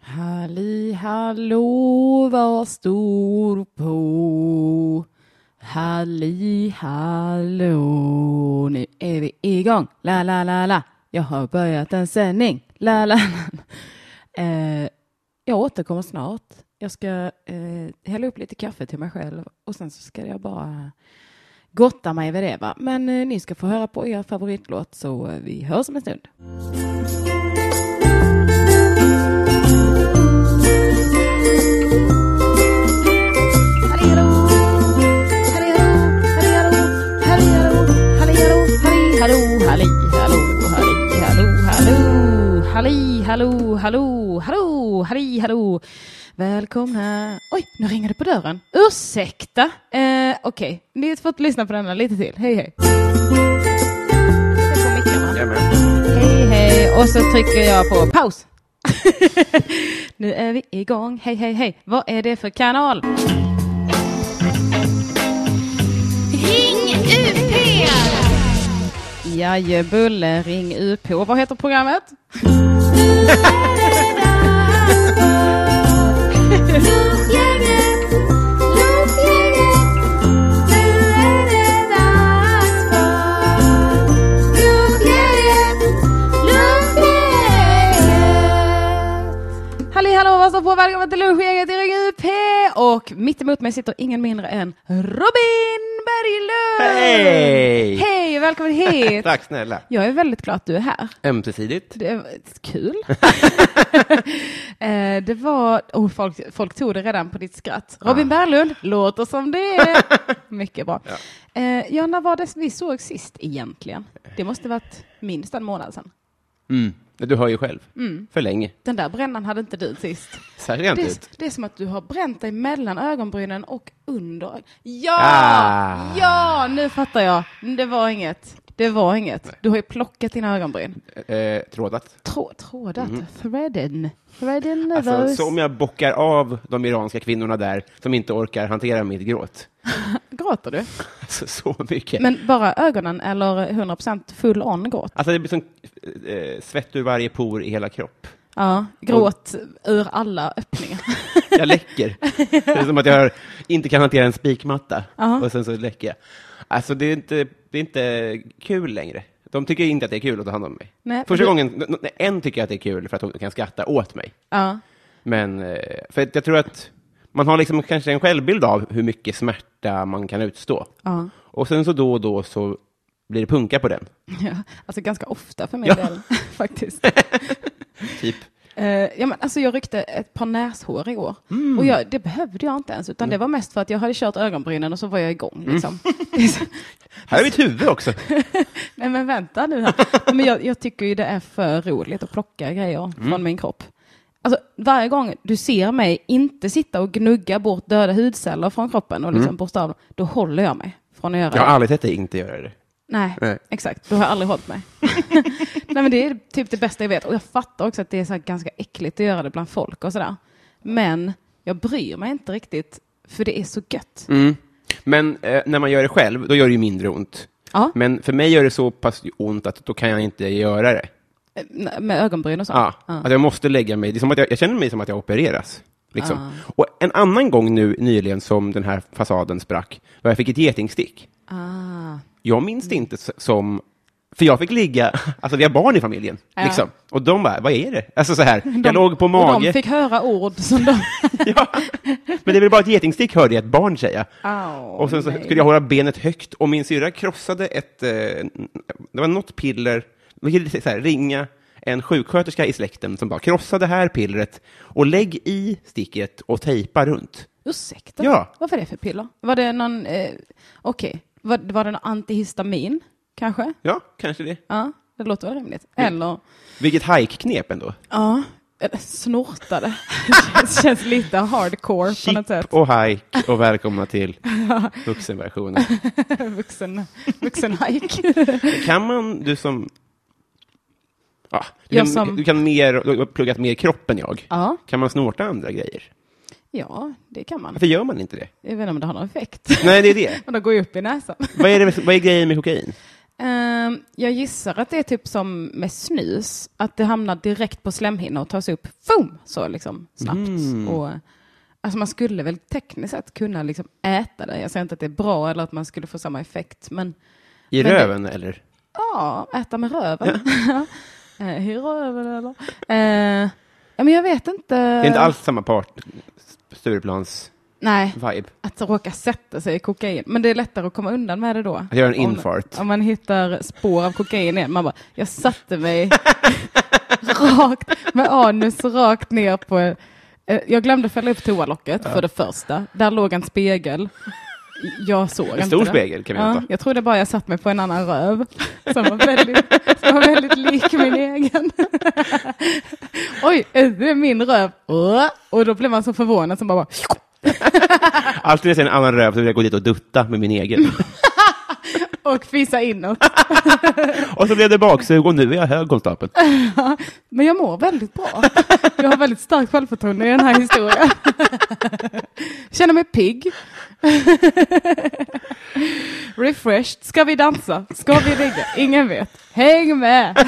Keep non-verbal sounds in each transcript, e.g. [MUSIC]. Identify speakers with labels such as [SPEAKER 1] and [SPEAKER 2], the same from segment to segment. [SPEAKER 1] Halli hallå vad stor på Halli hallå Nu är vi igång La la la la Jag har börjat en sändning La la la eh, Jag återkommer snart Jag ska eh, hälla upp lite kaffe till mig själv och sen så ska jag bara gotta mig vid det va Men eh, ni ska få höra på er favoritlåt så eh, vi hörs om en stund Hallå, halli, hallå, halli, hallå, hallå, halli, hallå, hallå, hallå, halli, hallå. Välkomna. Oj, nu ringer det på dörren. Ursäkta. Eh, Okej, ni har fått lyssna på denna lite till. Hej, hej. Sätt på mickarna. Hej, hej. Och så trycker jag på paus. nu är vi igång. Hej, hej, hej. Vad är det för kanal?
[SPEAKER 2] Ring UP!
[SPEAKER 1] Jajebulle, ring UP. Vad heter programmet? Halli hallå, vad står på? Välkommen till lunchgänget i Ring UP! Och mitt emot mig sitter ingen mindre än Robin Berglund!
[SPEAKER 3] Hej!
[SPEAKER 1] Hej, välkommen hit!
[SPEAKER 3] [LAUGHS] Tack snälla.
[SPEAKER 1] Jag är väldigt glad att du är här.
[SPEAKER 3] Ömsesidigt.
[SPEAKER 1] Det var kul. Eh, det var, oh, folk, folk tog det redan på ditt skratt. Robin Berglund, låter som det är. Mycket bra. Ja. ja, när var det vi såg sist egentligen? Det måste varit minst en månad sedan.
[SPEAKER 3] Mm. Du hör ju själv.
[SPEAKER 1] Mm.
[SPEAKER 3] För länge.
[SPEAKER 1] Den där brännan hade inte du sist.
[SPEAKER 3] Ser jag
[SPEAKER 1] Det
[SPEAKER 3] inte
[SPEAKER 1] är,
[SPEAKER 3] ut.
[SPEAKER 1] det är som att du har bränt dig mellan ögonbrynen och under. ög- Ja!
[SPEAKER 3] Ah.
[SPEAKER 1] Ja, nu fattar jag. Det var inget. Det var inget. Du har ju plockat dina ögonbryn.
[SPEAKER 3] Eh, trådat.
[SPEAKER 1] Trå, trådat. Threaden. Threaden
[SPEAKER 3] Alltså,
[SPEAKER 1] those.
[SPEAKER 3] som jag bockar av de iranska kvinnorna där som inte orkar hantera mitt gråt. [LAUGHS]
[SPEAKER 1] Gråter du?
[SPEAKER 3] Alltså, så mycket.
[SPEAKER 1] Men bara ögonen eller 100% full on gråt?
[SPEAKER 3] Alltså, det blir som eh, svett ur varje por i hela kropp.
[SPEAKER 1] Ja, gråt ur alla
[SPEAKER 3] [LAUGHS]
[SPEAKER 1] öppningar.
[SPEAKER 3] Jag läcker. det är som att jag inte kan hantera en spikmatta. Och sen så läcker jag. Alltså, det är, inte, det är inte kul längre. De tycker inte att det är kul att ta hand om mig.
[SPEAKER 1] Nej,
[SPEAKER 3] Första
[SPEAKER 1] du-
[SPEAKER 3] gången, n- n- en tycker att det är kul för att hon kan skratta åt mig.
[SPEAKER 1] Ja.
[SPEAKER 3] Men eh, för att jag tror att man har liksom kanske en självbild av hur mycket smärta man kan utstå.
[SPEAKER 1] Ja.
[SPEAKER 3] Och sen så då och då så blir det punka på den.
[SPEAKER 1] ja, alltså ganska ofta för min
[SPEAKER 3] Ja.
[SPEAKER 1] del [LAUGHS] faktiskt.
[SPEAKER 3] Typ,
[SPEAKER 1] Eh, ja, men alltså jag ryckte ett par näshår i år.
[SPEAKER 3] Mm.
[SPEAKER 1] Och jag, det behövde jag inte ens, utan det var mest för att jag hade kört ögonbrynen och så var jag igång.
[SPEAKER 3] Mm.
[SPEAKER 1] Liksom. [LAUGHS] Det är så-
[SPEAKER 3] här är mitt huvud också.
[SPEAKER 1] Nej men vänta
[SPEAKER 3] [LAUGHS]
[SPEAKER 1] nu här. Nej, Men jag, jag tycker ju det är för roligt att plocka grejer
[SPEAKER 3] Mm.
[SPEAKER 1] från min kropp. Alltså varje gång du ser mig inte sitta och gnugga bort döda hudceller från kroppen och liksom
[SPEAKER 3] Mm.
[SPEAKER 1] borsta av dem, då håller jag mig från att göra
[SPEAKER 3] Jag har
[SPEAKER 1] det.
[SPEAKER 3] aldrig sett dig inte göra det.
[SPEAKER 1] Nej,
[SPEAKER 3] Nej.
[SPEAKER 1] exakt. Då har jag aldrig hållit
[SPEAKER 3] [LAUGHS]
[SPEAKER 1] mig. Nej men det är typ det bästa jag vet. Och jag fattar också att det är så här ganska äckligt att göra det bland folk och sådär. Men jag bryr mig inte riktigt, för det är så gött.
[SPEAKER 3] Mm. Men eh, när man gör det själv, då gör det ju mindre ont.
[SPEAKER 1] Ja,
[SPEAKER 3] Men för mig gör det så pass ont att då kan jag inte göra det.
[SPEAKER 1] eh, med ögonbryn och så.
[SPEAKER 3] Ja, att jag måste lägga mig. Det är som att jag, jag känner mig som att jag opereras. Liksom. Och en annan gång nu nyligen som den här fasaden sprack, var jag fick ett getingstick.
[SPEAKER 1] Ah.
[SPEAKER 3] Jag minns det inte s- som... För jag fick ligga... [LAUGHS] Alltså, vi har barn i familjen.
[SPEAKER 1] Ja.
[SPEAKER 3] Liksom. Och de bara, vad är det? Alltså så här, jag låg på
[SPEAKER 1] Och [LAUGHS] de
[SPEAKER 3] mage.
[SPEAKER 1] fick höra ord som de...
[SPEAKER 3] [LAUGHS] ja. Men det är väl bara ett getingstick, hörde jag ett barn säga.
[SPEAKER 1] Au,
[SPEAKER 3] och sen så
[SPEAKER 1] nej.
[SPEAKER 3] skulle jag hålla benet högt och min syrra krossade ett... Eh, n- det var något piller. Vi kunde så här, ringa en sjuksköterska i släkten som bara krossa det här pillret och lägg i sticket och tejpa runt.
[SPEAKER 1] Ursäkta?
[SPEAKER 3] Ja.
[SPEAKER 1] Vad var det för piller? Var det någon... Eh, Okej. Var, var det någon antihistamin, kanske?
[SPEAKER 3] Ja, kanske det.
[SPEAKER 1] Ja, det låter väl rimligt. Eller...
[SPEAKER 3] Vilket hajkknep ändå.
[SPEAKER 1] Ja. Eller snortade.
[SPEAKER 3] [LAUGHS]
[SPEAKER 1] känns, känns lite hardcore på något sätt.
[SPEAKER 3] Chip och hajk och välkomna till vuxenversionen.
[SPEAKER 1] [LAUGHS] Vuxen, vuxen hike.
[SPEAKER 3] [LAUGHS] Kan man, du som... Ja, du,
[SPEAKER 1] Jag
[SPEAKER 3] kan,
[SPEAKER 1] som-
[SPEAKER 3] du kan mer, du har pluggat mer kropp än jag.
[SPEAKER 1] ja.
[SPEAKER 3] Kan man snorta andra grejer?
[SPEAKER 1] ja, det kan man.
[SPEAKER 3] Varför gör man inte det? [LAUGHS]
[SPEAKER 1] Jag vet inte om det har någon effekt.
[SPEAKER 3] Nej, det är det.
[SPEAKER 1] Men de går ju upp i näsan.
[SPEAKER 3] Vad är, det, vad är grejen med kokain?
[SPEAKER 1] Ehm, jag gissar att det är typ som med snus, att det hamnar direkt på slemhinnan och tas upp boom, så liksom snabbt.
[SPEAKER 3] Mm.
[SPEAKER 1] Och, alltså man skulle väl tekniskt sett kunna liksom äta det. Jag säger inte att det är bra eller att man skulle få samma effekt, men
[SPEAKER 3] I
[SPEAKER 1] Men det-
[SPEAKER 3] röven, eller?
[SPEAKER 1] ja, äta med röven. [LAUGHS] Eh, I röven eller? Eh, ja, men jag vet inte.
[SPEAKER 3] Det är inte alls samma part, Stureplans-vibe.
[SPEAKER 1] Nej, att råka sätta sig i kokain. Men det är lättare att komma undan med det då.
[SPEAKER 3] Att göra en
[SPEAKER 1] Om-
[SPEAKER 3] infart.
[SPEAKER 1] Om man hittar spår av kokain igen. Man bara, jag satte mig [LAUGHS] rakt med anus rakt ner på... eh, Jag glömde fälla upp toalocket för det första. Där låg en spegel. Jag såg inte
[SPEAKER 3] En stor
[SPEAKER 1] det.
[SPEAKER 3] spegel kan vi
[SPEAKER 1] Ja,
[SPEAKER 3] anta.
[SPEAKER 1] jag trodde bara jag satt mig på en annan röv som var väldigt, som var väldigt lik min egen. [LAUGHS] Oj, är det min röv? Och då blev man så förvånad som bara
[SPEAKER 3] Alltid när jag ser en annan röv så vill jag gå dit och dutta med min egen.
[SPEAKER 1] [LAUGHS] och fisa inåt.
[SPEAKER 3] och så blev det baksug och nu är jag hög, konstapeln.
[SPEAKER 1] Men jag mår väldigt bra. Jag har väldigt starkt självförtroende i den här historien. Känner mig pigg. Refreshed. Ska vi dansa? Ska vi ligga? Ingen vet. Häng med!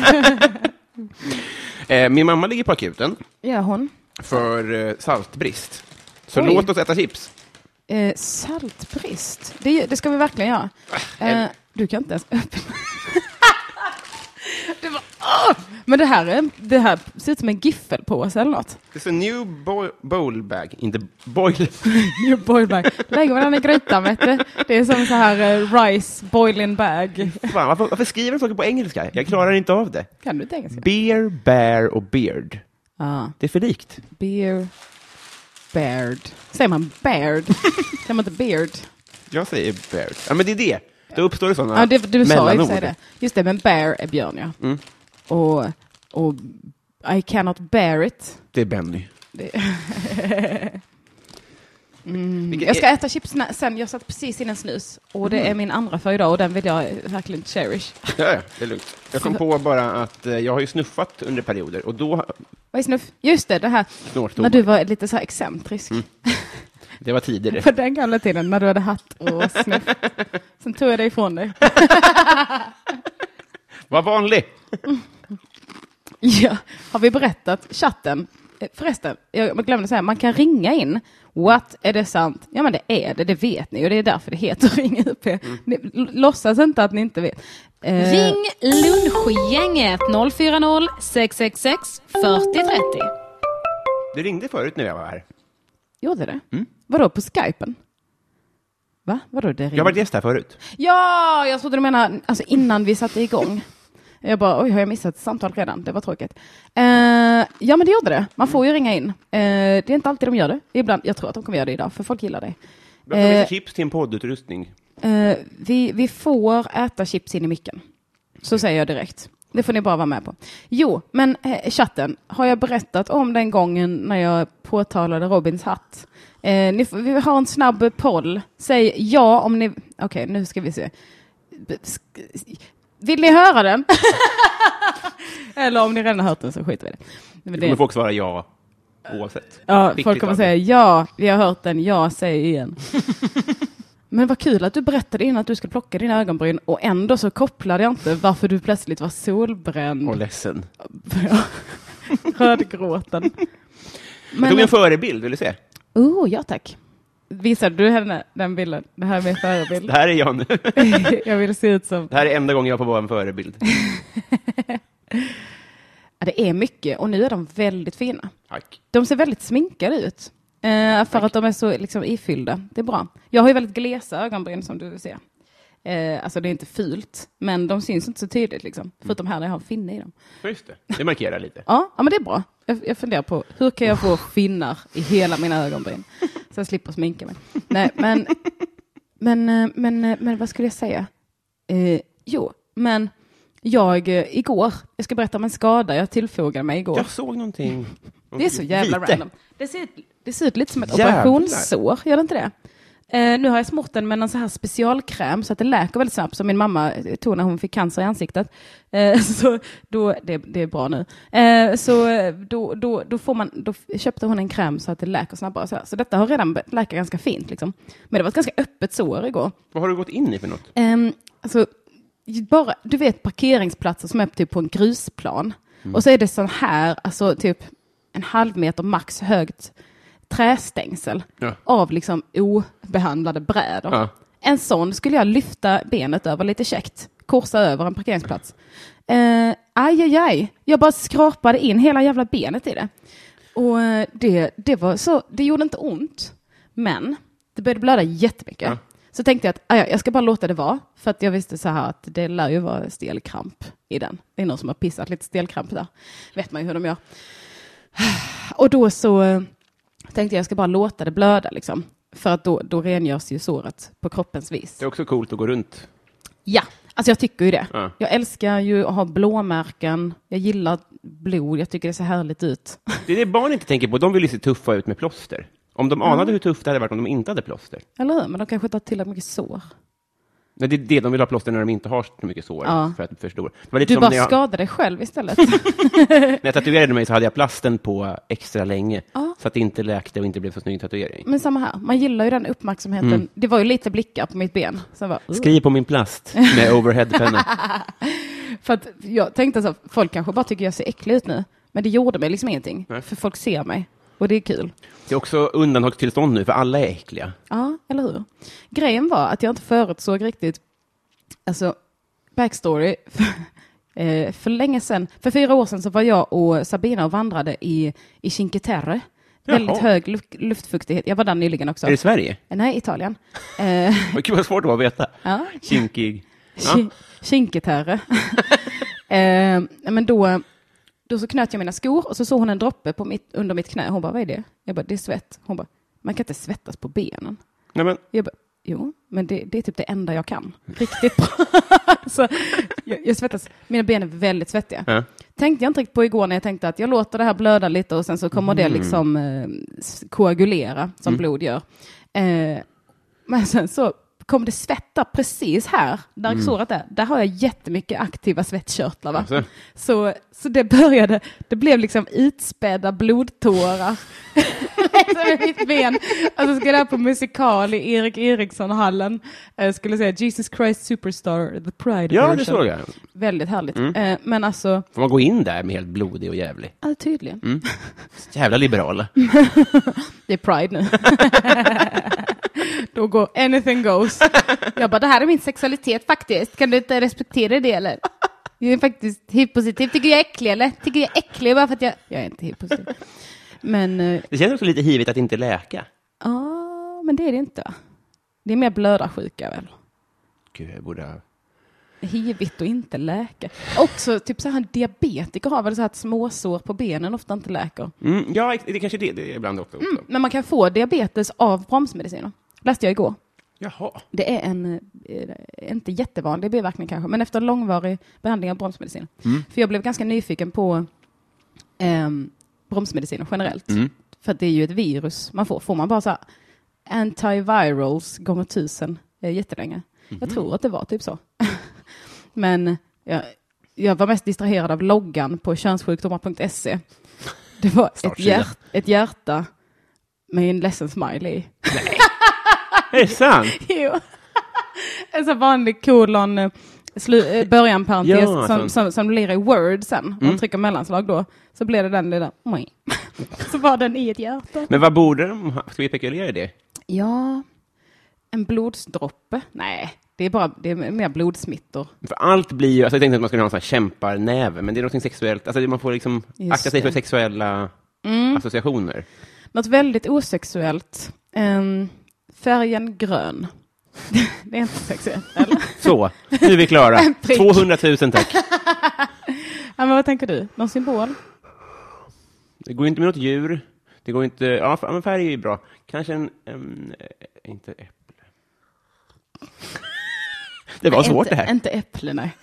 [SPEAKER 3] Eh, min mamma ligger på akuten
[SPEAKER 1] Gör hon.
[SPEAKER 3] för eh, saltbrist. Så
[SPEAKER 1] Oj.
[SPEAKER 3] låt oss äta chips.
[SPEAKER 1] Eh, saltbrist. Det, det ska vi verkligen göra. Eh, du kan inte ens öppna. det var, Åh! Men det här, är- det här ser ut som en giffelpåse eller något.
[SPEAKER 3] Det är en new bo- bowl bag, inte boil. [LAUGHS]
[SPEAKER 1] New boil bag. Lägg varandra i grytan vet du. Det är som så här eh, rice boiling bag.
[SPEAKER 3] Fan, varför, varför skriver de saker på engelska? Jag klarar inte av det.
[SPEAKER 1] Kan du inte engelska?
[SPEAKER 3] Beer, bear och beard.
[SPEAKER 1] Ja.
[SPEAKER 3] Det är för likt.
[SPEAKER 1] Beer. Baird. Säger man [LAUGHS] baird? Säger man inte beard?
[SPEAKER 3] Jag säger beard. Ja, men det är det. Då uppstår det sådana
[SPEAKER 1] Ja, Mm. det, du sa ju
[SPEAKER 3] mellanord.
[SPEAKER 1] säger det. Just det, men bear är björn ja. Och, och I cannot bear it.
[SPEAKER 3] Det är Benny.
[SPEAKER 1] [LAUGHS]
[SPEAKER 3] Vilket
[SPEAKER 1] Mm. Jag ska
[SPEAKER 3] är-
[SPEAKER 1] äta chips nä- sen. Jag satt precis in en snus. Och det är min andra för idag och den vill jag verkligen cherish.
[SPEAKER 3] Ja, ja, det är lugnt. Jag kom på bara att eh, jag har ju snuffat under perioder och då
[SPEAKER 1] Vad är snuff? Just det, det här.
[SPEAKER 3] snortog
[SPEAKER 1] När du var lite så här excentrisk.
[SPEAKER 3] Det var [LAUGHS] tidigare.
[SPEAKER 1] På den gamla tiden när du hade hatt och snuff. Sen tog jag dig ifrån dig. [LAUGHS]
[SPEAKER 3] Var vanlig!
[SPEAKER 1] Ja, har vi berättat chatten? Eh, Förresten, jag glömde säga, man kan ringa in. What, är det sant? Ja men det är det, det vet ni och det är därför det heter Ring UP. Ni, l- låtsas inte att ni inte vet. Eh,
[SPEAKER 2] Ring Lunchgänget 040 666 4030.
[SPEAKER 3] Du ringde förut när jag var här.
[SPEAKER 1] Gjorde det? Vadå, på skypen? Va? Vadå det
[SPEAKER 3] Jag
[SPEAKER 1] ringde?
[SPEAKER 3] har varit gäst här förut.
[SPEAKER 1] Ja, jag trodde du menade alltså, innan vi satte igång. Jag bara, oj, har jag missat ett samtal redan? Det var tråkigt. Eh, ja, men det gjorde det. Man får ju ringa in. Eh, det är inte alltid de gör det. Ibland, jag tror att de kommer göra det idag, för folk gillar dig.
[SPEAKER 3] Jag har
[SPEAKER 1] Eh.
[SPEAKER 3] lite chips till en poddutrustning.
[SPEAKER 1] Eh, vi, vi får äta chips in i micken. Så säger jag direkt. Det får ni bara vara med på. Jo, men eh, chatten, har jag berättat om den gången när jag påtalade Robins hatt? Eh, ni, får- vi har en snabb poll. Säg ja om ni... Okej, nu ska vi se. B- sk- Vill ni höra den? [LAUGHS] Eller om ni redan har hört den så skiter vi i det. Men
[SPEAKER 3] Det
[SPEAKER 1] det-
[SPEAKER 3] kommer folk svara ja, oavsett.
[SPEAKER 1] Ja,
[SPEAKER 3] Skickligt
[SPEAKER 1] folk kommer
[SPEAKER 3] av
[SPEAKER 1] säga
[SPEAKER 3] dig.
[SPEAKER 1] ja, vi har hört den, ja, säg
[SPEAKER 3] [LAUGHS]
[SPEAKER 1] igen. Men vad kul att du berättade innan att du skulle plocka dina ögonbryn och ändå så kopplade jag inte varför du plötsligt var solbränd.
[SPEAKER 3] Och ledsen.
[SPEAKER 1] [LAUGHS] Rödgråten.
[SPEAKER 3] Jag tog
[SPEAKER 1] Men,
[SPEAKER 3] en förebild, vill du se?
[SPEAKER 1] oh, ja tack. Visade du henne den bilden? Det här är min
[SPEAKER 3] Det [LAUGHS]
[SPEAKER 1] förebild. [LAUGHS]
[SPEAKER 3] här är jag nu.
[SPEAKER 1] jag vill se ut som...
[SPEAKER 3] Det här är enda gången jag får vara en förebild.
[SPEAKER 1] Ja, det är mycket och nu är de väldigt fina.
[SPEAKER 3] Tack.
[SPEAKER 1] De ser väldigt sminkade ut. Eh, för att de är så liksom, ifyllda. Det är bra. Jag har ju väldigt glesa ögonbryn som du ser. Eh, alltså det är inte fult, men de syns inte så tydligt. Liksom. Förutom här där jag har finne i dem.
[SPEAKER 3] Ja, Just det, det markerar lite.
[SPEAKER 1] Ja, ja men det är bra. Jag, jag funderar på hur kan jag få finnar i hela mina ögonbryn? Så jag slipper sminka mig. Nej, men, men, eh, men, eh, men vad skulle jag säga? Eh, jo, men jag eh, igår, jag ska berätta om en skada jag tillfogade mig igår.
[SPEAKER 3] Jag såg någonting.
[SPEAKER 1] Det är så jävla
[SPEAKER 3] Lite.
[SPEAKER 1] random. Det ser, ut- det ser ut lite som ett
[SPEAKER 3] Jävlar.
[SPEAKER 1] operationssår, gör det inte det? Eh, nu har jag smort den med en så här specialkräm så att det läker väldigt snabbt, som min mamma eh, tog när hon fick cancer i ansiktet. Eh, [LAUGHS] så då, det, det är bra nu. Eh, så eh, då, då, då, får man, då f- köpte hon en kräm så att det läker snabbare. och Så, här. så detta har redan be- läkt ganska fint. Liksom. Men det var ett ganska öppet sår igår.
[SPEAKER 3] Vad har du gått in i för något?
[SPEAKER 1] Ehm, alltså, bara, du vet parkeringsplatser som är typ på en grusplan.
[SPEAKER 3] Mm.
[SPEAKER 1] Och så är det sån här, alltså typ en halv meter max högt trästängsel
[SPEAKER 3] Ja.
[SPEAKER 1] av liksom obehandlade brädor.
[SPEAKER 3] Ja.
[SPEAKER 1] En sån skulle jag lyfta benet över lite käckt, korsa över en parkeringsplats. Eh, aj, aj, aj. Jag bara skrapade in hela jävla benet i det. Och eh, det, det, var så, det gjorde inte ont, men det började blöda jättemycket.
[SPEAKER 3] Ja.
[SPEAKER 1] Så tänkte jag att aj, jag ska bara låta det vara, för att jag visste så här att det lär ju vara stelkramp i den. Det är någon som har pissat lite stelkramp där. vet man ju hur de gör. [SIGHS] Och då så eh, tänkte jag jag ska bara låta det blöda, liksom. för att då, då rengörs ju såret på kroppens vis.
[SPEAKER 3] Det är också coolt att gå runt.
[SPEAKER 1] Ja, alltså jag tycker ju det.
[SPEAKER 3] Ja.
[SPEAKER 1] Jag älskar ju att ha blåmärken. Jag gillar blod. Jag tycker det ser härligt ut.
[SPEAKER 3] Det är det barn inte tänker på. De vill ju se tuffa ut med plåster. Om
[SPEAKER 1] Mm.
[SPEAKER 3] de anade hur tufft det hade varit om de inte hade plåster.
[SPEAKER 1] Eller hur? Men de kanske tar tillräckligt mycket sår.
[SPEAKER 3] Nej, det är det de vill ha plåster när de inte har så mycket sår
[SPEAKER 1] Ja.
[SPEAKER 3] för att förstora. Det var lite
[SPEAKER 1] Du
[SPEAKER 3] som
[SPEAKER 1] bara
[SPEAKER 3] när jag,
[SPEAKER 1] skadar dig själv
[SPEAKER 3] [LAUGHS]
[SPEAKER 1] istället.
[SPEAKER 3] när jag tatuerade mig så hade jag plasten på extra länge
[SPEAKER 1] Ja.
[SPEAKER 3] så att det inte läkte och inte blev så snygg tatuering.
[SPEAKER 1] Men samma här. Man gillar ju den uppmärksamheten.
[SPEAKER 3] Mm.
[SPEAKER 1] Det var ju lite blickar på mitt ben. Sen bara, "Ugh."
[SPEAKER 3] Skriv på min plast med overheadpenna.
[SPEAKER 1] För att jag tänkte så här, folk kanske bara tycker jag ser äcklig ut nu. Men det gjorde mig liksom ingenting.
[SPEAKER 3] Nej.
[SPEAKER 1] För folk ser mig. Och det är kul.
[SPEAKER 3] Det är också undantagstillstånd nu, för alla är äckliga.
[SPEAKER 1] Ja, eller hur? Grejen var att jag inte förutsåg riktigt, alltså backstory, [LAUGHS] Eh, för länge sedan, för fyra år sedan så var jag och Sabina och vandrade i, i Cinque Terre.
[SPEAKER 3] Jaha.
[SPEAKER 1] Väldigt hög luf- luftfuktighet. Jag var där nyligen också.
[SPEAKER 3] Är det Sverige?
[SPEAKER 1] Nej, Italien. Eh, [LAUGHS]
[SPEAKER 3] Vad kul, vad svårt det var att veta.
[SPEAKER 1] ja.
[SPEAKER 3] Kinkig.
[SPEAKER 1] Ki- Kinketerre. [LAUGHS] eh, men då, då så knöt jag mina skor och så såg hon en droppe på mitt, under mitt knä. Hon bara, vad är det? Jag bara, det är svett. Hon bara, man kan inte svettas på benen.
[SPEAKER 3] Nej, men,
[SPEAKER 1] Jag bara, jo, men det, det är typ det enda jag kan. Riktigt bra. så, jag, jag svettas. Mina ben är väldigt svettiga.
[SPEAKER 3] ja.
[SPEAKER 1] Tänkte jag inte riktigt på igår när jag tänkte att jag låter det här blöda lite och sen så kommer det liksom eh, s- koagulera som blod gör. Eh, men sen så kom det svetta precis här, där såret är. Där har jag jättemycket aktiva svettkörtlar. Va?
[SPEAKER 3] Alltså.
[SPEAKER 1] Så, så det började, det blev liksom utspädda blodtårar. [LAUGHS] Som i mitt ben. Alltså ska det här på musikal i Erik Eriksson-hallen. Eh, skulle säga Jesus Christ Superstar, the pride
[SPEAKER 3] ja, det
[SPEAKER 1] version.
[SPEAKER 3] såg jag. Mm.
[SPEAKER 1] Väldigt härligt. Eh, men alltså,
[SPEAKER 3] Får man gå in där med helt blodig och jävlig?
[SPEAKER 1] ja, tydligen.
[SPEAKER 3] Mm. Jävla liberala.
[SPEAKER 1] Det är pride nu. [LAUGHS] Då går anything goes. Jag bara, det här är min sexualitet faktiskt. Kan du inte respektera det eller? Jag är faktiskt hiv-positiv. Tycker jag är äcklig eller? Tycker jag är äcklig bara för att jag... Jag är inte hiv-positiv. Men, eh,
[SPEAKER 3] Det känns också lite hivigt att inte läka.
[SPEAKER 1] ja, men det är det inte va? Det är mer blödarsjuka väl?
[SPEAKER 3] Gud, jag borde ha...
[SPEAKER 1] Hivigt och inte läka. Också typ så här diabetiker har väl så här att småsår på benen ofta inte läker.
[SPEAKER 3] Mm, ja, ex- det kanske är det, det är ibland också.
[SPEAKER 1] Mm, men man kan få diabetes av bromsmediciner. Läste jag igår.
[SPEAKER 3] Jaha.
[SPEAKER 1] Det är en, eh, inte jättevanlig biverkning kanske, men efter en långvarig behandling av bromsmedicin. För jag blev ganska nyfiken på ehm, bromsmediciner generellt. För att det är ju ett virus man får. Får man bara så här antivirals gånger tusen eh, jättelänge. Jag tror att det var typ så. [LAUGHS] men jag, jag var mest distraherad av loggan på könssjukdomar.se. E. Det var ett,
[SPEAKER 3] Startsida.
[SPEAKER 1] hjärt, ett hjärta med en ledsen smiley i.
[SPEAKER 3] Är det sant?
[SPEAKER 1] Jo. [LAUGHS] En sån vanlig kolon, eh, slu, eh, början parentes,
[SPEAKER 3] Ja, Mm.
[SPEAKER 1] som,
[SPEAKER 3] sån.
[SPEAKER 1] som, som blir i word sen. Om man trycker mellanslag då, så blir det den lilla... moj. [LAUGHS] så var den i ett hjärta.
[SPEAKER 3] Men vad borde de ha? Ska vi spekulera i det?
[SPEAKER 1] Ja, en blodsdroppe. Nej, det är bara det är mer blodsmittor.
[SPEAKER 3] För allt blir ju... Alltså jag tänkte att man skulle ha en sån här kämparnäve, men det är något sexuellt. Alltså man får liksom
[SPEAKER 1] Just
[SPEAKER 3] akta sig för
[SPEAKER 1] det. Mm.
[SPEAKER 3] sexuella associationer.
[SPEAKER 1] Något väldigt osexuellt. Ehm, färgen grön. [LAUGHS] det är inte sexuellt, [LAUGHS] eller?
[SPEAKER 3] Så, nu är
[SPEAKER 1] [LAUGHS]
[SPEAKER 3] vi klara.
[SPEAKER 1] prick.
[SPEAKER 3] 200 000 tack.
[SPEAKER 1] Ja, men vad tänker du? Någon symbol?
[SPEAKER 3] Det går ju inte med något djur. Det går inte... Ja, f- ja, men färg är ju bra. Kanske en... en eh, inte äpple. Det var
[SPEAKER 1] Nej,
[SPEAKER 3] svårt
[SPEAKER 1] inte,
[SPEAKER 3] det här.
[SPEAKER 1] Inte äpple,
[SPEAKER 3] [LAUGHS]
[SPEAKER 1] nej.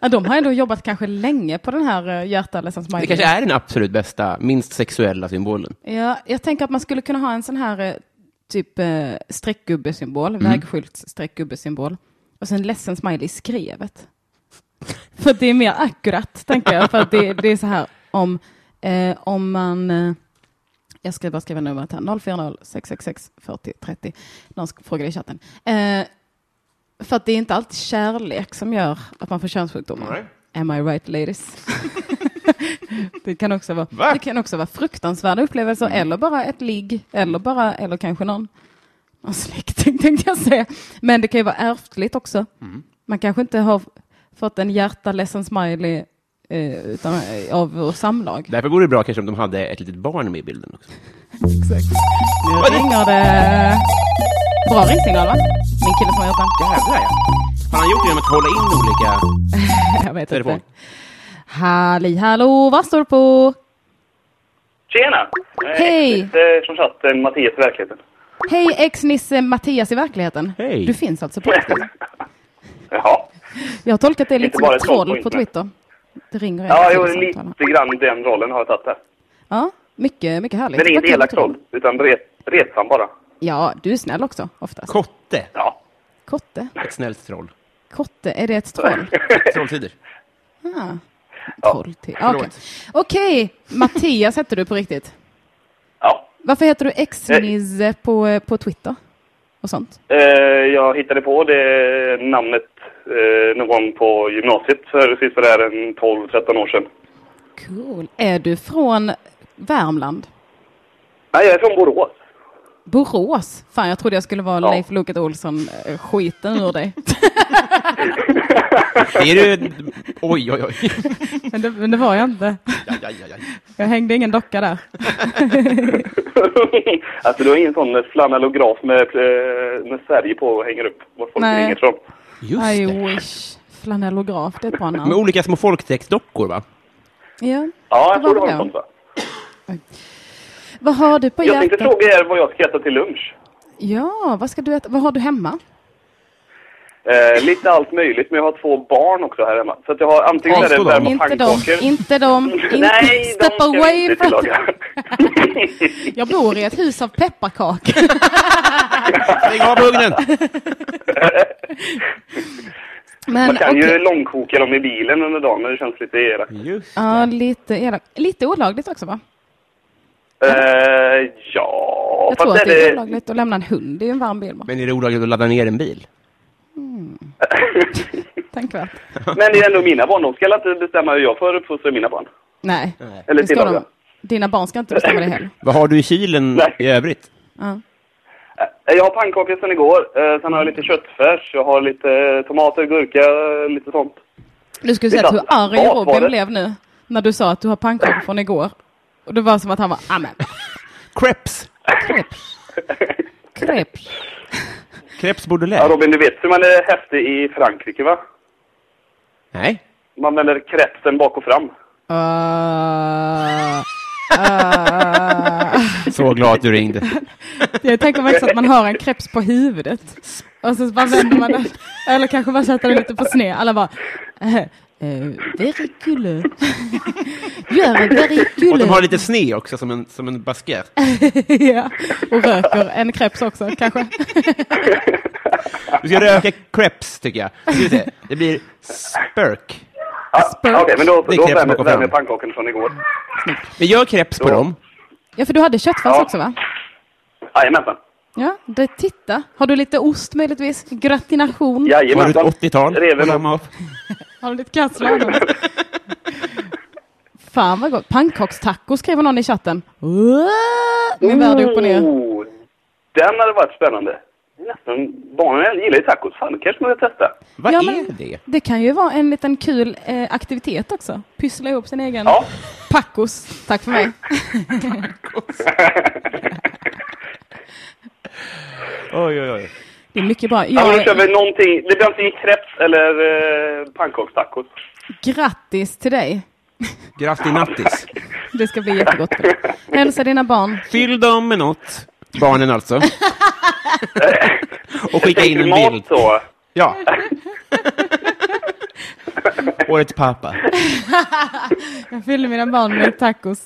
[SPEAKER 1] ja, de har ändå jobbat kanske länge på den här eh, hjärta ledsen smiley.
[SPEAKER 3] Det kanske är den absolut bästa, minst sexuella symbolen.
[SPEAKER 1] Ja, jag tänker att man skulle kunna ha en sån här eh, typ eh, streckgubbesymbol, vägskyltsstreckgubbesymbol. Och sen ledsen smiley i skrevet. [LAUGHS] För att det är mer akkurat, tänker jag. För att det, det är så här om, eh, om man... Eh, jag ska bara skriva numret här, 040 666 40 30. Någon sk- frågade i chatten. Eh, För att det är inte alltid kärlek som gör att man får könssjukdomar.
[SPEAKER 3] Nej.
[SPEAKER 1] Am I right [LAUGHS] ladies? det, kan också vara,
[SPEAKER 3] Va?
[SPEAKER 1] det kan också vara fruktansvärda upplevelser eller bara ett ligg eller, bara, eller kanske någon, någon släkting [LAUGHS] tänkte jag säga. Men det kan ju vara ärftligt också. Man kanske inte har fått en hjärta ledsen smiley eh, utan, eh, av vår samlag.
[SPEAKER 3] Därför vore det bra kanske om de hade ett litet barn med i bilden också.
[SPEAKER 1] Nu ringer det. Bra ringsignal va? Min kille som har gjort den.
[SPEAKER 3] Jävlar ja. Han har gjort det genom att hålla in
[SPEAKER 1] [LAUGHS]
[SPEAKER 3] olika...
[SPEAKER 1] Jag vet
[SPEAKER 3] Telefon.
[SPEAKER 1] inte. Halli hallå, vad står du på?
[SPEAKER 4] Tjena! Eh,
[SPEAKER 1] Hej.
[SPEAKER 4] Lite som satt eh, Mattias i verkligheten.
[SPEAKER 1] Hej ex-Nisse Mattias i verkligheten.
[SPEAKER 3] Hej.
[SPEAKER 1] Du finns alltså på riktigt.
[SPEAKER 4] ja,
[SPEAKER 1] Jag har tolkat det lite
[SPEAKER 4] Inte
[SPEAKER 1] som
[SPEAKER 4] bara
[SPEAKER 1] ett
[SPEAKER 4] ett troll på
[SPEAKER 1] troll på
[SPEAKER 4] internet.
[SPEAKER 1] Twitter. Det ringer en
[SPEAKER 4] ja
[SPEAKER 1] till
[SPEAKER 4] jo,
[SPEAKER 1] samtal här.
[SPEAKER 4] lite grann den rollen har jag tagit här.
[SPEAKER 1] Ja, mycket, mycket härligt.
[SPEAKER 4] Men
[SPEAKER 1] Vad
[SPEAKER 4] inget
[SPEAKER 1] kul
[SPEAKER 4] elakt
[SPEAKER 1] att du-
[SPEAKER 4] roll, utan ret, retsam bara.
[SPEAKER 1] Ja, du är snäll också oftast.
[SPEAKER 3] Kotte!
[SPEAKER 4] Ja.
[SPEAKER 1] Kotte?
[SPEAKER 3] Ett snällt troll.
[SPEAKER 1] Kotte, är det ett troll?
[SPEAKER 3] Trolltider.
[SPEAKER 1] Ah.
[SPEAKER 4] Ja.
[SPEAKER 1] Troll till. ah, Okej,
[SPEAKER 3] Förlåt.
[SPEAKER 1] Okej, Mattias heter du på riktigt.
[SPEAKER 4] ja.
[SPEAKER 1] Varför heter du ex-Nisse på, på Twitter? Och sånt?
[SPEAKER 4] Eh, jag hittade på det namnet eh, någon gång på gymnasiet för sista en 12-13 år sedan.
[SPEAKER 1] Cool. Är du från Värmland?
[SPEAKER 4] Nej, jag är från Borås. [LAUGHS]
[SPEAKER 1] Borås? Fan, jag trodde jag skulle vara
[SPEAKER 4] Ja.
[SPEAKER 1] Leif Loket Olsson-skiten ur dig.
[SPEAKER 3] Det är ju... Oj, oj, oj.
[SPEAKER 1] [LAUGHS] Men det, men det var jag inte.
[SPEAKER 3] Aj, aj, aj, aj.
[SPEAKER 1] Jag hängde ingen docka där.
[SPEAKER 4] alltså du har ingen sån flanellograf med, eh, med Sverige på och hänger upp vad folk
[SPEAKER 1] Nej.
[SPEAKER 4] ringer från.
[SPEAKER 3] Just
[SPEAKER 1] I
[SPEAKER 3] det.
[SPEAKER 1] wish. Flanellograf, det är ett bra
[SPEAKER 3] Med
[SPEAKER 1] namn.
[SPEAKER 3] olika små folktextdockor, va?
[SPEAKER 1] Ja.
[SPEAKER 4] Ja, jag
[SPEAKER 1] Det var
[SPEAKER 4] tror det var
[SPEAKER 1] väl
[SPEAKER 4] en
[SPEAKER 1] det.
[SPEAKER 4] sån va?
[SPEAKER 1] Vad har du på
[SPEAKER 4] Jag tänkte
[SPEAKER 1] hjärtat?
[SPEAKER 4] fråga er vad jag ska äta till lunch.
[SPEAKER 1] Ja, vad ska du äta? Vad har du hemma?
[SPEAKER 4] Eh, lite allt möjligt, men jag har två barn också här hemma. Så att jag har antingen
[SPEAKER 3] Avstå
[SPEAKER 4] är det
[SPEAKER 3] dem.
[SPEAKER 4] värma
[SPEAKER 1] Inte de,
[SPEAKER 4] pannkakor.
[SPEAKER 1] inte de, inte
[SPEAKER 4] [LAUGHS] Nej, de
[SPEAKER 1] step
[SPEAKER 4] ska vi
[SPEAKER 1] away.
[SPEAKER 4] inte
[SPEAKER 1] Från...
[SPEAKER 4] tillaga.
[SPEAKER 1] Jag bor i ett hus av pepparkakor.
[SPEAKER 3] Lägg av ugnen!
[SPEAKER 1] Men
[SPEAKER 4] [LAUGHS] Man kan ju
[SPEAKER 1] okej.
[SPEAKER 4] långkoka dem i bilen under dagen, men det känns lite elakt.
[SPEAKER 3] Just
[SPEAKER 1] Ja, lite elakt. Lite olagligt också va?
[SPEAKER 4] Eh, ja,
[SPEAKER 1] Jag tror att
[SPEAKER 4] är
[SPEAKER 1] det är
[SPEAKER 3] [LAUGHS]
[SPEAKER 1] olagligt att lämna en hund i en varm bil. bara.
[SPEAKER 3] Men är det olagligt att ladda ner en bil?
[SPEAKER 4] Mm.
[SPEAKER 1] Tänkvärt.
[SPEAKER 4] men det är ändå mina barn. De ska inte bestämma hur jag får uppfostra mina barn.
[SPEAKER 1] Nej.
[SPEAKER 3] Nej.
[SPEAKER 4] Eller
[SPEAKER 1] Det ska
[SPEAKER 4] tillaga.
[SPEAKER 1] de. Dina barn ska inte bestämma det heller.
[SPEAKER 3] Vad har du i kylen
[SPEAKER 4] Nej.
[SPEAKER 3] i övrigt?
[SPEAKER 1] Ja.
[SPEAKER 4] Eh, Jag har pannkakor sedan igår. Eh,
[SPEAKER 3] Mm.
[SPEAKER 4] sen har jag lite köttfärs. Jag har lite eh, tomater, gurka, lite sånt.
[SPEAKER 1] Du skulle
[SPEAKER 4] Det är
[SPEAKER 1] sett hur
[SPEAKER 4] sant.
[SPEAKER 1] arg
[SPEAKER 4] Vad var
[SPEAKER 1] Robin
[SPEAKER 4] det?
[SPEAKER 1] blev nu när du sa att du har pannkakor från igår. Och det var som att han var, "Ah,
[SPEAKER 4] [LAUGHS]
[SPEAKER 1] amen,
[SPEAKER 3] Crepes!
[SPEAKER 1] kreps. Kreps.
[SPEAKER 3] Crepes Baudelaire?
[SPEAKER 4] Ja, Robin, du vet hur man är häftig i Frankrike, va?
[SPEAKER 3] Nej.
[SPEAKER 4] Man vänder krepsen bak och fram.
[SPEAKER 1] Uh, uh.
[SPEAKER 3] Så glad att du ringde.
[SPEAKER 1] Jag tänker mig också att man har en kreps på huvudet. Och så bara vänder man den. Eller kanske man sätter den lite på sned. Alla bara, eh, eh, very cool. Gör very
[SPEAKER 3] Och de har
[SPEAKER 1] cool.
[SPEAKER 3] lite sne också, som en, som en basker.
[SPEAKER 1] [LAUGHS] Ja. Och röker en kreps också kanske.
[SPEAKER 3] Du ska röka crepes, tycker jag. Ska vi se. Det blir spurk.
[SPEAKER 4] Ah, Okej, men då,
[SPEAKER 3] Det är
[SPEAKER 4] då
[SPEAKER 3] krepsen bak
[SPEAKER 4] värmer
[SPEAKER 3] och fram.
[SPEAKER 4] värmer pannkakorna från igår.
[SPEAKER 3] Vi gör crepes på
[SPEAKER 4] Ja.
[SPEAKER 3] dem.
[SPEAKER 1] Ja, för du hade köttfärs
[SPEAKER 4] Ja.
[SPEAKER 1] också va?
[SPEAKER 4] Jajamensan.
[SPEAKER 1] Ja, det, titta. Har du lite ost möjligtvis? Gratination?
[SPEAKER 3] Var det
[SPEAKER 4] Jajamensan.
[SPEAKER 3] ett
[SPEAKER 4] [LAUGHS]
[SPEAKER 3] 80-tal?
[SPEAKER 4] Reven och-
[SPEAKER 3] Ramma upp.
[SPEAKER 1] Har du lite kasslagom? Fan vad gott. Pannkakstaco skriver någon i chatten. Min värld är upp och ner.
[SPEAKER 4] Oh, Den hade varit spännande. Nästan, barnen gillar ju tacos. Fan, det kanske man ska testa.
[SPEAKER 3] Vad
[SPEAKER 1] Ja,
[SPEAKER 3] är
[SPEAKER 1] men-
[SPEAKER 3] det?
[SPEAKER 1] Det kan ju vara en liten kul eh, aktivitet också. Pyssla ihop sin egen [LAUGHS]
[SPEAKER 4] Ja.
[SPEAKER 1] packos. Tack för mig.
[SPEAKER 3] Oj, oj, oj.
[SPEAKER 1] Det är mycket bra.
[SPEAKER 4] Ja, men då kör
[SPEAKER 1] Jag,
[SPEAKER 4] vi någonting. Det blir antingen kreps eller eh, pannkakstacos.
[SPEAKER 1] grattis till dig.
[SPEAKER 3] Grattinattis.
[SPEAKER 1] Det ska bli jättegott. för dig. Hälsa dina barn.
[SPEAKER 3] Fyll dem med något. Barnen [LAUGHS] alltså. Och skicka in en
[SPEAKER 4] Mat
[SPEAKER 3] bild.
[SPEAKER 4] så.
[SPEAKER 3] Ja. [LAUGHS] Årets pappa.
[SPEAKER 1] Jag fyller mina barn med tacos.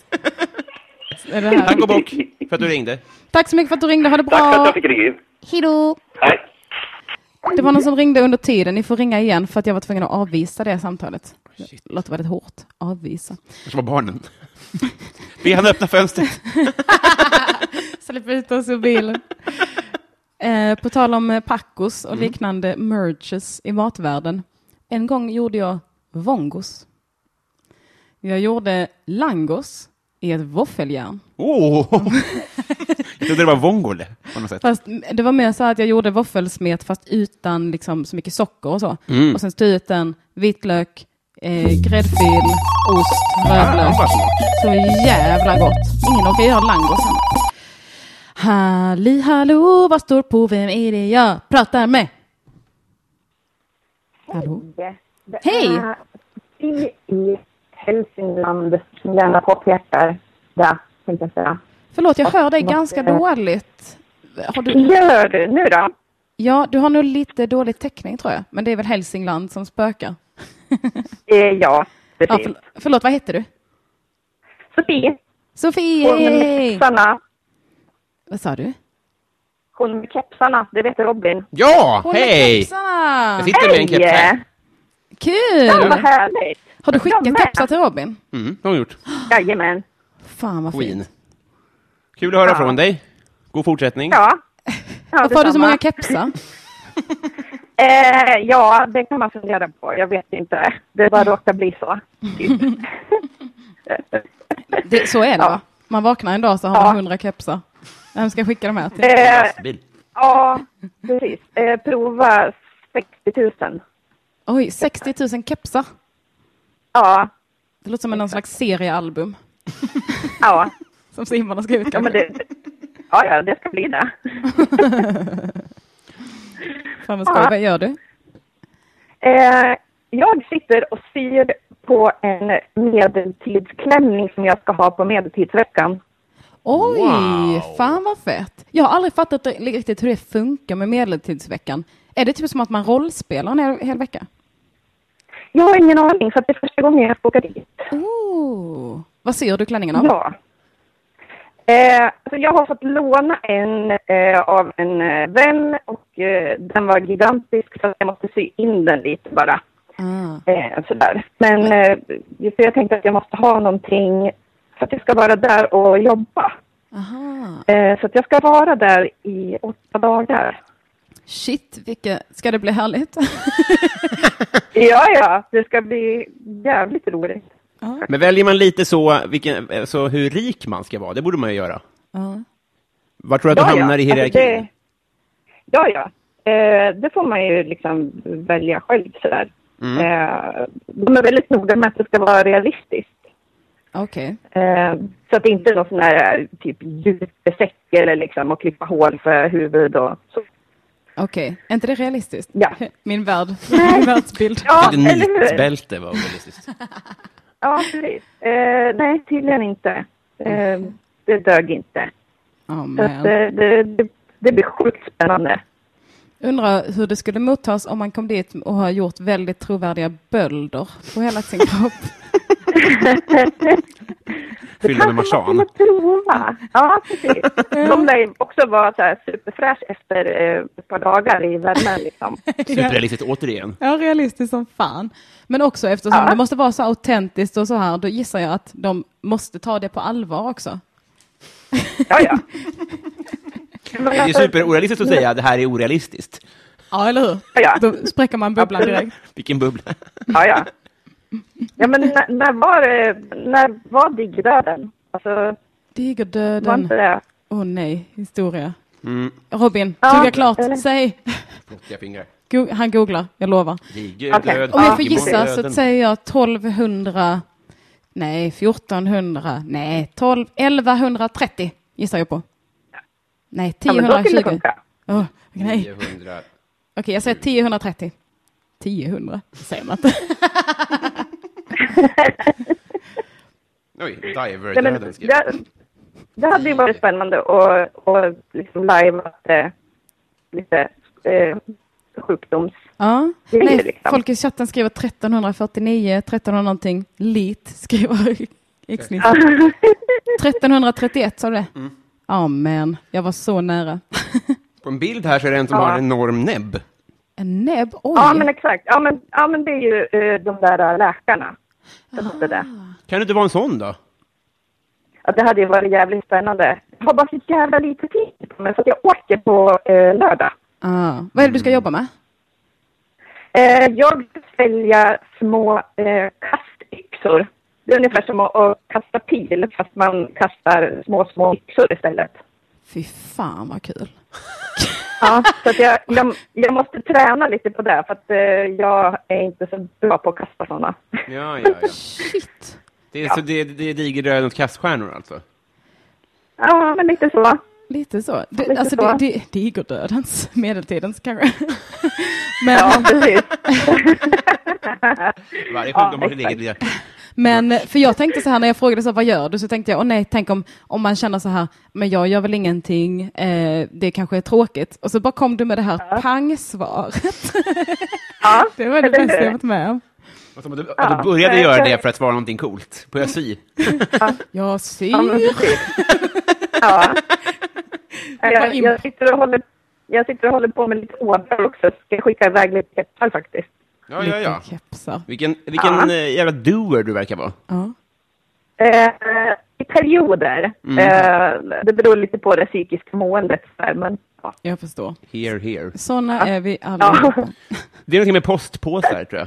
[SPEAKER 1] Är det här?
[SPEAKER 3] Tack och bock för att du ringde.
[SPEAKER 1] Tack så mycket för att du ringde. Ha det
[SPEAKER 4] Tack för att
[SPEAKER 1] bra.
[SPEAKER 4] jag fick ringa in.
[SPEAKER 1] Hejdå.
[SPEAKER 4] Nej.
[SPEAKER 1] Det var någon som ringde under tiden. Ni får ringa igen för att jag var tvungen att avvisa det samtalet. Det låter väldigt hårt. Avvisa.
[SPEAKER 3] Kanske var [LAUGHS] barnen. Be han öppna fönstret.
[SPEAKER 1] Släpp ut oss ur bilen. Eh, på tal om eh, packos och liknande merges i matvärlden. En gång gjorde jag vongos. Jag gjorde langos i ett våffeljärn.
[SPEAKER 3] Åh! [LAUGHS] jag trodde det var vongole på något sätt.
[SPEAKER 1] Fast m- det var mer så här att jag gjorde våffelsmet fast utan liksom så mycket socker och så.
[SPEAKER 3] Mm.
[SPEAKER 1] Och sen struten, vitlök, eh, gräddfil, ost, rödlök.
[SPEAKER 3] Ah, vad smart.
[SPEAKER 1] Så jävla gott. Ingen orkar göra langos hemma. Halli hallå, vad står på? Vem är det jag pratar med? Hallå?
[SPEAKER 5] Hej!
[SPEAKER 2] Hej!
[SPEAKER 5] Eh, Vi i Hälsingland, som gärna påpekar det, tänkte jag säga.
[SPEAKER 1] Förlåt, jag hör dig ganska dåligt. Har du...
[SPEAKER 5] Gör du nu då?
[SPEAKER 1] Ja, du har nog lite dålig täckning tror jag. Men det är väl Hälsingland som spökar.
[SPEAKER 5] Eh, ja,
[SPEAKER 1] Ja,
[SPEAKER 5] precis.
[SPEAKER 1] förl- förlåt, vad heter du?
[SPEAKER 5] Sofie, hon med
[SPEAKER 1] Sofie!
[SPEAKER 5] kepsarna.
[SPEAKER 1] Vad sa du?
[SPEAKER 5] Hon med kepsarna, det vet Robin.
[SPEAKER 3] Ja,
[SPEAKER 1] Hon med
[SPEAKER 3] hej!
[SPEAKER 1] kepsarna!
[SPEAKER 3] Jag sitter med en keps här.
[SPEAKER 5] Ja, vad
[SPEAKER 1] Kul!
[SPEAKER 5] härligt!
[SPEAKER 1] Har du
[SPEAKER 5] Jag
[SPEAKER 1] skickat
[SPEAKER 5] med.
[SPEAKER 1] kepsar till Robin?
[SPEAKER 3] Mm, det har hon gjort.
[SPEAKER 5] Jajamän.
[SPEAKER 1] Fan vad
[SPEAKER 3] Queen.
[SPEAKER 1] fint.
[SPEAKER 3] Kul att höra
[SPEAKER 5] Ja.
[SPEAKER 3] från dig. God fortsättning.
[SPEAKER 5] Ja. ja
[SPEAKER 1] Varför har du så
[SPEAKER 5] detsamma.
[SPEAKER 1] många kepsar?
[SPEAKER 5] Eh, ja, det kan man fundera på. Jag vet inte. Det bara råkar bli
[SPEAKER 1] [LAUGHS]
[SPEAKER 5] så. Typ.
[SPEAKER 1] Det, så är det
[SPEAKER 5] Ja.
[SPEAKER 1] va? Man vaknar en dag så har
[SPEAKER 5] Ja.
[SPEAKER 1] man hundra kepsar. Vem ska jag skicka de här till?
[SPEAKER 5] eh,
[SPEAKER 3] Lastbil.
[SPEAKER 5] ja, precis. Eh, prova 60 000.
[SPEAKER 1] Oj, 60 000 kepsar.
[SPEAKER 5] Ja,
[SPEAKER 1] Det låter som någon slags seriealbum
[SPEAKER 5] ja.
[SPEAKER 1] som simmarna ska ut.
[SPEAKER 5] Ja, men
[SPEAKER 1] kanske.
[SPEAKER 5] det, ja, ja, det ska bli det.
[SPEAKER 1] [LAUGHS] Fan vad skoj,
[SPEAKER 5] Ja.
[SPEAKER 1] vad gör du?
[SPEAKER 5] Eh, jag sitter och syr på en medeltidsklänning som jag ska ha på medeltidsveckan.
[SPEAKER 1] Oj,
[SPEAKER 3] Wow.
[SPEAKER 1] fan vad fett. Jag har aldrig fattat ri- riktigt hur det funkar med medeltidsveckan. Är det typ som att man rollspelar en hel, hel vecka?
[SPEAKER 5] Jag har ingen aning, så att det är första gången jag ska åka dit.
[SPEAKER 1] Oh. Vad syr du klänningen av?
[SPEAKER 5] Ja. Eh, så jag har fått låna en eh, av en eh, vän och eh, den var gigantisk så att jag måste sy in den lite bara.
[SPEAKER 1] Ah.
[SPEAKER 5] Eh, sådär. Men eh, just det, jag tänkte att jag måste ha någonting för att jag ska vara där och jobba.
[SPEAKER 1] Aha.
[SPEAKER 5] Eh, så att jag ska vara där i åtta dagar.
[SPEAKER 1] Shit, vilka... ska det bli
[SPEAKER 5] [LAUGHS]
[SPEAKER 1] härligt?
[SPEAKER 5] Ja, ja, det ska bli jävligt roligt.
[SPEAKER 3] Men väljer man lite så, vilken, eh, så hur rik man ska vara, det borde man ju göra.
[SPEAKER 1] ja.
[SPEAKER 3] Var tror du att du hamnar i
[SPEAKER 5] Alltså,
[SPEAKER 3] hierarkin?
[SPEAKER 5] det- ja, ja. Eh, det får man ju liksom välja själv sådär.
[SPEAKER 3] Mm.
[SPEAKER 5] Eh, de är väldigt noga med att det ska vara realistiskt.
[SPEAKER 1] Okej.
[SPEAKER 5] Eh, så att det inte är någon sån här typ djursäck eller liksom och klippa hål för huvud och så.
[SPEAKER 1] Okej, är inte det realistiskt?
[SPEAKER 5] Ja.
[SPEAKER 1] Min värld,
[SPEAKER 5] [LAUGHS]
[SPEAKER 1] min världsbild.
[SPEAKER 5] Ja,
[SPEAKER 3] Lite nitbälte var orealistiskt.
[SPEAKER 5] Ja, precis. Eh, nej, tydligen inte. Eh, det dög inte.
[SPEAKER 1] Oh,
[SPEAKER 5] Så att,
[SPEAKER 1] man.
[SPEAKER 5] eh, det, det, det blir sjukt spännande.
[SPEAKER 1] Undrar hur det skulle mottas om man kom dit och har gjort väldigt trovärdiga bölder på hela
[SPEAKER 5] [LAUGHS]
[SPEAKER 1] sin kropp.
[SPEAKER 3] Fyllda med
[SPEAKER 5] Kanske man
[SPEAKER 3] marsan.
[SPEAKER 5] skulle prova. Ja, precis. De lär ju också vara så här superfräsch efter eh, ett par dagar i värmen. Liksom.
[SPEAKER 3] Superrealistiskt återigen.
[SPEAKER 1] Ja, realistiskt som fan. Men också eftersom
[SPEAKER 5] Ja.
[SPEAKER 1] det måste vara så autentiskt och så här, då gissar jag att de måste ta det på allvar också.
[SPEAKER 5] Ja, ja. Men
[SPEAKER 3] Det är
[SPEAKER 5] alltså,
[SPEAKER 3] superorealistiskt att säga att det här är orealistiskt.
[SPEAKER 1] Ja, eller hur?
[SPEAKER 5] Ja.
[SPEAKER 1] Då spräcker man bubblan
[SPEAKER 5] Absolut.
[SPEAKER 1] direkt.
[SPEAKER 3] Vilken bubbla.
[SPEAKER 5] Ja, ja. ja men när, när var, eh, när var digdöden? Alltså, var
[SPEAKER 1] Digerdöden.
[SPEAKER 5] inte det?
[SPEAKER 1] Åh oh, nej, historia. Robin,
[SPEAKER 5] Ja,
[SPEAKER 1] tugga klart.
[SPEAKER 5] eller-
[SPEAKER 1] Säg.
[SPEAKER 3] Flottiga fingrar.
[SPEAKER 1] Go- Han googlar, jag lovar.
[SPEAKER 3] Digerdöd.
[SPEAKER 5] Okej.
[SPEAKER 1] Om jag får
[SPEAKER 3] Digerdöden.
[SPEAKER 1] gissa så säger jag 1200, nej 1400, nej 12, 1130 gissar jag på. Nej,
[SPEAKER 5] Ja, men då skulle det
[SPEAKER 1] 1020.
[SPEAKER 5] funka.
[SPEAKER 1] Åh, nej.
[SPEAKER 3] 900.
[SPEAKER 1] Okej, jag säger 1030. 1000 säger man inte.
[SPEAKER 5] [LAUGHS]
[SPEAKER 3] Oj,
[SPEAKER 5] Nej, men,
[SPEAKER 3] diverdöden skrev jag.
[SPEAKER 5] det, det hade ju varit spännande att och liksom live att, eh, lite eh, sjukdoms...
[SPEAKER 1] Ja.
[SPEAKER 5] Det är ju
[SPEAKER 1] Nej,
[SPEAKER 5] liksom-
[SPEAKER 1] folk i chatten skriver 1349, 1300 någonting, lit skriver [LAUGHS] Xnis.
[SPEAKER 5] [LAUGHS]
[SPEAKER 1] 1331 sa du det? Ja, men jag var så nära. [LAUGHS]
[SPEAKER 3] På en bild här så är det en som
[SPEAKER 5] Ja.
[SPEAKER 3] har en enorm näbb.
[SPEAKER 1] En näbb, oj.
[SPEAKER 5] Ja, men exakt. Ja, men, ja, men det är ju eh, de där eh, läkarna. som hade Det.
[SPEAKER 3] Kan du inte vara en sån då?
[SPEAKER 5] Ja, det hade ju varit jävligt spännande. Jag har bara så jävla lite tid med. Så att jag åker på eh, lördag.
[SPEAKER 1] Ah. Vad är det du ska jobba med?
[SPEAKER 5] Eh, jag ska sälja små eh, kastyxor. Det är ungefär som att, att kasta pil fast man kastar små, små yxor istället.
[SPEAKER 1] Fy fan vad kul.
[SPEAKER 5] Ja, så att jag, jag, jag måste träna lite på det för att eh, jag är inte så bra på att kasta sådana.
[SPEAKER 3] Ja, ja, ja.
[SPEAKER 1] Shit.
[SPEAKER 3] Det är, så det, är- det är digerröd och kaststjärnor alltså?
[SPEAKER 5] Ja, men lite så.
[SPEAKER 1] Lite så. Det,
[SPEAKER 5] Lite
[SPEAKER 1] alltså
[SPEAKER 5] så.
[SPEAKER 1] det, det, det går dödens, medeltidens kanske. [LAUGHS] Men,
[SPEAKER 5] Ja, precis.
[SPEAKER 3] Varje
[SPEAKER 5] Ja,
[SPEAKER 3] sjukdom har sin egen
[SPEAKER 5] exakt.
[SPEAKER 3] lilla...
[SPEAKER 1] men för jag tänkte så här när jag frågade så här, vad gör du? Så tänkte jag, åh nej, tänk om, om man känner så här, men jag gör väl ingenting, eh, det kanske är tråkigt. Och så bara kom du med det här pangsvaret.
[SPEAKER 5] Ja,
[SPEAKER 1] [LAUGHS] Det var det
[SPEAKER 5] eller
[SPEAKER 1] bästa
[SPEAKER 5] hur?
[SPEAKER 1] jag varit med om.
[SPEAKER 3] Att du,
[SPEAKER 5] Ja,
[SPEAKER 3] Alltså, att du började
[SPEAKER 5] nej,
[SPEAKER 3] göra
[SPEAKER 5] jag- Mm.
[SPEAKER 3] det för att svara någonting coolt på SY.
[SPEAKER 1] Jag ser.
[SPEAKER 5] Ja, men precis. Ja. Jag,
[SPEAKER 1] in-
[SPEAKER 5] jag, sitter och håller, jag sitter och håller på med lite ådror också. Ska skicka iväg lite keppar faktiskt.
[SPEAKER 3] Ja, ja, ja.
[SPEAKER 1] Lite kepsar.
[SPEAKER 3] Vilken, vilken
[SPEAKER 5] Ja.
[SPEAKER 3] eh, jävla doer du verkar vara.
[SPEAKER 1] Ja.
[SPEAKER 5] Eh, I perioder. Eh, det beror lite på det psykiska måendet. så här, Men, ja.
[SPEAKER 1] Jag förstår.
[SPEAKER 3] Here, here.
[SPEAKER 1] Sådana är vi allihopa.
[SPEAKER 3] Det är någonting med postpåsar,
[SPEAKER 5] [LAUGHS]
[SPEAKER 3] tror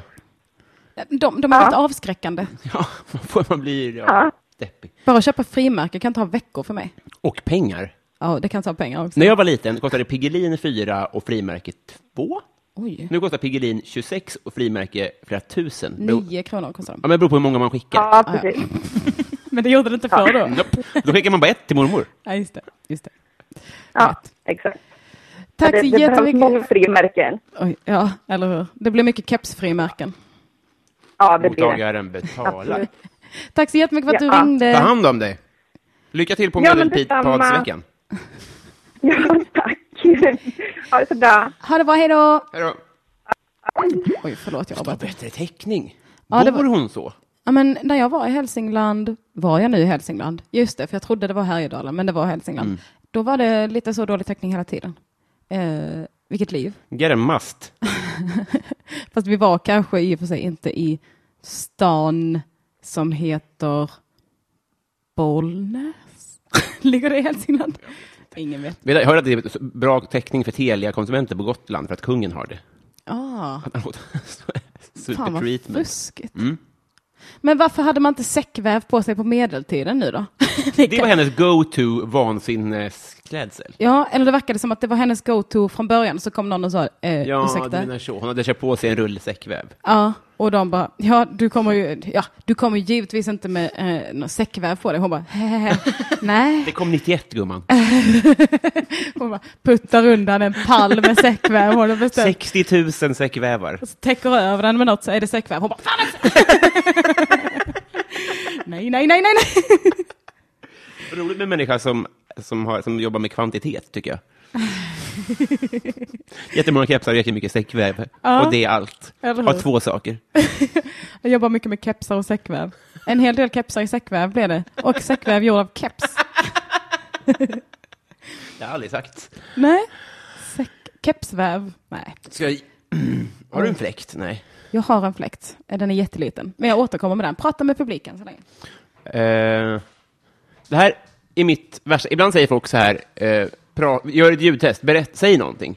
[SPEAKER 3] jag.
[SPEAKER 1] De, de är
[SPEAKER 5] Ja.
[SPEAKER 1] rätt avskräckande.
[SPEAKER 3] Ja, man får man blir ja,
[SPEAKER 5] Ja.
[SPEAKER 3] deppig.
[SPEAKER 1] Bara att köpa frimärken kan ta veckor för mig.
[SPEAKER 3] Och pengar.
[SPEAKER 1] Ja, det kan ta pengar också.
[SPEAKER 3] När jag var liten kostade Piggelin 4 och frimärke 2.
[SPEAKER 1] Oj.
[SPEAKER 3] Nu kostar Piggelin 26 och frimärke flera tusen. Bero-
[SPEAKER 1] Nio kronor kostar de.
[SPEAKER 3] Ja, men det beror på hur många man skickar.
[SPEAKER 5] ja, precis.
[SPEAKER 1] Men det gjorde det inte förr då.
[SPEAKER 3] Nope. Då skickar man bara ett till mormor.
[SPEAKER 1] Ja, just det. Just det.
[SPEAKER 5] Ja,
[SPEAKER 1] Rätt.
[SPEAKER 5] exakt.
[SPEAKER 1] Tack så
[SPEAKER 5] det, det behövs många
[SPEAKER 1] jättemycket.
[SPEAKER 5] frimärken.
[SPEAKER 1] Oj, ja, eller hur. Det blir mycket kepsfrimärken.
[SPEAKER 5] Ja, [LAUGHS] det blir det.
[SPEAKER 3] Mottagaren betalar.
[SPEAKER 5] Absolut.
[SPEAKER 1] Tack så jättemycket för att du
[SPEAKER 5] Ja.
[SPEAKER 3] Ta
[SPEAKER 1] ringde.
[SPEAKER 3] hand om dig. Lycka till på
[SPEAKER 5] Ja, men
[SPEAKER 3] medelpadsveckan.
[SPEAKER 5] Ja, [LAUGHS] Also tack. Ha det så bra.
[SPEAKER 1] Ha det bra, hej då.
[SPEAKER 3] Hej då.
[SPEAKER 1] Oj, förlåt, jag
[SPEAKER 3] Vad
[SPEAKER 1] avbröt.
[SPEAKER 3] bättre täckning.
[SPEAKER 1] Ja, det
[SPEAKER 3] Bor
[SPEAKER 1] var-
[SPEAKER 3] hon så?
[SPEAKER 1] Ja, men när jag var i Hälsingland, var jag nu i Hälsingland? Just det, för jag trodde det var Härjedalen, men det var Hälsingland. Då var det lite så dålig täckning hela tiden. Eh, vilket liv. [LAUGHS]
[SPEAKER 3] Get a must.
[SPEAKER 1] Fast vi var kanske i och för sig inte i stan som heter Bollnäs. [LAUGHS] Ligger det i Hälsingland? Ingen vet.
[SPEAKER 3] Vet du, Jag hörde att det är så bra täckning för Telia-konsumenter på Gotland för att kungen har det. [LAUGHS]
[SPEAKER 1] Ah,
[SPEAKER 3] Han har fått
[SPEAKER 1] fan vad
[SPEAKER 3] Supertreatment.
[SPEAKER 1] fuskigt.
[SPEAKER 3] Mm.
[SPEAKER 1] Men varför hade man inte säckväv på sig på medeltiden nu då? [LAUGHS] Det
[SPEAKER 3] Det var
[SPEAKER 1] kan-
[SPEAKER 3] hennes go-to vansinnesklädsel.
[SPEAKER 1] Ja, eller det verkade som att det var hennes go-to från början, så kom någon och sa eh,
[SPEAKER 3] Ja, du
[SPEAKER 1] ursäkta.
[SPEAKER 3] menar så. Hon hade köpt på sig en rullsäckväv.
[SPEAKER 1] Ja, och de bara, ja du kommer ju, ja, du kommer ju givetvis inte med eh, någon säckväv på dig. Hon bara,
[SPEAKER 3] [LAUGHS]
[SPEAKER 1] "Hehehe, nej.
[SPEAKER 3] Det kom 91,
[SPEAKER 1] [LAUGHS]
[SPEAKER 3] gumman.
[SPEAKER 1] Hon bara puttar undan en pall med säckväv. Hon har beställt.
[SPEAKER 3] 60 000 säckvävar.
[SPEAKER 1] Och så täcker över den med något så är det säckväv. Hon bara fan också!
[SPEAKER 3] [LAUGHS]
[SPEAKER 1] Nej, nej, nej, nej, nej.
[SPEAKER 3] Roligt med människa som, som, har, som jobbar med kvantitet, tycker
[SPEAKER 1] [LAUGHS]
[SPEAKER 3] jag. Jättemånga kepsar och jättemycket säckväv.
[SPEAKER 1] Ja.
[SPEAKER 3] Och det är allt.
[SPEAKER 1] Eller
[SPEAKER 3] Av
[SPEAKER 1] hur?
[SPEAKER 3] två saker.
[SPEAKER 1] Jag jobbar mycket med kepsar och säckväv. En hel del kepsar i säckväv blev det. Och säckväv gjord av keps.
[SPEAKER 3] Det har jag aldrig sagt.
[SPEAKER 1] Nej. Säck, kepsväv. Nej.
[SPEAKER 3] Ska jag... [CLEARS THROAT] Har du en fläkt? Nej.
[SPEAKER 1] Jag har en fläkt. Eh, Den är jätteliten. Men jag återkommer med den. Prata med publiken så länge.
[SPEAKER 3] Eh, det här är mitt värsta. Ibland säger folk så här, eh, pra, gör ett ljudtest, berätt, säg någonting.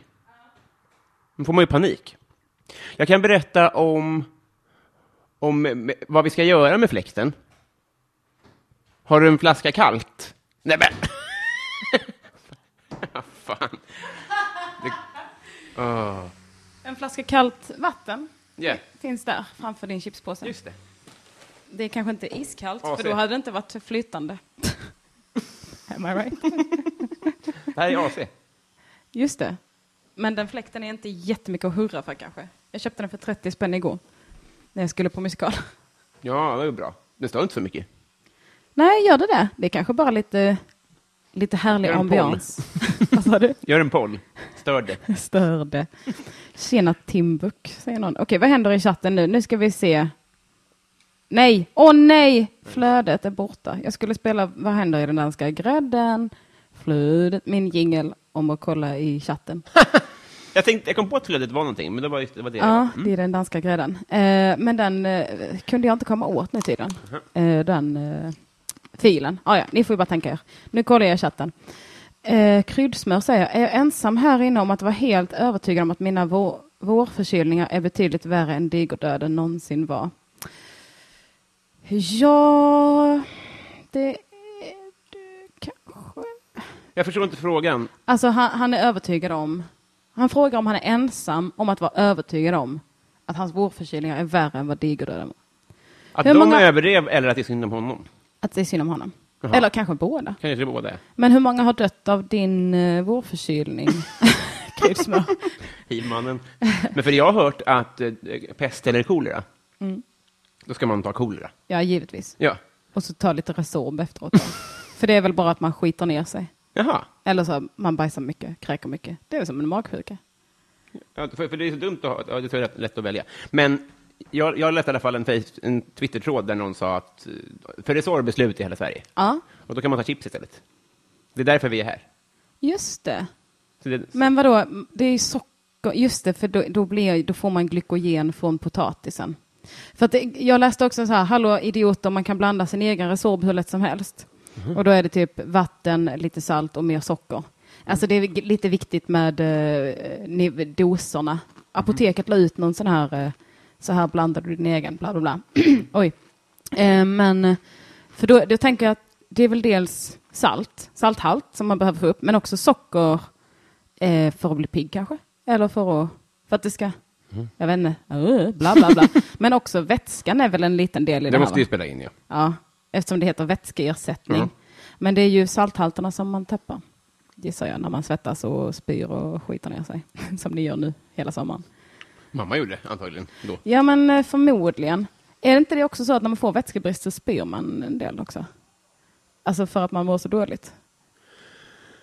[SPEAKER 3] Då får man ju panik. Jag kan berätta om, om eh, med- vad vi ska göra med fläkten. Har du en flaska kallt? Nej men! [LAUGHS] Vad fan.
[SPEAKER 1] En flaska kallt vatten
[SPEAKER 3] Ja,
[SPEAKER 1] finns där framför din chipspåse.
[SPEAKER 3] just det.
[SPEAKER 1] Det är kanske inte iskallt,
[SPEAKER 3] AC.
[SPEAKER 1] för då hade det inte varit flytande. [LAUGHS] Am I right?
[SPEAKER 3] Det här är AC.
[SPEAKER 1] Just det. Men den fläkten är inte jättemycket att hurra för kanske. Jag köpte den för 30 spänn igår, när jag skulle på musikal.
[SPEAKER 3] Ja, det var ju bra. Det står inte så mycket.
[SPEAKER 1] Nej, gör det det? Det är kanske bara lite, lite härlig
[SPEAKER 3] Gör en poll.
[SPEAKER 1] ambians. [LAUGHS] Vad sa du?
[SPEAKER 3] Gör en poll. Stör det.
[SPEAKER 1] Störde. Tjena Timbuk, säger någon. Okej, vad händer i chatten nu? Nu ska vi se. Nej, åh nej! Flödet är borta. Jag skulle spela Vad händer i den danska grädden? Flödet, min jingel om att kolla i chatten.
[SPEAKER 3] Jag, tänkte, jag kom på att flödet var någonting, men det var, just, det, var det.
[SPEAKER 1] Ja, det är den danska grädden. Eh, men den eh, kunde jag inte komma åt nu tydligen. Eh, den eh, filen. Ah, ja, ni får ju bara tänka er. Nu kollar jag i chatten. Eh, kryddsmör säger, är jag ensam här inne om att vara helt övertygad om att mina vår, vårförkylningar är betydligt värre än digerdöden någonsin var? Ja, det är du kanske.
[SPEAKER 3] Jag förstår inte frågan.
[SPEAKER 1] Alltså han, han är övertygad om, han frågar om han är ensam om att vara övertygad om att hans vårförkylningar är värre än vad digerdöden var.
[SPEAKER 3] Att
[SPEAKER 1] Hur
[SPEAKER 3] de
[SPEAKER 1] många-
[SPEAKER 3] överlev eller att det är synd om honom?
[SPEAKER 1] Att det är synd om honom.
[SPEAKER 3] Jaha.
[SPEAKER 1] Eller kanske båda.
[SPEAKER 3] Kanske det är båda.
[SPEAKER 1] Men hur många har dött av din eh, vårförkylning?
[SPEAKER 3] [LAUGHS]
[SPEAKER 1] Kryddsmör.
[SPEAKER 3] Hivmannen. Men för jag har hört att eh, pest eller kolera,
[SPEAKER 1] Mm.
[SPEAKER 3] då ska man ta kolera.
[SPEAKER 1] [LAUGHS] Ja, givetvis.
[SPEAKER 3] Ja.
[SPEAKER 1] Och så ta lite Resorb efteråt. då. För det är väl bara att man skiter ner sig.
[SPEAKER 3] Jaha.
[SPEAKER 1] Eller så man bajsar mycket, kräker mycket. Det är väl som en magsjuka.
[SPEAKER 3] Ja, för, för det är så dumt att ha, ja, det är så lätt, lätt att välja. Men jag, jag läste i alla fall en, face, en Twitter-tråd där någon sa att, eh, för det är så beslut i hela Sverige.
[SPEAKER 1] Ja,
[SPEAKER 3] Och då kan man ta chips istället. Det är därför vi är här.
[SPEAKER 1] just det.
[SPEAKER 3] Så det,
[SPEAKER 1] Men vadå, det är ju socker. Just det, för då, då, blir, då får man glykogen från potatisen. För att det, jag läste också så här, hallå idioter, man kan blanda sin egen Resorb hur lätt som helst. Och då är det typ vatten, lite salt och mer socker. Alltså det är g- lite viktigt med eh, niv- doserna. Apoteket la ut någon sån här, eh, så här blandar du din egen, bla bla [CLEARS THROAT] bla. Oj. Eh, men, eh, för då, då tänker jag att det är väl dels salt, salthalt som man behöver få upp, men också socker eh, för att bli pigg kanske. Eller för att, för att det ska,
[SPEAKER 3] Mm.
[SPEAKER 1] jag vet inte, uh, bla bla bla. men också vätskan är väl en liten del i det,
[SPEAKER 3] det
[SPEAKER 1] här,
[SPEAKER 3] måste ju
[SPEAKER 1] va?
[SPEAKER 3] spela in, ja.
[SPEAKER 1] Ja, eftersom det heter vätskeersättning.
[SPEAKER 3] Ja.
[SPEAKER 1] Men det är ju salthalterna som man tappar, gissar jag, när man svettas och spyr och skiter ner sig. [LAUGHS] Som ni gör nu hela sommaren.
[SPEAKER 3] Mamma gjorde det antagligen då.
[SPEAKER 1] Ja, men eh, förmodligen. Är det inte det också så att när man får vätskebrist så spyr man en del också? Alltså för att man mår så dåligt?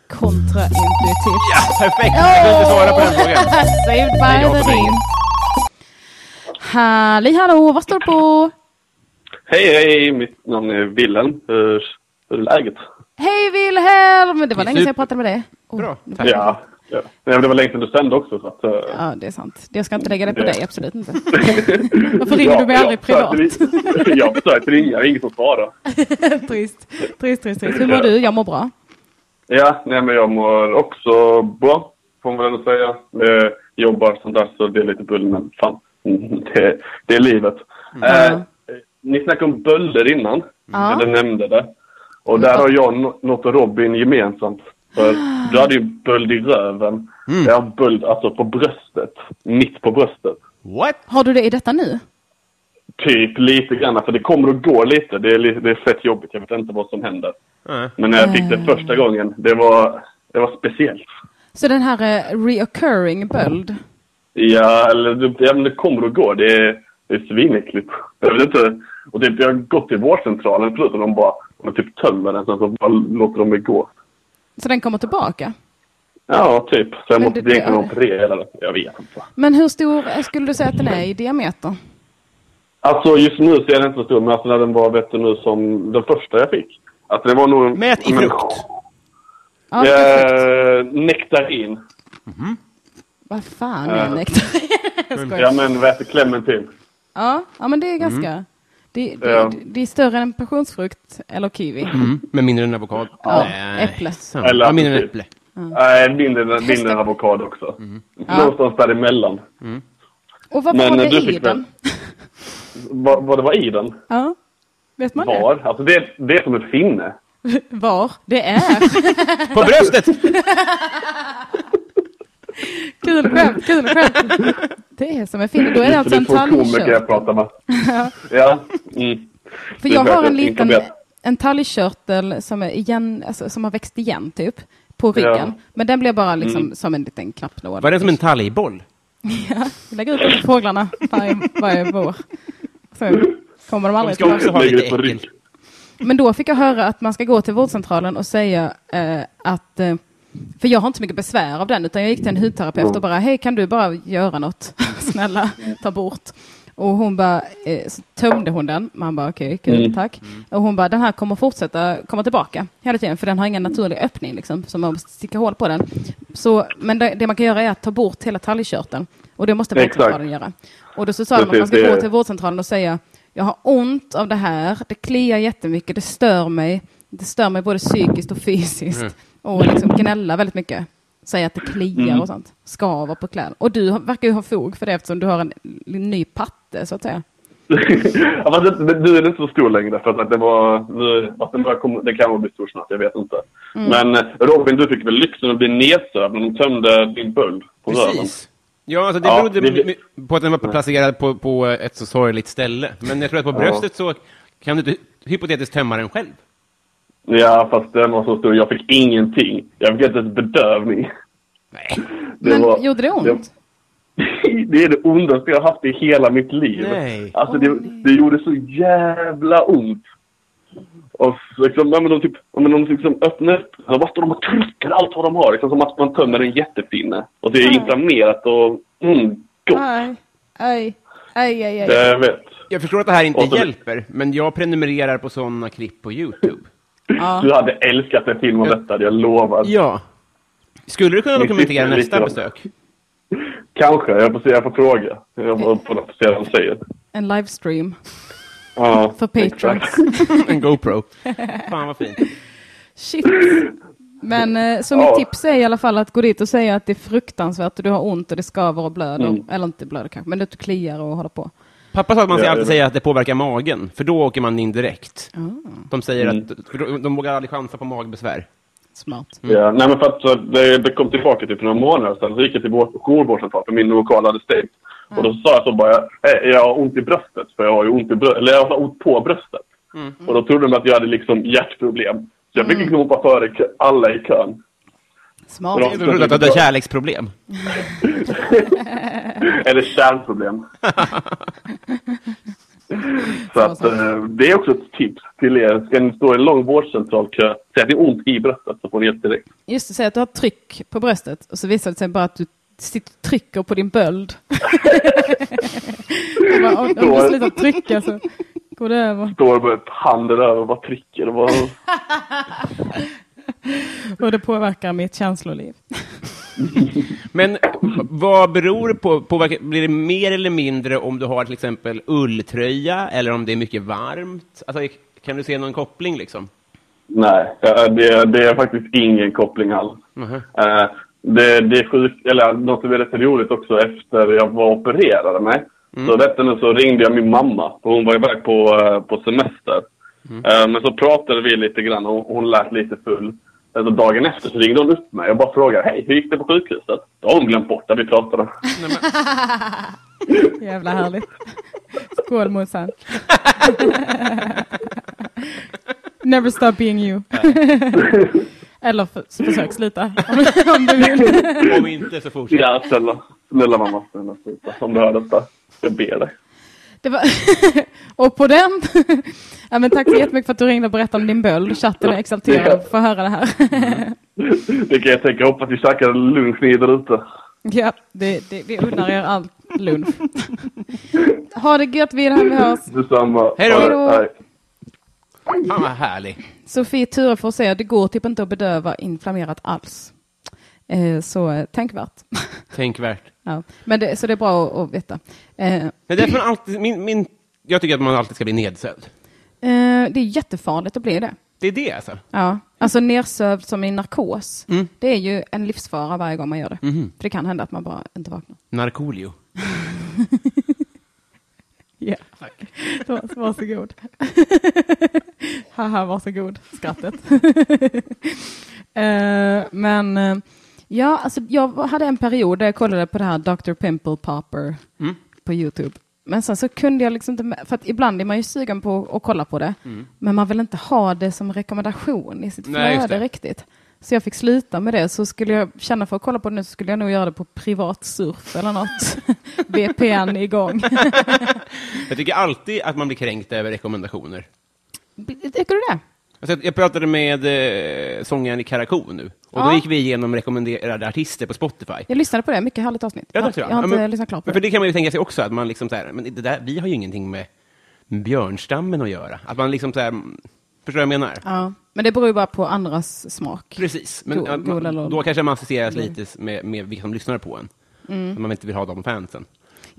[SPEAKER 1] Kontraintuitivt.
[SPEAKER 3] Ja, perfekt! Jag kunde inte svara på
[SPEAKER 1] [LAUGHS]
[SPEAKER 3] den frågan.
[SPEAKER 1] Saved
[SPEAKER 3] Nej, jag
[SPEAKER 1] by the
[SPEAKER 3] får
[SPEAKER 1] ring.
[SPEAKER 3] ingen.
[SPEAKER 1] Halli hallå, vad står det på?
[SPEAKER 4] Hej, hej! Mitt namn är Wilhelm. Hur, hur är läget?
[SPEAKER 1] Hej Wilhelm! Det var länge sedan jag
[SPEAKER 3] Super.
[SPEAKER 1] pratade med dig. Oh,
[SPEAKER 3] Bra,
[SPEAKER 1] nu
[SPEAKER 3] tack.
[SPEAKER 1] pratar jag.
[SPEAKER 4] ja. Nej, men det var länge sedan du sände också. Så att, eh,
[SPEAKER 1] Ja, det är sant. Jag ska inte lägga det på
[SPEAKER 4] Det-
[SPEAKER 1] dig, absolut inte. Varför ringer du mig aldrig
[SPEAKER 4] jag
[SPEAKER 1] privat?
[SPEAKER 4] försökte- jag försökte ringa, det är ingen som svarar.
[SPEAKER 1] trist, trist, trist, trist. Hur mår du? Jag mår bra.
[SPEAKER 4] Ja, nej, men jag mår också bra, får man väl ändå säga. Eh, jobbar som där så det är lite bull, men fan, mm, det, det är livet. Eh, ni snackade om böller innan,
[SPEAKER 1] Mm. Ja.
[SPEAKER 4] eller nämnde det. Och där har jag no- något och Robin gemensamt. För du hade ju böld i röven.
[SPEAKER 1] Mm.
[SPEAKER 4] Jag har böld alltså på bröstet, mitt på bröstet.
[SPEAKER 3] What?
[SPEAKER 1] Har du det i detta nu?
[SPEAKER 4] Typ lite grann, för det kommer att gå lite. Det är, li- det är fett jobbigt, jag vet inte vad som händer.
[SPEAKER 3] Nej.
[SPEAKER 4] Men när jag fick
[SPEAKER 1] Mm.
[SPEAKER 4] det första gången, det var, det var speciellt.
[SPEAKER 1] Så den här eh, reoccurring böld.
[SPEAKER 4] Ja, eller det, ja, men det kommer och går. Det är, det är svinäckligt. Jag vet inte. Och typ, jag har gått till vårdcentralen förut och de bara de typ tömmer den sen så bara låter de mig gå.
[SPEAKER 1] Så den kommer tillbaka.
[SPEAKER 4] Ja, typ. Så jag
[SPEAKER 1] Men
[SPEAKER 4] måste
[SPEAKER 1] det-
[SPEAKER 4] egentligen
[SPEAKER 1] ja.
[SPEAKER 4] operera den. Jag vet inte.
[SPEAKER 1] Men hur stor eh, skulle du säga att den är i diameter?
[SPEAKER 4] Alltså just nu så är den inte så stor, men alltså när den var, vet du nu, som den första jag fick. Alltså det var nog...
[SPEAKER 3] Mät i
[SPEAKER 4] men-
[SPEAKER 3] frukt.
[SPEAKER 1] Ja, perfekt.
[SPEAKER 4] Eh, nektarin.
[SPEAKER 1] Vad fan är en nektar? [LAUGHS] Jag skojar.
[SPEAKER 4] Ja, men vad heter clementin?
[SPEAKER 1] Ja, ja men det är ganska... Det, det,
[SPEAKER 4] Mm. Ja.
[SPEAKER 1] det, det är större än passionsfrukt eller kiwi.
[SPEAKER 3] Mm, men mindre än avokado?
[SPEAKER 1] Ja,
[SPEAKER 3] Nej.
[SPEAKER 1] äpple.
[SPEAKER 3] Sam.
[SPEAKER 4] Eller
[SPEAKER 3] ja, mindre än
[SPEAKER 4] apelsin.
[SPEAKER 3] äpple.
[SPEAKER 1] Mm.
[SPEAKER 4] Nej, mindre, än- mindre än avokado också.
[SPEAKER 3] Mhm.
[SPEAKER 4] Mm. Någonstans däremellan.
[SPEAKER 1] Och vad
[SPEAKER 4] Men,
[SPEAKER 1] var
[SPEAKER 4] eh, du
[SPEAKER 1] det i
[SPEAKER 4] fick väl-
[SPEAKER 1] den?
[SPEAKER 4] Vad, vad det var i den?
[SPEAKER 1] [LAUGHS] Ja. Vet man det?
[SPEAKER 4] Var? Alltså det, det är som ett finne.
[SPEAKER 1] [LAUGHS] Var? Det är.
[SPEAKER 3] På bröstet!
[SPEAKER 1] Kul skämt, kul skämt. Det är som en fin. Då är det alltså
[SPEAKER 4] Så
[SPEAKER 1] en
[SPEAKER 4] det är två komiker
[SPEAKER 1] talgkört.
[SPEAKER 4] jag pratar med.
[SPEAKER 1] [LAUGHS]
[SPEAKER 4] ja. Mm.
[SPEAKER 1] För
[SPEAKER 4] Det
[SPEAKER 1] jag
[SPEAKER 4] är
[SPEAKER 1] har en
[SPEAKER 4] verkligen
[SPEAKER 1] liten
[SPEAKER 4] inkompetens.
[SPEAKER 1] en talgkörtel som, är igen, alltså, som har växt igen typ på ryggen. Men den blir bara liksom
[SPEAKER 4] Mm.
[SPEAKER 1] som en liten knappnål.
[SPEAKER 3] Var det som en talgboll?
[SPEAKER 1] [LAUGHS] Ja, vi lägger ut den till fåglarna varje, varje vår. Så kommer de
[SPEAKER 3] De
[SPEAKER 1] aldrig
[SPEAKER 3] ska
[SPEAKER 1] tillbaka.
[SPEAKER 3] också ha
[SPEAKER 4] Lägger
[SPEAKER 3] lite
[SPEAKER 4] det på
[SPEAKER 3] äckel.
[SPEAKER 4] rygg. [LAUGHS]
[SPEAKER 1] Men då fick jag höra att man ska gå till vårdcentralen och säga eh, att... Eh, för jag har inte så mycket besvär av den, utan jag gick till en hudterapeut och bara, hej kan du bara göra något? [LAUGHS] Snälla, ta bort. Och hon bara, eh, så tömde hon den. Man bara, okej, kul, tack. Och hon bara, den här kommer fortsätta komma tillbaka hela tiden, för den har ingen naturlig öppning liksom, så man måste sticka hål på den. Så, men det, det man kan göra är att ta bort hela talgkörteln. Och det måste
[SPEAKER 4] Exakt.
[SPEAKER 1] vårdcentralen göra. Och då så sa de att
[SPEAKER 4] Precis,
[SPEAKER 1] man ska
[SPEAKER 4] det-
[SPEAKER 1] gå till vårdcentralen och säga jag har ont av det
[SPEAKER 4] Mm.
[SPEAKER 1] här, det kliar jättemycket, det stör mig, det stör mig både psykiskt och fysiskt. och liksom gnälla väldigt mycket. Säga att det kliar
[SPEAKER 4] Mm.
[SPEAKER 1] och sånt. Skaver på kläder. Och du har- verkar ju ha fog för det eftersom du har en ny patte så att säga.
[SPEAKER 4] ja, fast det, men nu är den inte så stor längre för att det var... Nu, fast den, börjar komma, den kan väl bli stor snart, jag vet inte.
[SPEAKER 1] Mm.
[SPEAKER 4] Men eh, Robin, du fick väl lyxen att bli nedsövd när de tömde din bull på röven?
[SPEAKER 3] Precis. Ja, alltså det
[SPEAKER 4] Ja,
[SPEAKER 3] berodde
[SPEAKER 4] det-
[SPEAKER 3] my- my- på att den var placerad på, på ett så sorgligt ställe. Men jag tror att på bröstet så kan du inte hypotetiskt tömma den själv.
[SPEAKER 4] Ja, fast den var så stor. Jag fick ingenting. Jag fick inte ens bedövning.
[SPEAKER 3] Nej.
[SPEAKER 4] Det
[SPEAKER 1] Men
[SPEAKER 4] var-
[SPEAKER 1] gjorde det ont?
[SPEAKER 4] [LAUGHS] Det är det ondaste jag har haft i hela mitt liv.
[SPEAKER 3] Nej.
[SPEAKER 4] Alltså det, det gjorde så jävla ont. Och så liksom, ja, men de typ, ja, men de liksom öppnar upp och bara står de och trycker allt vad de har. Liksom som att man tömmer en jättepinne. Och det är inflammerat och mm, gott.
[SPEAKER 1] Nej. Aj. Aj, aj, aj.
[SPEAKER 4] Jag vet.
[SPEAKER 3] Jag förstår att det här inte
[SPEAKER 4] Och så-
[SPEAKER 3] hjälper, men jag prenumererar på sådana klipp på YouTube.
[SPEAKER 1] Ja.
[SPEAKER 4] Du hade älskat en film om detta, hade jag lovar.
[SPEAKER 3] Ja. Skulle du kunna
[SPEAKER 4] Ni
[SPEAKER 3] dokumentera
[SPEAKER 4] sitter
[SPEAKER 3] nästa
[SPEAKER 4] lite då.
[SPEAKER 3] besök?
[SPEAKER 4] Kanske. Jag får, se- jag får fråga. Jag får, får se vad de säger.
[SPEAKER 1] En livestream
[SPEAKER 4] Ja,
[SPEAKER 1] för Mm.
[SPEAKER 4] exakt.
[SPEAKER 1] patrons.
[SPEAKER 3] En GoPro. Fan vad fint.
[SPEAKER 1] [LAUGHS] Shit. Men eh, så mitt
[SPEAKER 4] Ja.
[SPEAKER 1] tips är i alla fall att gå dit och säga att det är fruktansvärt och du har ont och det skaver och blöder.
[SPEAKER 4] Mm.
[SPEAKER 1] Eller inte blöder kanske, men det kliar och håller på.
[SPEAKER 3] Pappa sa att man ska
[SPEAKER 4] Ja,
[SPEAKER 3] alltid
[SPEAKER 4] jag-
[SPEAKER 3] säga att det påverkar magen, för då åker man in direkt. De säger
[SPEAKER 4] Mm.
[SPEAKER 3] att för då- de vågar aldrig chansa på magbesvär.
[SPEAKER 1] Smart.
[SPEAKER 4] Ja, nej men för att så, det, det kom tillbaka till för några månader sedan. Så gick jag till vår- jourvårdscentral för min lokala hade stängt. Och då sa jag så bara, "Eh, jag har ont i bröstet. För jag har ju ont i bröstet, eller jag har ont på bröstet. Och då trodde de att jag hade liksom hjärtproblem. Så jag fick liksom hoppa före kö- alla i kön.
[SPEAKER 1] Smart.
[SPEAKER 4] Bra.
[SPEAKER 3] Jag trodde att du hade kärleksproblem.
[SPEAKER 4] [LAUGHS] Eller kärnproblem. så att, eh, det är också ett tips till er. Ska ni stå i en lång vårdcentralkö, säg att det är ont i bröstet så får ni hjälp direkt.
[SPEAKER 1] Just det, säg att du har tryck på bröstet och så visar det sig bara att du sitter och trycker på din böld. Och bara, om, om du slutar trycka så går det över.
[SPEAKER 4] Står med handen över och bara trycker. Och bara...
[SPEAKER 1] Och det påverkar mitt känsloliv.
[SPEAKER 3] Men vad beror det på? Påverkar, blir det mer eller mindre om du har till exempel ulltröja eller om det är mycket varmt? Alltså, kan du se någon koppling liksom?
[SPEAKER 4] Nej, eh, det, det är faktiskt ingen koppling alls.
[SPEAKER 3] Mhm.
[SPEAKER 4] Eh, Det, det är sjukt, eller något som är rätt roligt också efter jag var och opererade mig. Så rätt ändå så ringde jag min mamma, för hon var iväg på, eh, på semester. Eh, Men så pratade vi lite grann och hon lät lite full. Eh, Så dagen efter så ringde hon upp mig och bara frågade hej, hur gick det på sjukhuset? Då har hon glömt bort att vi pratade.
[SPEAKER 1] Jävla härligt. Skål morsan. Never stop being you. Eller för, så försök sluta om, om du vill.
[SPEAKER 3] Om inte så fortsätt.
[SPEAKER 4] Ja, snälla, snälla mamma, snälla sluta. Om du hör detta, jag ber dig.
[SPEAKER 1] Det var [LAUGHS] och på den. ja, men tack så jättemycket för att du ringde och berättade om din böld. Chatten är exalterad för att höra det här.
[SPEAKER 4] Det kan jag tänka, jag hoppas vi käkar lunch ni där ute.
[SPEAKER 1] ja, det, det, vi unnar er allt lunch. ha det gött, vi är här med oss.
[SPEAKER 4] Detsamma.
[SPEAKER 3] Hej då.
[SPEAKER 4] Ha
[SPEAKER 1] Hej
[SPEAKER 4] det.
[SPEAKER 1] då.
[SPEAKER 4] Hej.
[SPEAKER 3] Fan vad härlig.
[SPEAKER 1] Sofie Turefors säger att det går typ inte att bedöva inflammerat alls. Eh, så eh, tänkvärt.
[SPEAKER 3] Tänkvärt.
[SPEAKER 1] [LAUGHS] Ja, men det, så det är bra att, att veta. Eh, eh,
[SPEAKER 3] Men därför man alltid, min, min, jag tycker att man alltid ska bli nedsövd.
[SPEAKER 1] eh, det är jättefarligt att bli det.
[SPEAKER 3] Det är det alltså.
[SPEAKER 1] Ja. Alltså nersövd som i narkos. Det är ju en livsfara varje gång man gör det. För det kan hända att man bara inte vaknar.
[SPEAKER 3] Narkolio.
[SPEAKER 1] Ja. [LAUGHS] Tack. Varsågod. [LAUGHS] Haha, varsågod. Skrattet. [LAUGHS] eh, men eh, ja, alltså, jag hade en period där jag kollade på det här Dr. Pimple Popper
[SPEAKER 3] Mm.
[SPEAKER 1] på YouTube. Men sen så kunde jag liksom inte, med- för att ibland är man ju sugen på att kolla på det, men man vill inte ha det som rekommendation i sitt
[SPEAKER 3] Mm. Nej, just
[SPEAKER 1] flöde
[SPEAKER 3] det.
[SPEAKER 1] riktigt. Så jag fick sluta med det, så skulle jag känna för att kolla på det nu så skulle jag nog göra det på privat surf eller något. [LAUGHS] VPN igång.
[SPEAKER 3] Jag tycker alltid att man blir kränkt över rekommendationer.
[SPEAKER 1] Tycker du det?
[SPEAKER 3] Alltså, jag- jag pratade med eh, sångaren i Karakou nu, och
[SPEAKER 1] Ja.
[SPEAKER 3] då gick vi igenom rekommenderade artister på Spotify.
[SPEAKER 1] Jag lyssnade på det, mycket härligt avsnitt.
[SPEAKER 3] Ja,
[SPEAKER 1] jag,
[SPEAKER 3] tack så
[SPEAKER 1] jag
[SPEAKER 3] du
[SPEAKER 1] har
[SPEAKER 3] ha.
[SPEAKER 1] inte
[SPEAKER 3] men,
[SPEAKER 1] lyssnat klart på
[SPEAKER 3] men För
[SPEAKER 1] det.
[SPEAKER 3] det kan man ju tänka sig också, att man liksom så här, men det där, vi har ju ingenting med björnstammen att göra. Att man liksom så här, mm, förstår vad jag menar?
[SPEAKER 1] Ja, men det beror ju bara på andras smak.
[SPEAKER 3] Precis, men
[SPEAKER 1] Go- Mm.
[SPEAKER 3] att man,
[SPEAKER 1] gola lol.
[SPEAKER 3] då kanske man associeras lite s- med, med vilka som lyssnar på en.
[SPEAKER 1] Mm.
[SPEAKER 3] Att man inte vill ha de fansen.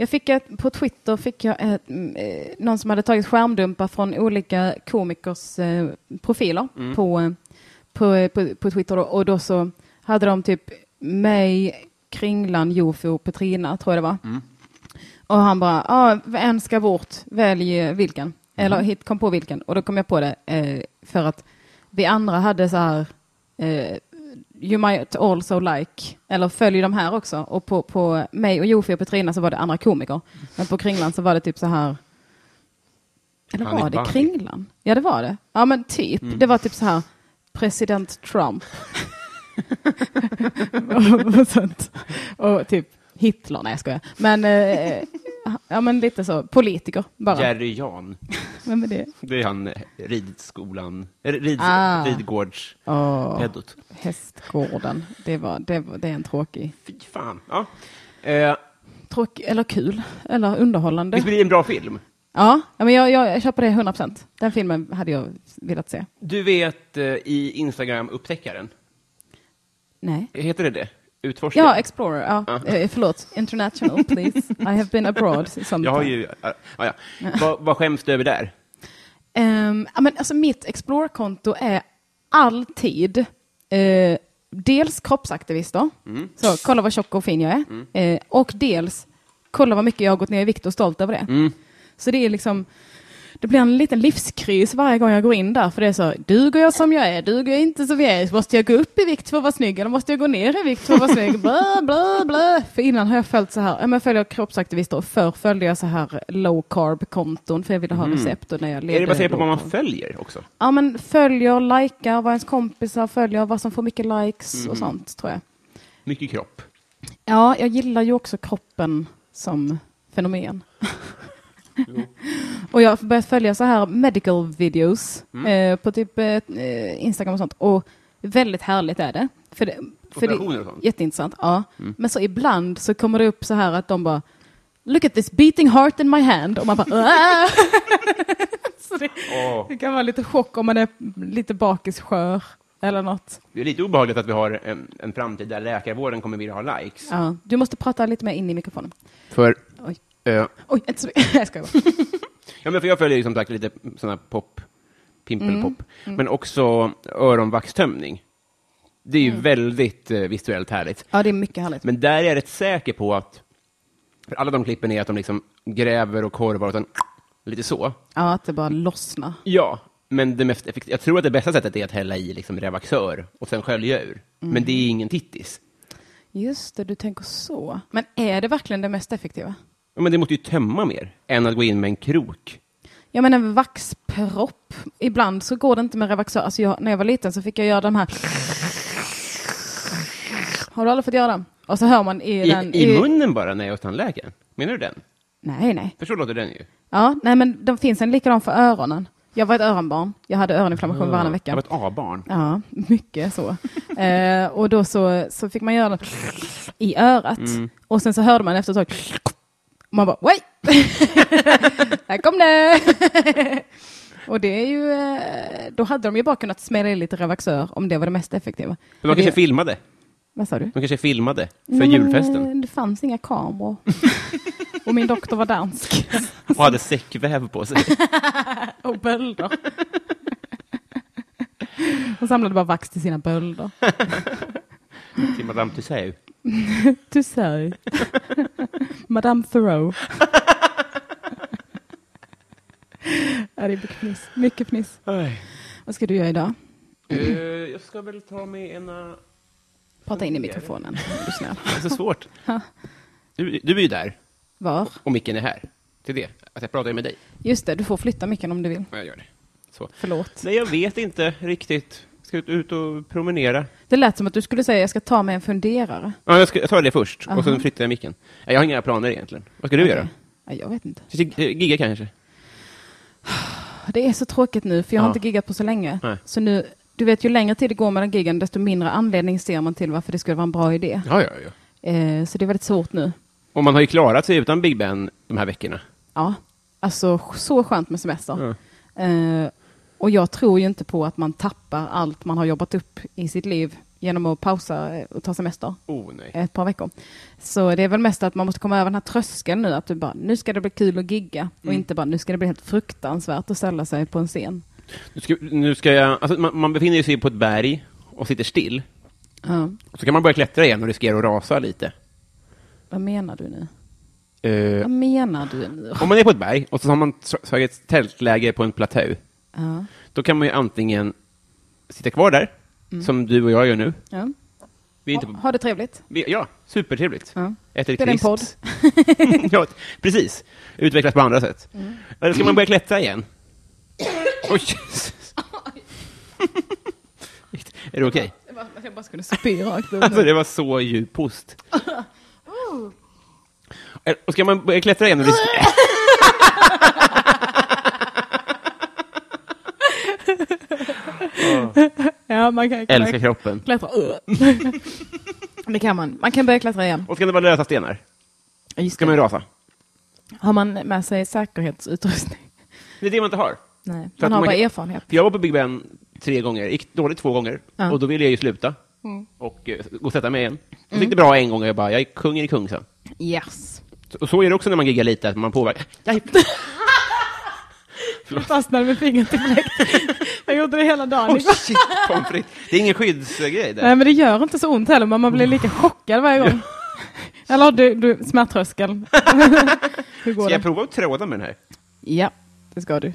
[SPEAKER 1] Jag fick ett, på Twitter fick jag ett, mm, eh, någon
[SPEAKER 3] Mm.
[SPEAKER 1] som hade tagit skärmdumpar från olika komikers eh, profiler på, eh, på, på, på Twitter då, och då så hade de typ mig, Kringlan, Jofo, Petrina tror jag det var. Och han bara, ah, en ska bort, välj eh, vilken. Eller hit, kom på vilken. Och då kom jag på det eh, för att vi andra hade så här eh, You might also like, eller följ de här också. Och på, på mig och Jofi och Petrina så var det andra komiker. Men på Kringlan så var det typ så här eller
[SPEAKER 3] Hanif
[SPEAKER 1] var det
[SPEAKER 3] Bali.
[SPEAKER 1] Kringlan? Ja, det var det. Ja, men typ. Det var typ så här, president Trump. [LAUGHS] och, sånt. och typ Hitler, nej jag skojar. Men, eh, ja, men lite så, politiker bara.
[SPEAKER 3] Jerry Jan.
[SPEAKER 1] Vem är det?
[SPEAKER 3] Det är han eh, ridskolan, eh, rid,
[SPEAKER 1] Ah.
[SPEAKER 3] ridgårds
[SPEAKER 1] Åh,
[SPEAKER 3] pedot.
[SPEAKER 1] hästgården. Det, var, det, var, det är en tråkig,
[SPEAKER 3] Fy fan. Ja. Eh,
[SPEAKER 1] tråkig, eller kul, eller underhållande.
[SPEAKER 3] det blir en bra film.
[SPEAKER 1] Ja, ja, men jag, jag, jag köper det 100 procent. Den filmen hade jag velat se.
[SPEAKER 3] Du vet eh, i Instagram-upptäckaren,
[SPEAKER 1] Nej.
[SPEAKER 3] heter det det? Utforskaren?
[SPEAKER 1] Ja, Explorer. Ja.
[SPEAKER 3] Ja.
[SPEAKER 1] Eh, förlåt, International please. I have been abroad. sometime.
[SPEAKER 3] [LAUGHS] Jag har ju... Ja, ja. Vad, vad skäms du över där?
[SPEAKER 1] Ehm, ja, men alltså mitt Explore-konto är alltid eh, dels kroppsaktivister, så kolla vad tjock och fin jag är, eh, och dels kolla vad mycket jag har gått ner i vikt och stolt över det. Så det är liksom, det blir en liten livskris varje gång jag går in där, för det är så, duger jag som jag är, duger jag inte som jag är, måste jag gå upp i vikt för att vara snygg, eller måste jag gå ner i vikt för att vara snygg, blö, blö, blö. För innan har jag följt så här, ja, men följer jag kroppsaktivister, och förr följde jag så här low carb-konton, för jag ville ha recept och när jag levde
[SPEAKER 3] Mm. Är det baserat på
[SPEAKER 1] low
[SPEAKER 3] vad man
[SPEAKER 1] carb.
[SPEAKER 3] följer också?
[SPEAKER 1] Ja, men följer, likar, vad ens kompisar följer, vad som får mycket likes
[SPEAKER 3] Mm.
[SPEAKER 1] och sånt tror jag.
[SPEAKER 3] Mycket kropp.
[SPEAKER 1] Ja, jag gillar ju också kroppen som fenomen. [LAUGHS] och jag har börjat följa så här medical videos eh, på typ eh, Instagram och sånt. Och väldigt härligt är det. För det, för det
[SPEAKER 3] Operationer och sånt?
[SPEAKER 1] jätteintressant. Ja. Men så ibland så kommer det upp så här att de bara Look at this beating heart in my hand. Och man bara [LAUGHS] "Ah!" så det,
[SPEAKER 3] Åh.
[SPEAKER 1] det kan vara lite chock om man är lite bakisskör eller något.
[SPEAKER 3] Det är lite obehagligt att vi har en, en framtid där läkarvården kommer vilja ha likes.
[SPEAKER 1] Ja. Du måste prata lite mer in i mikrofonen.
[SPEAKER 3] För,
[SPEAKER 1] Oj.
[SPEAKER 3] eh,
[SPEAKER 1] Oj, inte så mycket. [LAUGHS] Jag skojar bara.
[SPEAKER 3] ja, men för jag följer ju som sagt lite sådana pop,
[SPEAKER 1] Mm.
[SPEAKER 3] pimpelpop, men också öronvaxtömning. Det är ju
[SPEAKER 1] Mm.
[SPEAKER 3] väldigt eh, visuellt härligt.
[SPEAKER 1] Ja, det är mycket härligt.
[SPEAKER 3] Men där är jag rätt säker på att, för alla de klippen är att de liksom gräver och korvar och sen lite så.
[SPEAKER 1] Ja, att det bara lossnar.
[SPEAKER 3] Ja, men det mest effektiva, jag tror att det bästa sättet är att hälla i liksom revaxör och sen skölja ur. Men det är ingen tittis.
[SPEAKER 1] Just det, du tänker så. Men är det verkligen det mest effektiva?
[SPEAKER 3] Ja, men det måste ju tömma mer än att gå in med en krok.
[SPEAKER 1] Jag menar en vaxpropp. Ibland så går det inte med Revaxör. Alltså jag, när jag var liten så fick jag göra de här. Har du aldrig fått göra dem? Och så hör man i,
[SPEAKER 3] I,
[SPEAKER 1] den...
[SPEAKER 3] I munnen bara när jag är hos tandläkaren. Menar du den?
[SPEAKER 1] Nej, nej.
[SPEAKER 3] För så låter den ju.
[SPEAKER 1] Ja, nej men de finns en likadan för öronen. Jag var ett öronbarn. Jag hade öroninflammation varannan vecka.
[SPEAKER 3] Jag var ett A-barn.
[SPEAKER 1] Ja, mycket så. eh, och då så, så fick man göra det i örat. Och sen så hörde man efter ett tag. Man bara, oj! [LAUGHS] Här kom det! [LAUGHS] och det är ju, eh, då hade de ju bara kunnat smälla i lite Revaxör om det var det mest effektiva.
[SPEAKER 3] Men de
[SPEAKER 1] Mm.
[SPEAKER 3] kanske filmade.
[SPEAKER 1] Vad sa du?
[SPEAKER 3] De kanske filmade för
[SPEAKER 1] Nej, men,
[SPEAKER 3] julfesten.
[SPEAKER 1] eh, Det fanns inga kameror. [LAUGHS] och min doktor var dansk.
[SPEAKER 3] Och hade säckväv på sig.
[SPEAKER 1] och [LAUGHS] bölder. Hon samlade bara vax till sina bölder.
[SPEAKER 3] Till Madame Tussauds.
[SPEAKER 1] Du [LAUGHS] säger. Madame Thoreau. ja, det är mycket fniss. Mycket fniss. Vad ska du göra idag?
[SPEAKER 3] Eh, jag ska väl ta med ena...
[SPEAKER 1] Prata in i mikrofonen. om Du är snäll.
[SPEAKER 3] Det är så svårt. Du, du är ju där,
[SPEAKER 1] Var?
[SPEAKER 3] och micken är här. Till det. Att jag pratar ju med dig.
[SPEAKER 1] Just det, du får flytta micken om du vill.
[SPEAKER 3] Ja, jag gör det. Så.
[SPEAKER 1] Förlåt.
[SPEAKER 3] Nej, jag vet inte riktigt. Ska ut- ut och promenera.
[SPEAKER 1] Det lät som att du skulle säga jag ska ta mig en funderare.
[SPEAKER 3] Ja, jag, ska, jag tar det först, och sen flyttar jag micken. Nej, Jag har inga planer egentligen. Vad ska du göra?
[SPEAKER 1] Ja, jag vet inte.
[SPEAKER 3] Ska jag Gigga kanske?
[SPEAKER 1] Det är så tråkigt nu, för jag har
[SPEAKER 3] Ja.
[SPEAKER 1] inte giggat på så länge.
[SPEAKER 3] Nej.
[SPEAKER 1] Så nu, du vet, ju längre tid det går mellan giggen, desto mindre anledning ser man till varför det skulle vara en bra idé.
[SPEAKER 3] Ja, ja, ja.
[SPEAKER 1] Eh, så det är väldigt svårt nu.
[SPEAKER 3] Och man har ju klarat sig utan Big Ben de här veckorna.
[SPEAKER 1] Ja, alltså så skönt med semester.
[SPEAKER 3] Ja.
[SPEAKER 1] Eh, och jag tror ju inte på att man tappar allt man har jobbat upp i sitt liv genom att pausa eh, och ta semester
[SPEAKER 3] Oh, nej.
[SPEAKER 1] ett par veckor. Så det är väl mest att man måste komma över den här tröskeln
[SPEAKER 3] Mm.
[SPEAKER 1] nu, att du bara, nu ska det bli kul att gigga och inte bara, nu ska det bli helt fruktansvärt att ställa sig på en scen.
[SPEAKER 3] Nu ska, nu ska jag, alltså, man, man befinner sig på ett berg och sitter still.
[SPEAKER 1] Ja.
[SPEAKER 3] Så kan man börja klättra igen och riskera att rasa lite.
[SPEAKER 1] Vad menar du nu?
[SPEAKER 3] Eh,
[SPEAKER 1] Vad menar du nu?
[SPEAKER 3] Om man är på ett berg och så har man s- slagit ett tältläger på en platå,
[SPEAKER 1] Ja.
[SPEAKER 3] då kan man ju antingen sitta kvar där,
[SPEAKER 1] Mm.
[SPEAKER 3] som du och jag gör nu.
[SPEAKER 1] Ja.
[SPEAKER 3] Vi är inte på,
[SPEAKER 1] Ha det trevligt.
[SPEAKER 3] vi, ja, supertrevligt.
[SPEAKER 1] Ja.
[SPEAKER 3] Äter
[SPEAKER 1] Spela in
[SPEAKER 3] crisps. [LAUGHS] ja, precis. Utvecklas på andra sätt.
[SPEAKER 1] Mm.
[SPEAKER 3] Eller ska man börja
[SPEAKER 1] [LAUGHS]
[SPEAKER 3] klättra igen? Oj, Jesus. Är det okej?
[SPEAKER 1] Jag bara, [LAUGHS] jag bara skulle spy rakt ut.
[SPEAKER 3] Alltså det var så djup post.
[SPEAKER 1] [LAUGHS]
[SPEAKER 3] Eh, Och ska man börja
[SPEAKER 1] [LAUGHS]
[SPEAKER 3] klättra igen och risk...
[SPEAKER 1] Ja, man kan
[SPEAKER 3] Älska kroppen.
[SPEAKER 1] klättra. [LAUGHS] det kan man. Man kan börja klättra igen.
[SPEAKER 3] Och ska det vara lösa stenar? Ska man rasa?
[SPEAKER 1] Har man med sig säkerhetsutrustning?
[SPEAKER 3] Det är det man inte har.
[SPEAKER 1] Nej,
[SPEAKER 3] att
[SPEAKER 1] man har
[SPEAKER 3] man
[SPEAKER 1] bara
[SPEAKER 3] kan-
[SPEAKER 1] erfarenhet.
[SPEAKER 3] För jag var på Big Ben tre gånger, gick dåligt två gånger,
[SPEAKER 1] Ja.
[SPEAKER 3] och då ville jag ju sluta och eh, gå och sätta mig igen. Så
[SPEAKER 1] Mm.
[SPEAKER 3] gick det bra en gång och jag bara, jag är kungen i Kungsan.
[SPEAKER 1] Yes.
[SPEAKER 3] Så, och så är det också när man giggar lite, att
[SPEAKER 1] [LAUGHS]
[SPEAKER 3] man påverkar. Jag,
[SPEAKER 1] Jag fastnade med fingret i
[SPEAKER 3] [LAUGHS]
[SPEAKER 1] fläkt. Jag gjorde det hela dagen.
[SPEAKER 3] oh shit, pommes frites. Det är ingen skyddsgrej där.
[SPEAKER 1] Nej, men det gör inte så ont heller, men man blir
[SPEAKER 3] Mm.
[SPEAKER 1] lika chockad varje gång. Eller du, du
[SPEAKER 3] [LAUGHS]
[SPEAKER 1] smärttröskeln. Hur går
[SPEAKER 3] Ska jag
[SPEAKER 1] det?
[SPEAKER 3] prova att tråda med den här?
[SPEAKER 1] Ja, det ska
[SPEAKER 3] [LAUGHS]
[SPEAKER 1] du.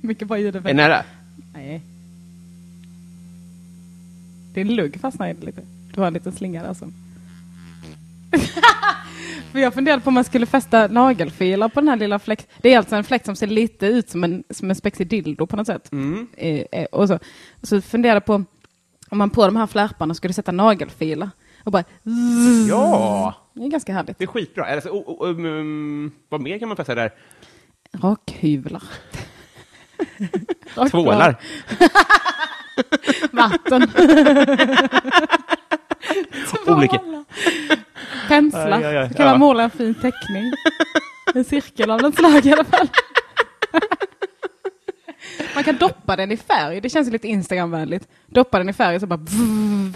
[SPEAKER 1] Mycket bra
[SPEAKER 3] Är den
[SPEAKER 1] ljudeffekt.
[SPEAKER 3] nära?
[SPEAKER 1] Nej. Din lugg fastnade lite. Du har en liten slinga där som... [LAUGHS] För jag funderade på om man skulle fästa nagelfilar på den här lilla fläkten. Det är alltså en fläkt som ser lite ut som en, som en spexig dildo på något sätt. Eh, eh, och så, så funderade jag på om man på de här flärparna skulle sätta nagelfilar. Och bara... zzz.
[SPEAKER 3] Mm. Ja!
[SPEAKER 1] Det är ganska härligt.
[SPEAKER 3] Det är skitbra. Alltså, o- o- um, um, vad mer kan man fästa där?
[SPEAKER 1] [LAUGHS] Rakhyvlar. Rakblad.
[SPEAKER 3] Tvålar.
[SPEAKER 1] Vatten.
[SPEAKER 3] [LAUGHS] Olika.
[SPEAKER 1] Penslar.
[SPEAKER 3] Aj, aj, aj.
[SPEAKER 1] Så kan man
[SPEAKER 3] Ja.
[SPEAKER 1] måla en fin teckning. En cirkel av något slag i alla fall. Man kan doppa den i färg. Det känns ju lite Instagramvänligt. Doppa den i färg och så bara...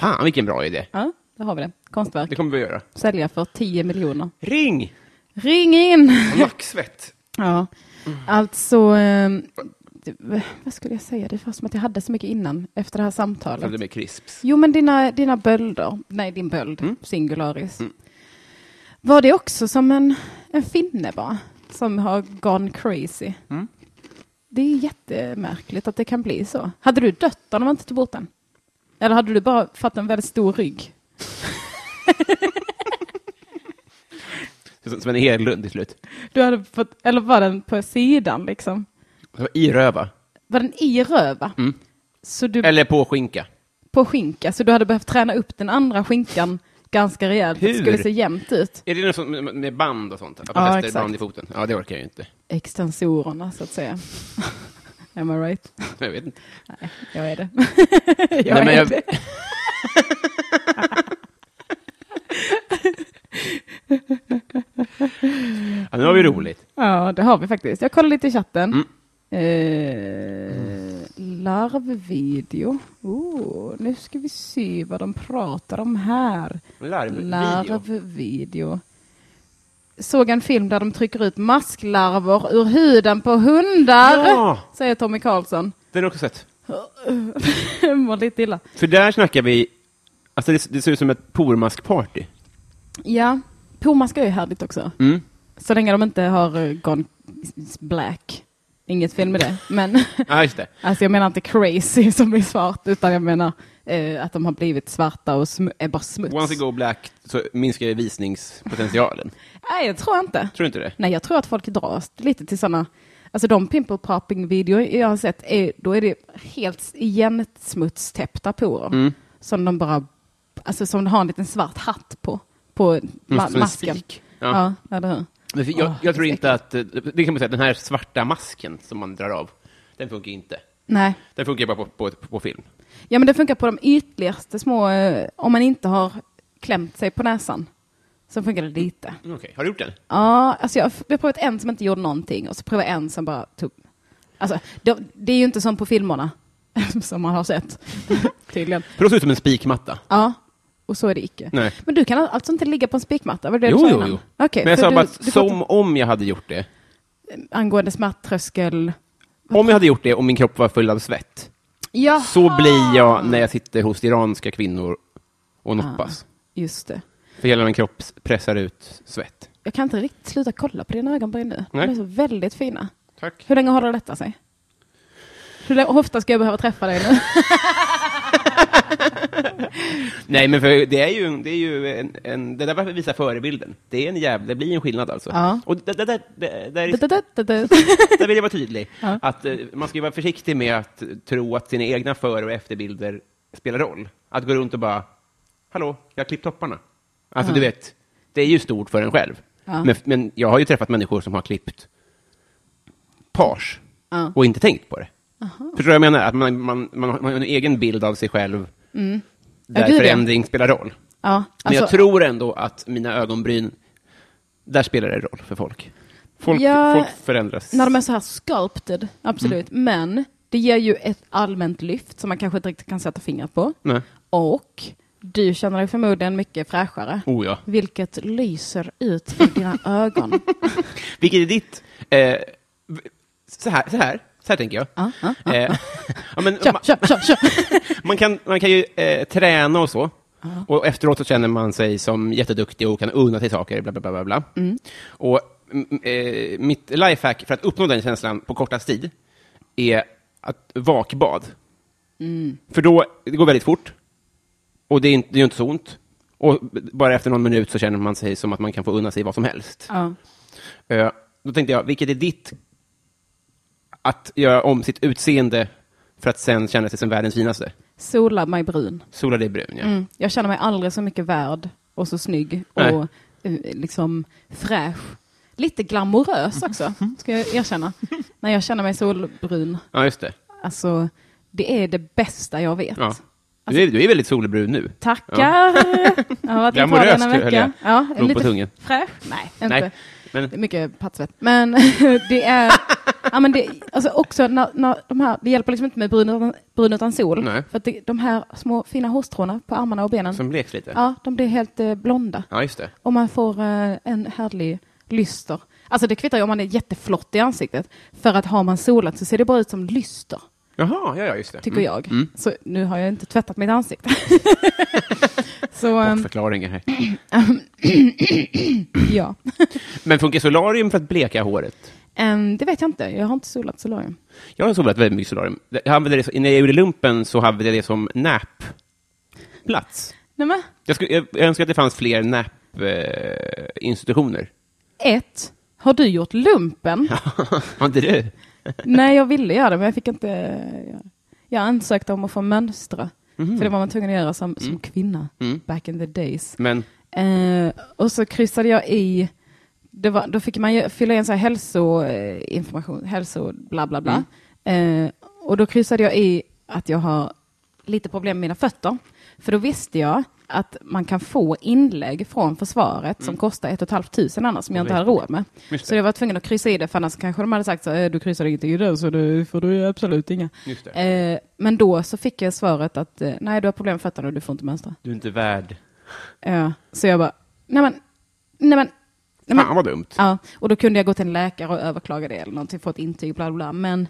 [SPEAKER 3] Fan, vilken bra idé.
[SPEAKER 1] Ja, där har vi det. Konstverk.
[SPEAKER 3] Det kommer vi att göra.
[SPEAKER 1] Sälja för 10 miljoner. [LAUGHS]
[SPEAKER 3] Ring!
[SPEAKER 1] Ring in!
[SPEAKER 3] Nacksvett.
[SPEAKER 1] Ja, alltså... ehm, det- vad skulle jag säga? Det var som att jag hade så mycket innan, efter det här samtalet.
[SPEAKER 3] Följde med crisps.
[SPEAKER 1] Jo, men dina, dina bölder. Nej, din böld.
[SPEAKER 3] Mm.
[SPEAKER 1] Singularis. Var det också som en, en finne bara? Som har gone crazy.
[SPEAKER 3] Mm.
[SPEAKER 1] Det är jättemärkligt att det kan bli så. Hade du dött då om man inte tog bort den? Eller hade du bara fått en väldigt stor rygg?
[SPEAKER 3] Som som en Hedlund till slut.
[SPEAKER 1] Du hade fått, eller var den på sidan liksom?
[SPEAKER 3] Så I röva.
[SPEAKER 1] Var den i röva? Så du,
[SPEAKER 3] Mm. Eller på skinka.
[SPEAKER 1] på skinka, så du hade behövt träna upp den andra skinkan ganska rejält. Hur? Det
[SPEAKER 3] Hur?
[SPEAKER 1] skulle se jämnt ut.
[SPEAKER 3] Är det något sånt med- med band och sånt? Att
[SPEAKER 1] Ja,
[SPEAKER 3] man fäster
[SPEAKER 1] exakt.
[SPEAKER 3] band i foten? Ja, det orkar jag ju inte.
[SPEAKER 1] Extensorerna, så att säga. [LAUGHS] Am I right?
[SPEAKER 3] Jag vet inte.
[SPEAKER 1] Jag är det.
[SPEAKER 3] Nej,
[SPEAKER 1] [LAUGHS] jag
[SPEAKER 3] men
[SPEAKER 1] är
[SPEAKER 3] jag-
[SPEAKER 1] det.
[SPEAKER 3] Ja, nu har vi roligt.
[SPEAKER 1] [LAUGHS] Ja, det har vi faktiskt. Jag kollar lite i chatten. Eh, larvvideo. Oh, nu ska vi se vad de pratar om här.
[SPEAKER 3] Larvvideo.
[SPEAKER 1] Larvvideo. Såg en film där de trycker ut masklarver ur huden på hundar,
[SPEAKER 3] Ja!
[SPEAKER 1] säger Tommy Karlsson. [LAUGHS]
[SPEAKER 3] Den har jag också sett.
[SPEAKER 1] Mår lite illa.
[SPEAKER 3] För där snackar vi... Alltså det, det ser ut som ett pormaskparty.
[SPEAKER 1] Ja, pormaskar är ju härligt också.
[SPEAKER 3] Mm.
[SPEAKER 1] Så länge de inte har eh, gone black. Inget fel med det, men [LAUGHS]
[SPEAKER 3] Ja, just det.
[SPEAKER 1] alltså jag menar inte crazy som är svart, utan jag menar eh, att de har blivit svarta och sm- är bara smuts.
[SPEAKER 3] Once you go black så minskar
[SPEAKER 1] [LAUGHS]
[SPEAKER 3] det visningspotentialen.
[SPEAKER 1] Nej, jag tror inte.
[SPEAKER 3] Tror du inte det?
[SPEAKER 1] Nej, jag tror att folk dras lite till sådana, alltså de pimple popping videor jag har sett, är, då är det helt igen smutstäppta porer.
[SPEAKER 3] Mm.
[SPEAKER 1] Som de bara, alltså som de har en liten svart hatt på, på ma-
[SPEAKER 3] som en
[SPEAKER 1] masken.
[SPEAKER 3] spik. Ja.
[SPEAKER 1] Ja. ja, eller hur?
[SPEAKER 3] Men för jag,
[SPEAKER 1] Åh,
[SPEAKER 3] jag tror
[SPEAKER 1] Ah, det är
[SPEAKER 3] inte att... eh, Det kan man säga, den här svarta masken som man drar av, den funkar inte.
[SPEAKER 1] Nej.
[SPEAKER 3] Den funkar bara på, på, på film.
[SPEAKER 1] Ja, men det funkar på de ytligaste små, eh, om man inte har klämt sig på näsan. Så funkar det lite.
[SPEAKER 3] Mm, Okej, har du gjort den?
[SPEAKER 1] Ja, alltså jag, jag har provat en som inte gjorde någonting och så provade jag en som bara tog... Alltså, de, det är ju inte som på filmerna, [LAUGHS] som man har sett. [LAUGHS] Tydligen.
[SPEAKER 3] För då ser det ut som en spikmatta.
[SPEAKER 1] Ja, och så är det icke.
[SPEAKER 3] Nej.
[SPEAKER 1] Men du kan alltså inte ligga på en spikmatta? Var det det
[SPEAKER 3] Jo,
[SPEAKER 1] du sa
[SPEAKER 3] jo,
[SPEAKER 1] innan?
[SPEAKER 3] jo.
[SPEAKER 1] Okej,
[SPEAKER 3] Men jag
[SPEAKER 1] för
[SPEAKER 3] sa
[SPEAKER 1] du-
[SPEAKER 3] bara
[SPEAKER 1] du
[SPEAKER 3] att som om jag hade gjort det.
[SPEAKER 1] angående smärttröskel
[SPEAKER 3] Om jag hade gjort det och min kropp var full av svett,
[SPEAKER 1] Jaha.
[SPEAKER 3] så blir jag när jag sitter hos iranska kvinnor och noppas.
[SPEAKER 1] Just det.
[SPEAKER 3] För hela min kropp pressar ut svett.
[SPEAKER 1] Jag kan inte riktigt sluta kolla på dina ögonbryn nu.
[SPEAKER 3] Nej.
[SPEAKER 1] De är så väldigt fina.
[SPEAKER 3] Tack.
[SPEAKER 1] Hur länge håller detta sig? Hur länge- hur ofta ska jag behöva träffa dig nu?
[SPEAKER 3] Nej, men för det är ju, det är ju en, en, det där var för att visa förebilden. Det är en jävla, det blir en skillnad alltså.
[SPEAKER 1] Ja.
[SPEAKER 3] Och det, det, det, det, där, är,
[SPEAKER 1] Du-du-du-du-du.
[SPEAKER 3] där vill jag vara tydlig.
[SPEAKER 1] Ja.
[SPEAKER 3] Att eh, man ska ju vara försiktig med att tro att sina egna före och efterbilder spelar roll. Att gå runt och bara, hallå, jag har klippt topparna. Alltså, du vet, det är ju stort för en själv.
[SPEAKER 1] Ja.
[SPEAKER 3] Men, men jag har ju träffat människor som har klippt pars
[SPEAKER 1] Ja.
[SPEAKER 3] och inte tänkt på det. Förstår du vad jag menar? Att man, man, man, har- man har en egen bild av sig själv där
[SPEAKER 1] gud, Mm. ja.
[SPEAKER 3] förändring spelar roll.
[SPEAKER 1] ja,
[SPEAKER 3] Men jag
[SPEAKER 1] alltså,
[SPEAKER 3] tror ändå att mina ögonbryn, där spelar det roll för folk. Folk,
[SPEAKER 1] Ja,
[SPEAKER 3] folk förändras.
[SPEAKER 1] när de är så här sculpted, absolut. Men det ger ju ett allmänt lyft som man kanske inte riktigt kan sätta fingret på.
[SPEAKER 3] Nej.
[SPEAKER 1] Och du känner dig förmodligen mycket fräschare.
[SPEAKER 3] Oh, ja.
[SPEAKER 1] Vilket lyser ut i dina ögon.
[SPEAKER 3] Vilket är ditt... Eh, så, här, så, här, så här tänker jag.
[SPEAKER 1] Ja, ja,
[SPEAKER 3] Eh, ja, men
[SPEAKER 1] [LAUGHS] Kör,
[SPEAKER 3] ma-
[SPEAKER 1] kör, kör, kör.
[SPEAKER 3] man, kan, man kan ju eh, träna och så. Och efteråt så känner man sig som jätteduktig och kan unna sig saker. Bla, bla, bla, bla, bla. Och mm, eh, mitt lifehack för att uppnå den känslan på kortast tid är att vakbad.
[SPEAKER 1] Mm.
[SPEAKER 3] För då, det går väldigt fort. Och det är inte, det är inte så ont. Och bara efter någon minut så känner man sig som att man kan få unna sig vad som helst.
[SPEAKER 1] Ja.
[SPEAKER 3] Eh, Då tänkte jag, vilket är ditt att göra om sitt utseende för att sen känna sig som världens finaste?
[SPEAKER 1] Sola mig brun.
[SPEAKER 3] Sola dig brun, ja.
[SPEAKER 1] Mm. Jag känner mig aldrig så mycket värd och så snygg och
[SPEAKER 3] Nej.
[SPEAKER 1] eh, liksom fräsch. Lite glamorös också,
[SPEAKER 3] Mm.
[SPEAKER 1] ska jag erkänna. När jag känner mig solbrun.
[SPEAKER 3] Ja, just det.
[SPEAKER 1] Alltså, det är det bästa jag vet.
[SPEAKER 3] Ja. Du, är, du är väldigt solbrun nu.
[SPEAKER 1] Tackar! Jag har varit i
[SPEAKER 3] Glamorös,
[SPEAKER 1] Italien en
[SPEAKER 3] höll jag.
[SPEAKER 1] vecka. Ja,
[SPEAKER 3] Låg på tungan.
[SPEAKER 1] fräsch. Nej, inte.
[SPEAKER 3] Nej, men-
[SPEAKER 1] Det är mycket pattsvett. Men [LAUGHS] det är... ja, men det, alltså också när, när de här, det hjälper liksom inte med brun utan, brun utan sol.
[SPEAKER 3] Nej.
[SPEAKER 1] För att det, de här små fina hårstråna på armarna och benen,
[SPEAKER 3] Som bleks lite.
[SPEAKER 1] ja, de blir helt eh, blonda.
[SPEAKER 3] Ja, just det.
[SPEAKER 1] Och man får eh, en härlig lyster. Alltså det kvittar ju om man är jätteflott i ansiktet. För att har man solat så ser det bara ut som lyster
[SPEAKER 3] Jaha, ja, ja, just det.
[SPEAKER 1] tycker
[SPEAKER 3] Mm.
[SPEAKER 1] jag. Så nu har jag inte tvättat mitt
[SPEAKER 3] [LAUGHS]
[SPEAKER 1] ansikte. så ehm,
[SPEAKER 3] Bortförklaringar här.
[SPEAKER 1] ja,
[SPEAKER 3] Men funkar solarium för att bleka håret?
[SPEAKER 1] Ehm, det vet jag inte. Jag har inte solat solarium.
[SPEAKER 3] Jag har solat väldigt mycket solarium. Jag använde det, så- när jag gjorde lumpen så använde jag det som näpplats.
[SPEAKER 1] Nej, men
[SPEAKER 3] Jag, skulle, jag, jag önskar att det fanns fler eh, näp-institutioner.
[SPEAKER 1] ett, har du gjort lumpen?
[SPEAKER 3] [LAUGHS] Har inte du?
[SPEAKER 1] [LAUGHS] Nej, jag ville göra det, men jag fick inte göra det. Jag ansökte om att få mönstra.
[SPEAKER 3] Mm.
[SPEAKER 1] För det var man tvungen att göra som, som kvinna, back in the days.
[SPEAKER 3] Men
[SPEAKER 1] Eh, och så kryssade jag i, det var, då fick man ju fylla i en så här hälsoinformation, hälso bla bla bla.
[SPEAKER 3] Mm.
[SPEAKER 1] Eh, och då kryssade jag i att jag har lite problem med mina fötter. För då visste jag att man kan få inlägg från försvaret som kostar ett och ett halvt tusen annars som jag inte hade råd med.
[SPEAKER 3] Mm. Just det.
[SPEAKER 1] Så jag var tvungen att kryssa i det för annars kanske de hade sagt så "Eh, du kryssar ingenting i det så du får du absolut inga.
[SPEAKER 3] Just det.
[SPEAKER 1] Eh, men då så fick jag svaret att eh, nej du har problem med fötterna och du får inte mönstra.
[SPEAKER 3] du är inte värd.
[SPEAKER 1] Ja, så jag bara, nej men, nej men, nej men.
[SPEAKER 3] Fan vad dumt.
[SPEAKER 1] Ja, och då kunde jag gå till en läkare och överklaga det eller någonting, få ett intyg, bla bla, bla. Men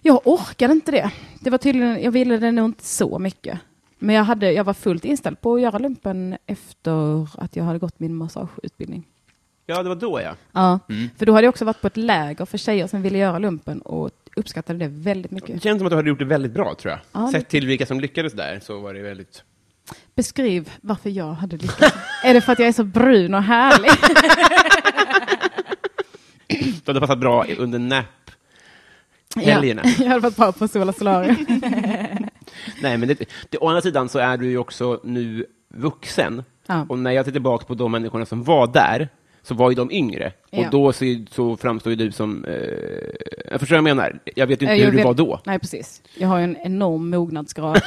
[SPEAKER 1] jag orkade inte det. Det var tydligen, jag ville det nog inte så mycket. Men jag, hade, jag var fullt inställd på att göra lumpen efter att jag hade gått min massageutbildning.
[SPEAKER 3] Ja, det var då ja.
[SPEAKER 1] Ja,
[SPEAKER 3] Mm.
[SPEAKER 1] för då hade jag också varit på ett läger för tjejer som ville göra lumpen och uppskattade det väldigt
[SPEAKER 3] Det
[SPEAKER 1] mycket.
[SPEAKER 3] känns som att du hade gjort det väldigt bra, tror jag.
[SPEAKER 1] Ja,
[SPEAKER 3] Sett till vilka som lyckades där så var det väldigt...
[SPEAKER 1] Beskriv varför jag hade lyckats. är det för att jag är så brun och
[SPEAKER 3] [LAUGHS]
[SPEAKER 1] härlig?
[SPEAKER 3] Du hade passat bra i- under NAP. Helgerna.
[SPEAKER 1] Ja, jag hade varit bra på Sola Solarium.
[SPEAKER 3] Nej, men det, det, å andra sidan så är du ju också nu vuxen.
[SPEAKER 1] Ja.
[SPEAKER 3] Och när jag tittar tillbaka på de människorna som var där, så var ju de yngre.
[SPEAKER 1] Ja.
[SPEAKER 3] Och då så, så framstår ju du som... Eh, jag förstår vad jag menar. Jag vet ju inte
[SPEAKER 1] Jag
[SPEAKER 3] hur du
[SPEAKER 1] vet-
[SPEAKER 3] var då.
[SPEAKER 1] Nej, precis. Jag har ju en enorm
[SPEAKER 3] [LAUGHS]
[SPEAKER 1] mognadsgrad.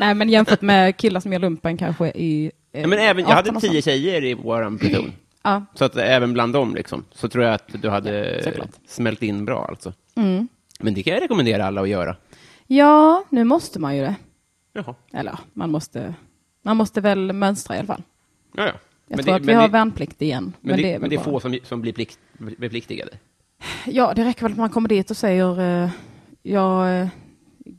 [SPEAKER 1] Nej, men jämfört med killar som gör lumpen kanske i... eh,
[SPEAKER 3] Ja, men även, jag
[SPEAKER 1] 18
[SPEAKER 3] hade
[SPEAKER 1] och sånt.
[SPEAKER 3] tio tjejer i vår pluton.
[SPEAKER 1] Ja,
[SPEAKER 3] Så att även bland dem liksom, så tror jag att du hade
[SPEAKER 1] Ja, såklart.
[SPEAKER 3] smält in bra. Alltså. Men det kan jag rekommendera alla att göra.
[SPEAKER 1] mm. ja, nu måste man ju det.
[SPEAKER 3] Jaha.
[SPEAKER 1] Eller ja, man måste, man måste väl mönstra i alla fall.
[SPEAKER 3] Ja, ja.
[SPEAKER 1] Jag
[SPEAKER 3] Men
[SPEAKER 1] tror
[SPEAKER 3] det-
[SPEAKER 1] att vi
[SPEAKER 3] men
[SPEAKER 1] har
[SPEAKER 3] det-
[SPEAKER 1] värnplikt igen.
[SPEAKER 3] Men det,
[SPEAKER 1] väl
[SPEAKER 3] men det är
[SPEAKER 1] bara-
[SPEAKER 3] få som, som blir plikt, bepliktigade.
[SPEAKER 1] Ja, det räcker väl att man kommer dit och säger eh, jag eh,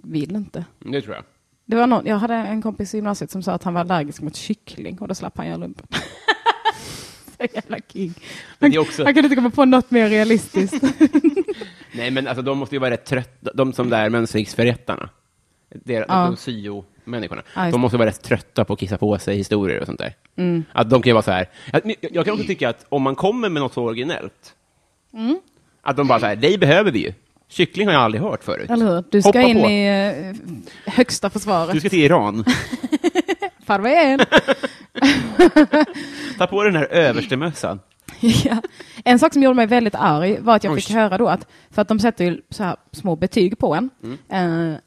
[SPEAKER 1] vill inte.
[SPEAKER 3] Det tror jag.
[SPEAKER 1] Det var någon, jag hade en kompis i gymnasiet som sa att han var allergisk mot kyckling och då slapp han göra lumpen. [LAUGHS] Så jävla king.
[SPEAKER 3] Men
[SPEAKER 1] Han,
[SPEAKER 3] det är också-
[SPEAKER 1] han kunde inte komma på något mer
[SPEAKER 3] [LAUGHS]
[SPEAKER 1] realistiskt.
[SPEAKER 3] Nej, men alltså, de måste ju vara rätt trötta, de som där mönstringsförrättarna. Det är,
[SPEAKER 1] Ja.
[SPEAKER 3] De syo-människorna.
[SPEAKER 1] Ja, just
[SPEAKER 3] de
[SPEAKER 1] det. Mm.
[SPEAKER 3] måste vara rätt trötta på att kissa på sig historier och sånt där. Att de kan ju vara så här. Jag, jag- jag kan också tycka att om man kommer med något så originellt,
[SPEAKER 1] Mm.
[SPEAKER 3] att de bara så här, dig behöver vi ju. Kyckling har jag aldrig hört förut.
[SPEAKER 1] Eller hur? Du ska
[SPEAKER 3] Hoppa
[SPEAKER 1] in
[SPEAKER 3] på.
[SPEAKER 1] i eh, högsta
[SPEAKER 3] Du
[SPEAKER 1] försvaret.
[SPEAKER 3] ska till Iran.
[SPEAKER 1] Farväl!
[SPEAKER 3] Ta på dig den här överstemössan.
[SPEAKER 1] [LAUGHS] Ja. En sak som gjorde mig väldigt arg var att jag fick
[SPEAKER 3] Oj.
[SPEAKER 1] höra då att, för att de sätter ju så här små betyg på en. Eh,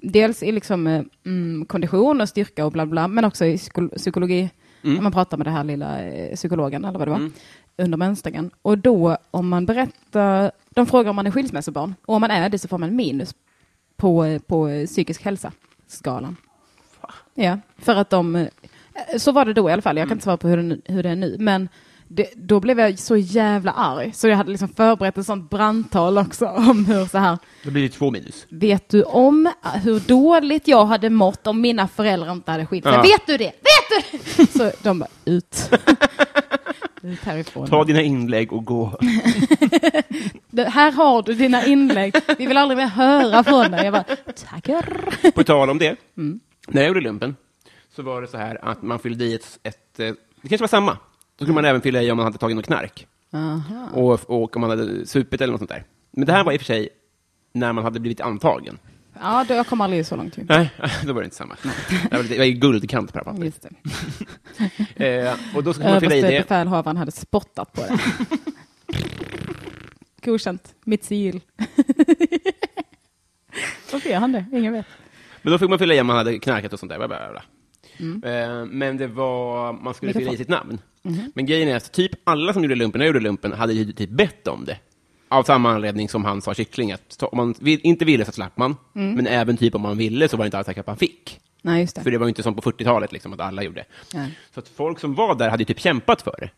[SPEAKER 1] dels i liksom, eh, mm, kondition och styrka och bla bla, men också i psyko- psykologi. När man pratar med den här lilla eh, psykologen eller vad det var, under mönstringen. Och då om man berättar, de frågar om man är skilsmässobarn. Och om man är det så får man minus på, eh, på eh, psykisk hälsa-skalan. Ja, för att de... eh, Så var det då i alla fall. Jag kan
[SPEAKER 3] Mm.
[SPEAKER 1] inte svara på hur det, hur det är nu. Men det, då blev jag så jävla arg. Så jag hade liksom förberett ett sånt brandtal också [LAUGHS] om hur så här.
[SPEAKER 3] Då blir det två minus.
[SPEAKER 1] Vet du om hur dåligt jag hade mått om mina föräldrar inte hade skilt sig?
[SPEAKER 3] Ja.
[SPEAKER 1] Vet du det? Vet du det?
[SPEAKER 3] [LAUGHS]
[SPEAKER 1] Så de bara ut. ut härifrån.
[SPEAKER 3] Ta dina inlägg och gå.
[SPEAKER 1] Det- Här har du dina inlägg. Vi vill aldrig mer höra från dig. Jag bara, tackar.
[SPEAKER 3] På tal om det, när jag gjorde lumpen så var det så här att man fyllde i ett, ett eh, det kanske var samma. Då skulle man även fylla i om man hade tagit något knark och, och om man hade supit eller något sånt där. Men det här var i och för sig när man hade blivit antagen.
[SPEAKER 1] Ja, då, jag kommer aldrig så långt. ju.
[SPEAKER 3] Nej, [LAUGHS] då var det inte samma. Det var, lite, det var ju guldkant på det här pappret.
[SPEAKER 1] Just det.
[SPEAKER 3] Eh, och då skulle man fylla i det.
[SPEAKER 1] Överstelbefälhavaren hade spottat
[SPEAKER 3] [LAUGHS]
[SPEAKER 1] på det. Godkänt. Mitt
[SPEAKER 3] [LAUGHS]
[SPEAKER 1] sigill. Varför gör han det? Ingen vet.
[SPEAKER 3] Men då fick man fylla i om man hade knarkat och sånt där. Bla, bla, bla. Eh, Men det var, man skulle
[SPEAKER 1] Vilka
[SPEAKER 3] fylla i
[SPEAKER 1] fa-
[SPEAKER 3] sitt namn. Men grejen är att typ alla som gjorde lumpen, när jag gjorde lumpen, hade ju typ bett om det. Av samma anledning som han sa kyckling, att ta- om man vill, inte ville så slapp man. Men även typ om man ville så var det inte alls säkert att man fick.
[SPEAKER 1] Nej, just det.
[SPEAKER 3] För det var ju inte som på 40-talet, liksom, att alla gjorde.
[SPEAKER 1] Nej.
[SPEAKER 3] Så att folk som var där hade ju typ kämpat för det.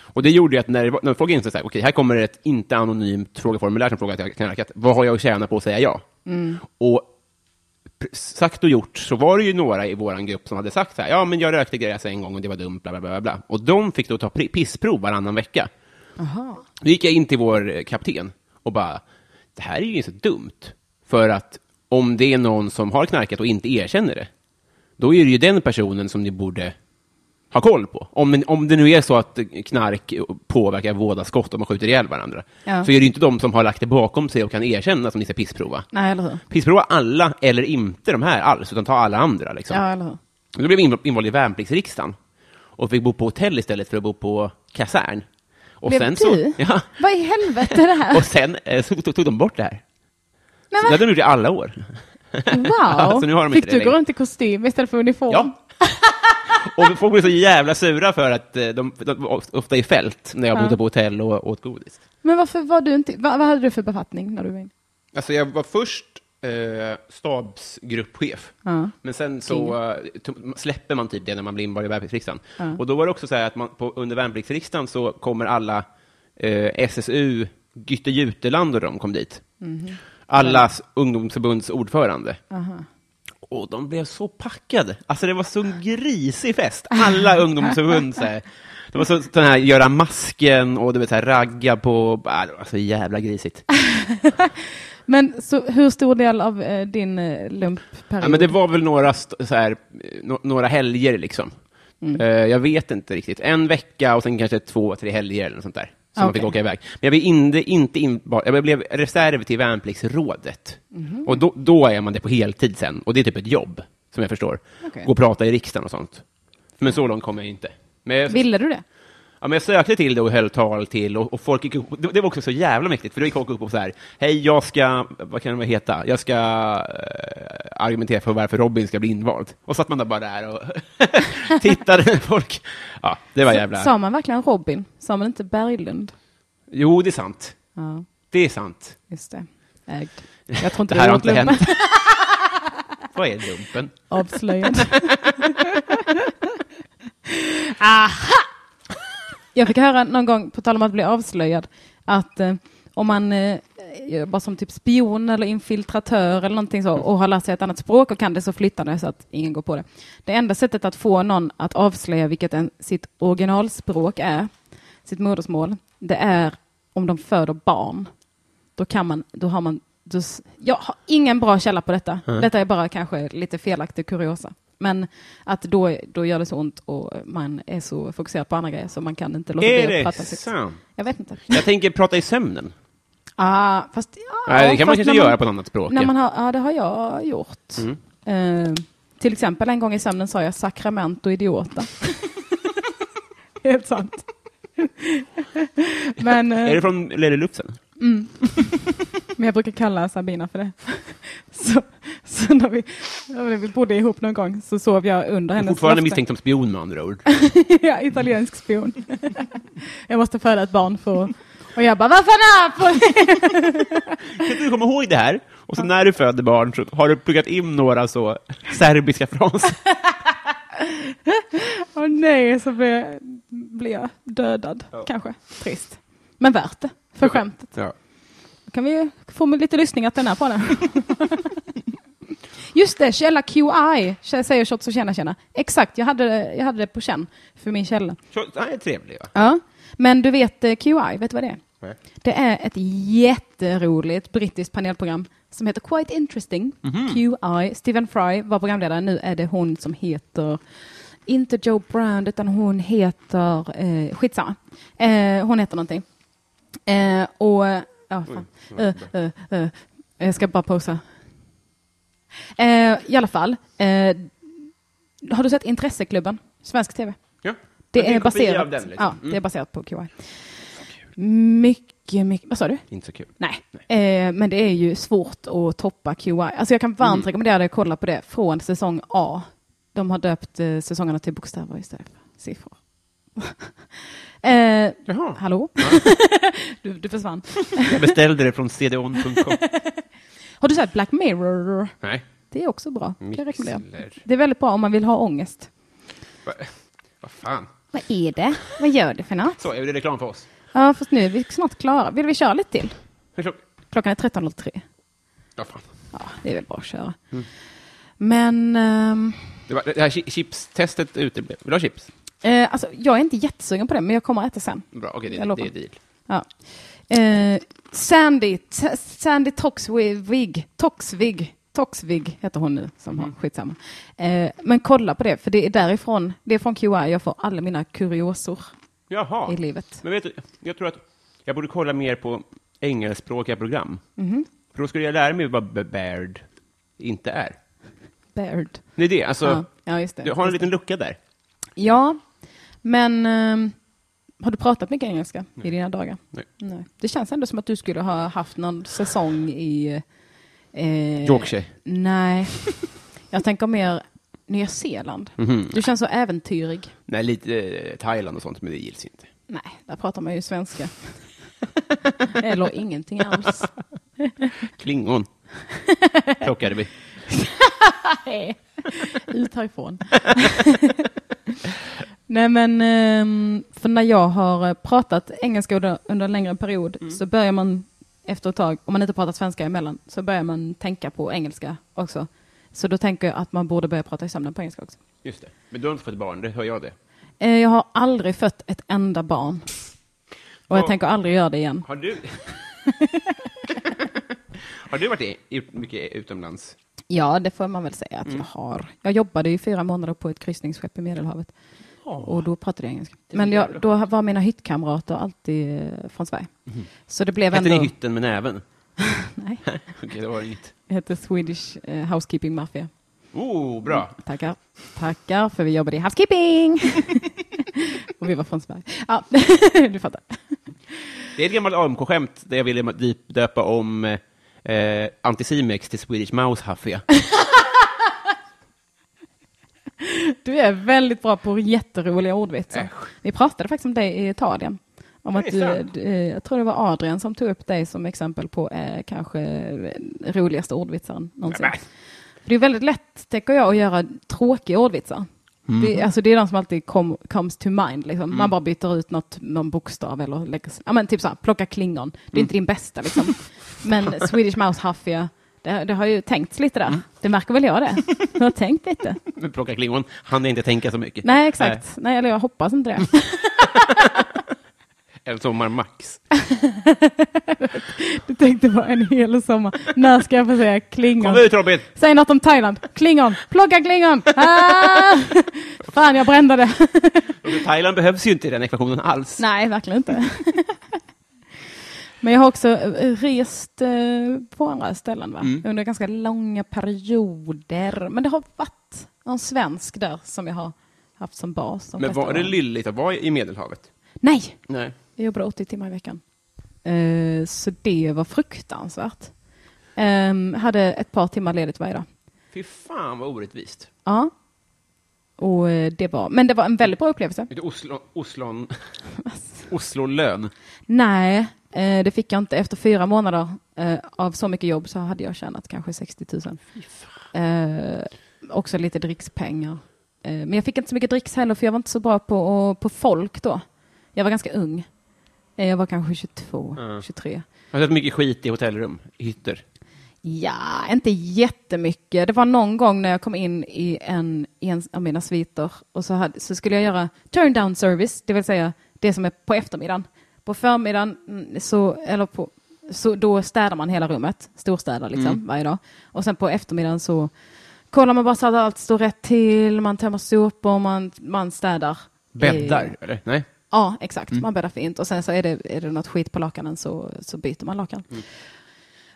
[SPEAKER 3] Och det gjorde ju att när, det var- när folk insåg så här, okej, här kommer ett inte anonymt frågeformulär som frågar att jag knarkat, vad har jag att tjäna på att säga ja? Och pr- sagt och gjort så var det ju några i vår grupp som hade sagt så här, ja men jag rökte gräs en gång och det var dumt, bla bla bla. bla, bla. Och de fick då ta pri- pissprov varannan vecka. Då gick jag in till vår eh, kapten och bara, det här är ju så dumt. För att om det är någon som har knarkat och inte erkänner det, då är det ju den personen som ni borde ha koll på. Om, om det nu är så att knark påverkar vådaskott om man skjuter ihjäl varandra,
[SPEAKER 1] Ja.
[SPEAKER 3] så är det ju inte de som har lagt det bakom sig och kan erkänna som ni ska pissprova.
[SPEAKER 1] Nej, eller hur?
[SPEAKER 3] Pissprova alla eller inte de här alls, utan ta alla andra. Liksom.
[SPEAKER 1] Ja, eller hur?
[SPEAKER 3] Då blev jag inv- invald i värnpliktsriksdagen och fick bo på hotell istället för att bo på kasern. Och
[SPEAKER 1] Blev
[SPEAKER 3] sen
[SPEAKER 1] du?
[SPEAKER 3] så, [LAUGHS] ja,
[SPEAKER 1] Vad i helvete är det här?
[SPEAKER 3] [LAUGHS] och sen eh, så tog, tog de bort det här.
[SPEAKER 1] Men
[SPEAKER 3] Det
[SPEAKER 1] vad-
[SPEAKER 3] hade de gjort i alla år.
[SPEAKER 1] Wow!
[SPEAKER 3] [LAUGHS] Ja, så nu har de inte
[SPEAKER 1] Fick
[SPEAKER 3] det
[SPEAKER 1] du gå
[SPEAKER 3] längre.
[SPEAKER 1] runt i kostym istället för uniform?
[SPEAKER 3] Ja. [LAUGHS] Och folk blev så jävla sura för att eh, de, de var ofta i fält när jag
[SPEAKER 1] Ja.
[SPEAKER 3] bodde på hotell och åt godis.
[SPEAKER 1] Men varför var du inte... Vad, vad hade du för befattning när du var in?
[SPEAKER 3] Alltså jag var först eh, stabsgruppchef.
[SPEAKER 1] Ja.
[SPEAKER 3] Men sen så eh, to- släpper man typ det när man blir invald i värnpliktsriksdagen. Och då var det också så här att man, på, under värnpliktsriksdagen så kommer alla eh, SSU, Gytte Juteland och de kom dit. Allas ungdomsförbunds ordförande. Och de blev så packade. Alltså det var så en grisig fest. Alla ungdomsförbund. Så här. Det var så, den här göra masken och du vet, så här, ragga på. Ah, det var så jävla grisigt.
[SPEAKER 1] Men så, hur stor del av eh, din eh, lumpperiod?
[SPEAKER 3] Ja, men det var väl några, st- så här, eh, no- några helger, liksom.
[SPEAKER 1] Mm.
[SPEAKER 3] Eh, jag vet inte riktigt. En vecka och sen kanske två, tre helger eller något sånt där. Som man
[SPEAKER 1] Okej.
[SPEAKER 3] fick åka iväg. Men jag blev, inte, inte in, bara- jag blev reserv till värnpliktsrådet.
[SPEAKER 1] Mhm.
[SPEAKER 3] Och då, då är man det på heltid sen. Och det är typ ett jobb, som jag förstår.
[SPEAKER 1] Okej.
[SPEAKER 3] Gå och prata i riksdagen och sånt. Men så långt kom jag inte. Men jag,
[SPEAKER 1] Ville du det?
[SPEAKER 3] Ja, men jag sökte till det och höll tal till och, och folk gick upp, det, det var också så jävla mäktigt, för då gick folk upp och så här, hej, jag ska, vad kan det heta, jag ska eh, argumentera för varför Robin ska bli invald. Och satt man där bara där och [LAUGHS] tittade på folk. Ja, det var jävla...
[SPEAKER 1] Sa man verkligen Robin? Sa man inte Berglund?
[SPEAKER 3] Jo, det är sant.
[SPEAKER 1] Ja,
[SPEAKER 3] Det är sant.
[SPEAKER 1] just det. Ägd. Jag tror inte
[SPEAKER 3] [LAUGHS] Det här
[SPEAKER 1] du
[SPEAKER 3] har
[SPEAKER 1] åt
[SPEAKER 3] inte
[SPEAKER 1] lumpen. [LAUGHS]
[SPEAKER 3] hänt. Vad är lumpen? [LAUGHS]
[SPEAKER 1] Avslöjad. Aha! Jag fick höra någon gång, på tal om att bli avslöjad, att eh, om man eh, jobbar som typ spion eller infiltratör eller någonting
[SPEAKER 3] Mm.
[SPEAKER 1] så och har lärt sig ett annat språk och kan det så flyttar det så att ingen går på det. Det enda sättet att få någon att avslöja vilket en, sitt originalspråk är, sitt modersmål, det är om de föder barn. Då kan man, då har man, då, s- jag har ingen bra källa på detta. Detta är bara kanske lite felaktig kuriosa. Men att då, då gör det så ont och man är så fokuserad på andra grejer så man kan inte låta
[SPEAKER 3] Är
[SPEAKER 1] bli att
[SPEAKER 3] det
[SPEAKER 1] prata sitt.
[SPEAKER 3] sant?
[SPEAKER 1] Jag vet inte. [LAUGHS]
[SPEAKER 3] Jag tänker prata i sömnen.
[SPEAKER 1] Ah, fast, ja,
[SPEAKER 3] Nej, det kan man
[SPEAKER 1] fast
[SPEAKER 3] kanske
[SPEAKER 1] när
[SPEAKER 3] göra på Mm. ett annat språk.
[SPEAKER 1] När
[SPEAKER 3] ja.
[SPEAKER 1] man har, ja, det har jag gjort. Eh, till exempel en gång i sömnen sa jag sakrament och idiota. [LAUGHS] Helt sant. [LAUGHS] Men, eh,
[SPEAKER 3] Är det från Lelilufsen?
[SPEAKER 1] men jag brukar kalla Sabina för det. [LAUGHS] Så, så när, vi, när vi bodde ihop någon gång så sov jag under hennes
[SPEAKER 3] Fortfarande
[SPEAKER 1] lofte.
[SPEAKER 3] misstänkt som spion med andra ord.
[SPEAKER 1] [LAUGHS] ja, italiensk spion. [LAUGHS] jag måste föda ett barn för att- Och jag bara, vad fan är det här för-" [LAUGHS]
[SPEAKER 3] Du kommer ihåg det här, och så när du föder barn så har du pluggat in några så serbiska fraser.
[SPEAKER 1] Åh nej, så blev jag, blev jag dödad, kanske. Trist. Men värt det, för skämtet.
[SPEAKER 3] Ja.
[SPEAKER 1] Då kan vi ju få med lite lyssningar till den [LAUGHS] här podden. Just det, källa QI säger Shots och tjena tjena. Exakt, jag hade, det- jag hade det på känn för min källa.
[SPEAKER 3] Så, han är trevlig, va?
[SPEAKER 1] Ja. Men du vet eh, QI, vet du vad det är?
[SPEAKER 3] Nej.
[SPEAKER 1] Det är ett jätteroligt brittiskt panelprogram som heter Quite Interesting. QI. Stephen Fry var programledare. Nu är det hon som heter, inte Joe Brand, utan hon heter, eh, skitsamma. Eh, hon heter någonting. Eh, och, ja fan. Eh, eh, eh. Jag ska bara pausa. Eh, I alla fall, eh, har du sett Intresseklubben? Svensk TV?
[SPEAKER 3] Ja.
[SPEAKER 1] Det
[SPEAKER 3] Men
[SPEAKER 1] är,
[SPEAKER 3] en kopia
[SPEAKER 1] baserat,
[SPEAKER 3] av den, liksom.
[SPEAKER 1] ja, det är baserat på QI. Mycket, mycket... Vad sa du?
[SPEAKER 3] Inte så kul.
[SPEAKER 1] Nej. Eh, men det är ju svårt att toppa QI. Alltså jag kan varmt
[SPEAKER 3] Mm.
[SPEAKER 1] rekommendera dig att kolla på det från säsong A. De har döpt eh, säsongerna till bokstäver istället för siffror. [LAUGHS] eh,
[SPEAKER 3] Jaha.
[SPEAKER 1] hallå? [LAUGHS] du, du försvann.
[SPEAKER 3] Jag beställde det från cdon.com.
[SPEAKER 1] Har du sett Black Mirror?
[SPEAKER 3] Nej.
[SPEAKER 1] Det är också bra. Kan jag rekommendera.
[SPEAKER 3] Mixler.
[SPEAKER 1] Det är väldigt bra om man vill ha ångest.
[SPEAKER 3] Va- Vad fan.
[SPEAKER 1] Vad är det? Vad gör du för något?
[SPEAKER 3] Så, är det reklam för oss?
[SPEAKER 1] Ja, fast nu är vi snart klara. Vill vi köra lite till?
[SPEAKER 3] Hur klock-
[SPEAKER 1] Klockan är 13.03.
[SPEAKER 3] Ja, fan.
[SPEAKER 1] Ja, det är väl bara att köra. Men ehm,
[SPEAKER 3] Det, var, det här chi- chipstestet uteblev. Vill du ha chips?
[SPEAKER 1] eh, alltså, jag är inte jättesugen på det, men jag kommer att äta sen.
[SPEAKER 3] Bra, okej,
[SPEAKER 1] Jag
[SPEAKER 3] det,
[SPEAKER 1] lovar.
[SPEAKER 3] det är deal.
[SPEAKER 1] Ja. Eh, Sandy, T- Sandy Toxwig, Toxvig, Toxvig heter hon nu, som har skitsamma. Eh, men kolla på det, för det är därifrån, det är från QI jag får alla mina kuriosor
[SPEAKER 3] Jaha.
[SPEAKER 1] i livet.
[SPEAKER 3] Men vet du, jag tror att jag borde kolla mer på engelskspråkiga program. För då skulle jag lära mig vad bebared inte är.
[SPEAKER 1] Baird.
[SPEAKER 3] Det är det, alltså.
[SPEAKER 1] Ja, ja, just det.
[SPEAKER 3] Du har en
[SPEAKER 1] Just
[SPEAKER 3] liten lucka där.
[SPEAKER 1] Ja, men ehm, har du pratat mycket engelska i dina dagar?
[SPEAKER 3] Nej.
[SPEAKER 1] Det känns ändå som att du skulle ha haft någon säsong i... Eh,
[SPEAKER 3] Yorkshire.
[SPEAKER 1] Nej, jag tänker mer Nya Zeeland.
[SPEAKER 3] Mhm.
[SPEAKER 1] Du känns så äventyrig.
[SPEAKER 3] Nej, lite eh, Thailand och sånt, men det gills inte.
[SPEAKER 1] Nej, där pratar man ju
[SPEAKER 3] [LAUGHS]
[SPEAKER 1] svenska. Eller ingenting alls.
[SPEAKER 3] Klingon plockade vi.
[SPEAKER 1] Nej, [LAUGHS] ut härifrån. [LAUGHS] Nej men, ehm, för när jag har eh, pratat engelska under, under en längre period så börjar man efter ett tag, om man inte pratar svenska emellan, så börjar man tänka på engelska också. Så då tänker jag att man borde börja prata i sömnen på engelska också.
[SPEAKER 3] Just det. Men du har inte fått barn, det hör jag det.
[SPEAKER 1] Eh, Jag har aldrig fött ett enda barn. Och jag
[SPEAKER 3] Ja.
[SPEAKER 1] tänker aldrig göra det igen.
[SPEAKER 3] Har du... har du varit i, i, mycket utomlands?
[SPEAKER 1] Ja, det får man väl säga att jag har. Jag jobbade i fyra månader på ett kryssningsskepp i Medelhavet. Och då pratade jag engelska. Men jag, då var mina hyttkamrater alltid eh, från Sverige. Så det blev
[SPEAKER 3] Hette ni
[SPEAKER 1] ändå...
[SPEAKER 3] hytten med näven?
[SPEAKER 1] [LAUGHS]
[SPEAKER 3] [LAUGHS]
[SPEAKER 1] Nej,
[SPEAKER 3] Okej, det var inget.
[SPEAKER 1] det hette Swedish eh, Housekeeping Mafia.
[SPEAKER 3] Oh, bra.
[SPEAKER 1] Tackar. Tackar, för vi jobbade i housekeeping. [LAUGHS] och vi var från Sverige. Ja, [LAUGHS] du fattar.
[SPEAKER 3] Det är ett gammalt AMK-skämt där jag ville dip- döpa om eh, eh, Anticimex till Swedish Mouse
[SPEAKER 1] [LAUGHS]
[SPEAKER 3] Huffia.
[SPEAKER 1] Du är väldigt bra på jätteroliga ordvitsar.
[SPEAKER 3] Äsch.
[SPEAKER 1] Vi pratade faktiskt om dig i Italien. Om att
[SPEAKER 3] Det är
[SPEAKER 1] du,
[SPEAKER 3] sant.
[SPEAKER 1] du, eh, jag tror det var Adrian som tog upp dig som exempel på eh, kanske eh, roligaste ordvitsaren någonsin.
[SPEAKER 3] Nämen.
[SPEAKER 1] För det är väldigt lätt, tänker jag, att göra tråkiga ordvitsar.
[SPEAKER 3] Mhm.
[SPEAKER 1] Det, alltså det är de som alltid kom, comes to mind. Liksom.
[SPEAKER 3] Mm.
[SPEAKER 1] Man bara byter ut något, någon bokstav eller lägger, ja, men typ så här, plocka klingon. Det är
[SPEAKER 3] Mm.
[SPEAKER 1] inte din bästa liksom. Men Swedish Mouse Huffia, det, det har ju tänkts lite
[SPEAKER 3] Mm.
[SPEAKER 1] där. Det märker väl jag det. Jag har tänkt lite.
[SPEAKER 3] Men plocka klingon, han är inte tänka så mycket.
[SPEAKER 1] Nej, exakt. Nej, eller jag hoppas inte det. [LAUGHS]
[SPEAKER 3] Eh, En sommar max.
[SPEAKER 1] Du tänkte bara en hel sommar. När ska jag få säga klingon?
[SPEAKER 3] Kom ut Robin!
[SPEAKER 1] Säg något om Thailand. Klingon. Plocka
[SPEAKER 3] [LAUGHS]
[SPEAKER 1] klingon. Ah! Fan, jag brände det. [LAUGHS]
[SPEAKER 3] Thailand behövs ju inte i den ekvationen alls.
[SPEAKER 1] Nej, verkligen inte. Men jag har också eh, rest eh, på andra ställen va?
[SPEAKER 3] Mm.
[SPEAKER 1] under ganska långa perioder. Men det har varit någon svensk där som jag har haft som bas. de
[SPEAKER 3] Men
[SPEAKER 1] flesta
[SPEAKER 3] var det
[SPEAKER 1] åren.
[SPEAKER 3] lylligt att vara i Medelhavet?
[SPEAKER 1] Nej,
[SPEAKER 3] Nej.
[SPEAKER 1] jag jobbar 80 timmar i veckan. Eh, så det var fruktansvärt. Ehm, hade ett par timmar ledigt varje dag.
[SPEAKER 3] Fy fan vad orättvist.
[SPEAKER 1] Ja. Och eh, det var, men det var en väldigt bra upplevelse.
[SPEAKER 3] Vet du, Oslo, Oslon...
[SPEAKER 1] [LAUGHS]
[SPEAKER 3] Oslolön.
[SPEAKER 1] Nej, eh, det fick jag inte. Efter fyra månader eh, av så mycket jobb så hade jag tjänat kanske 60 000. Eh, också lite drickspengar. Eh, men jag fick inte så mycket dricks heller för jag var inte så bra på, på folk då. Jag var ganska ung. Eh, jag var kanske 22,
[SPEAKER 3] Mm.
[SPEAKER 1] 23.
[SPEAKER 3] Jag har sett mycket skit i hotellrum, i hytter.
[SPEAKER 1] Ja, inte jättemycket. Det var någon gång när jag kom in i en, i en av mina sviter och så, hade, så skulle jag göra turn down service, det vill säga det som är på eftermiddagen. På förmiddagen, mm, så, eller på, så då städar man hela rummet, storstädar liksom varje dag. Och sen på eftermiddagen så kollar man bara så att allt står rätt till, man tömmer sopor, man, man städar.
[SPEAKER 3] Bäddar,
[SPEAKER 1] Eh,
[SPEAKER 3] eller? Nej.
[SPEAKER 1] Ja, exakt. Man bäddar fint och sen så är det, är det något skit på lakanen så, så byter man lakan.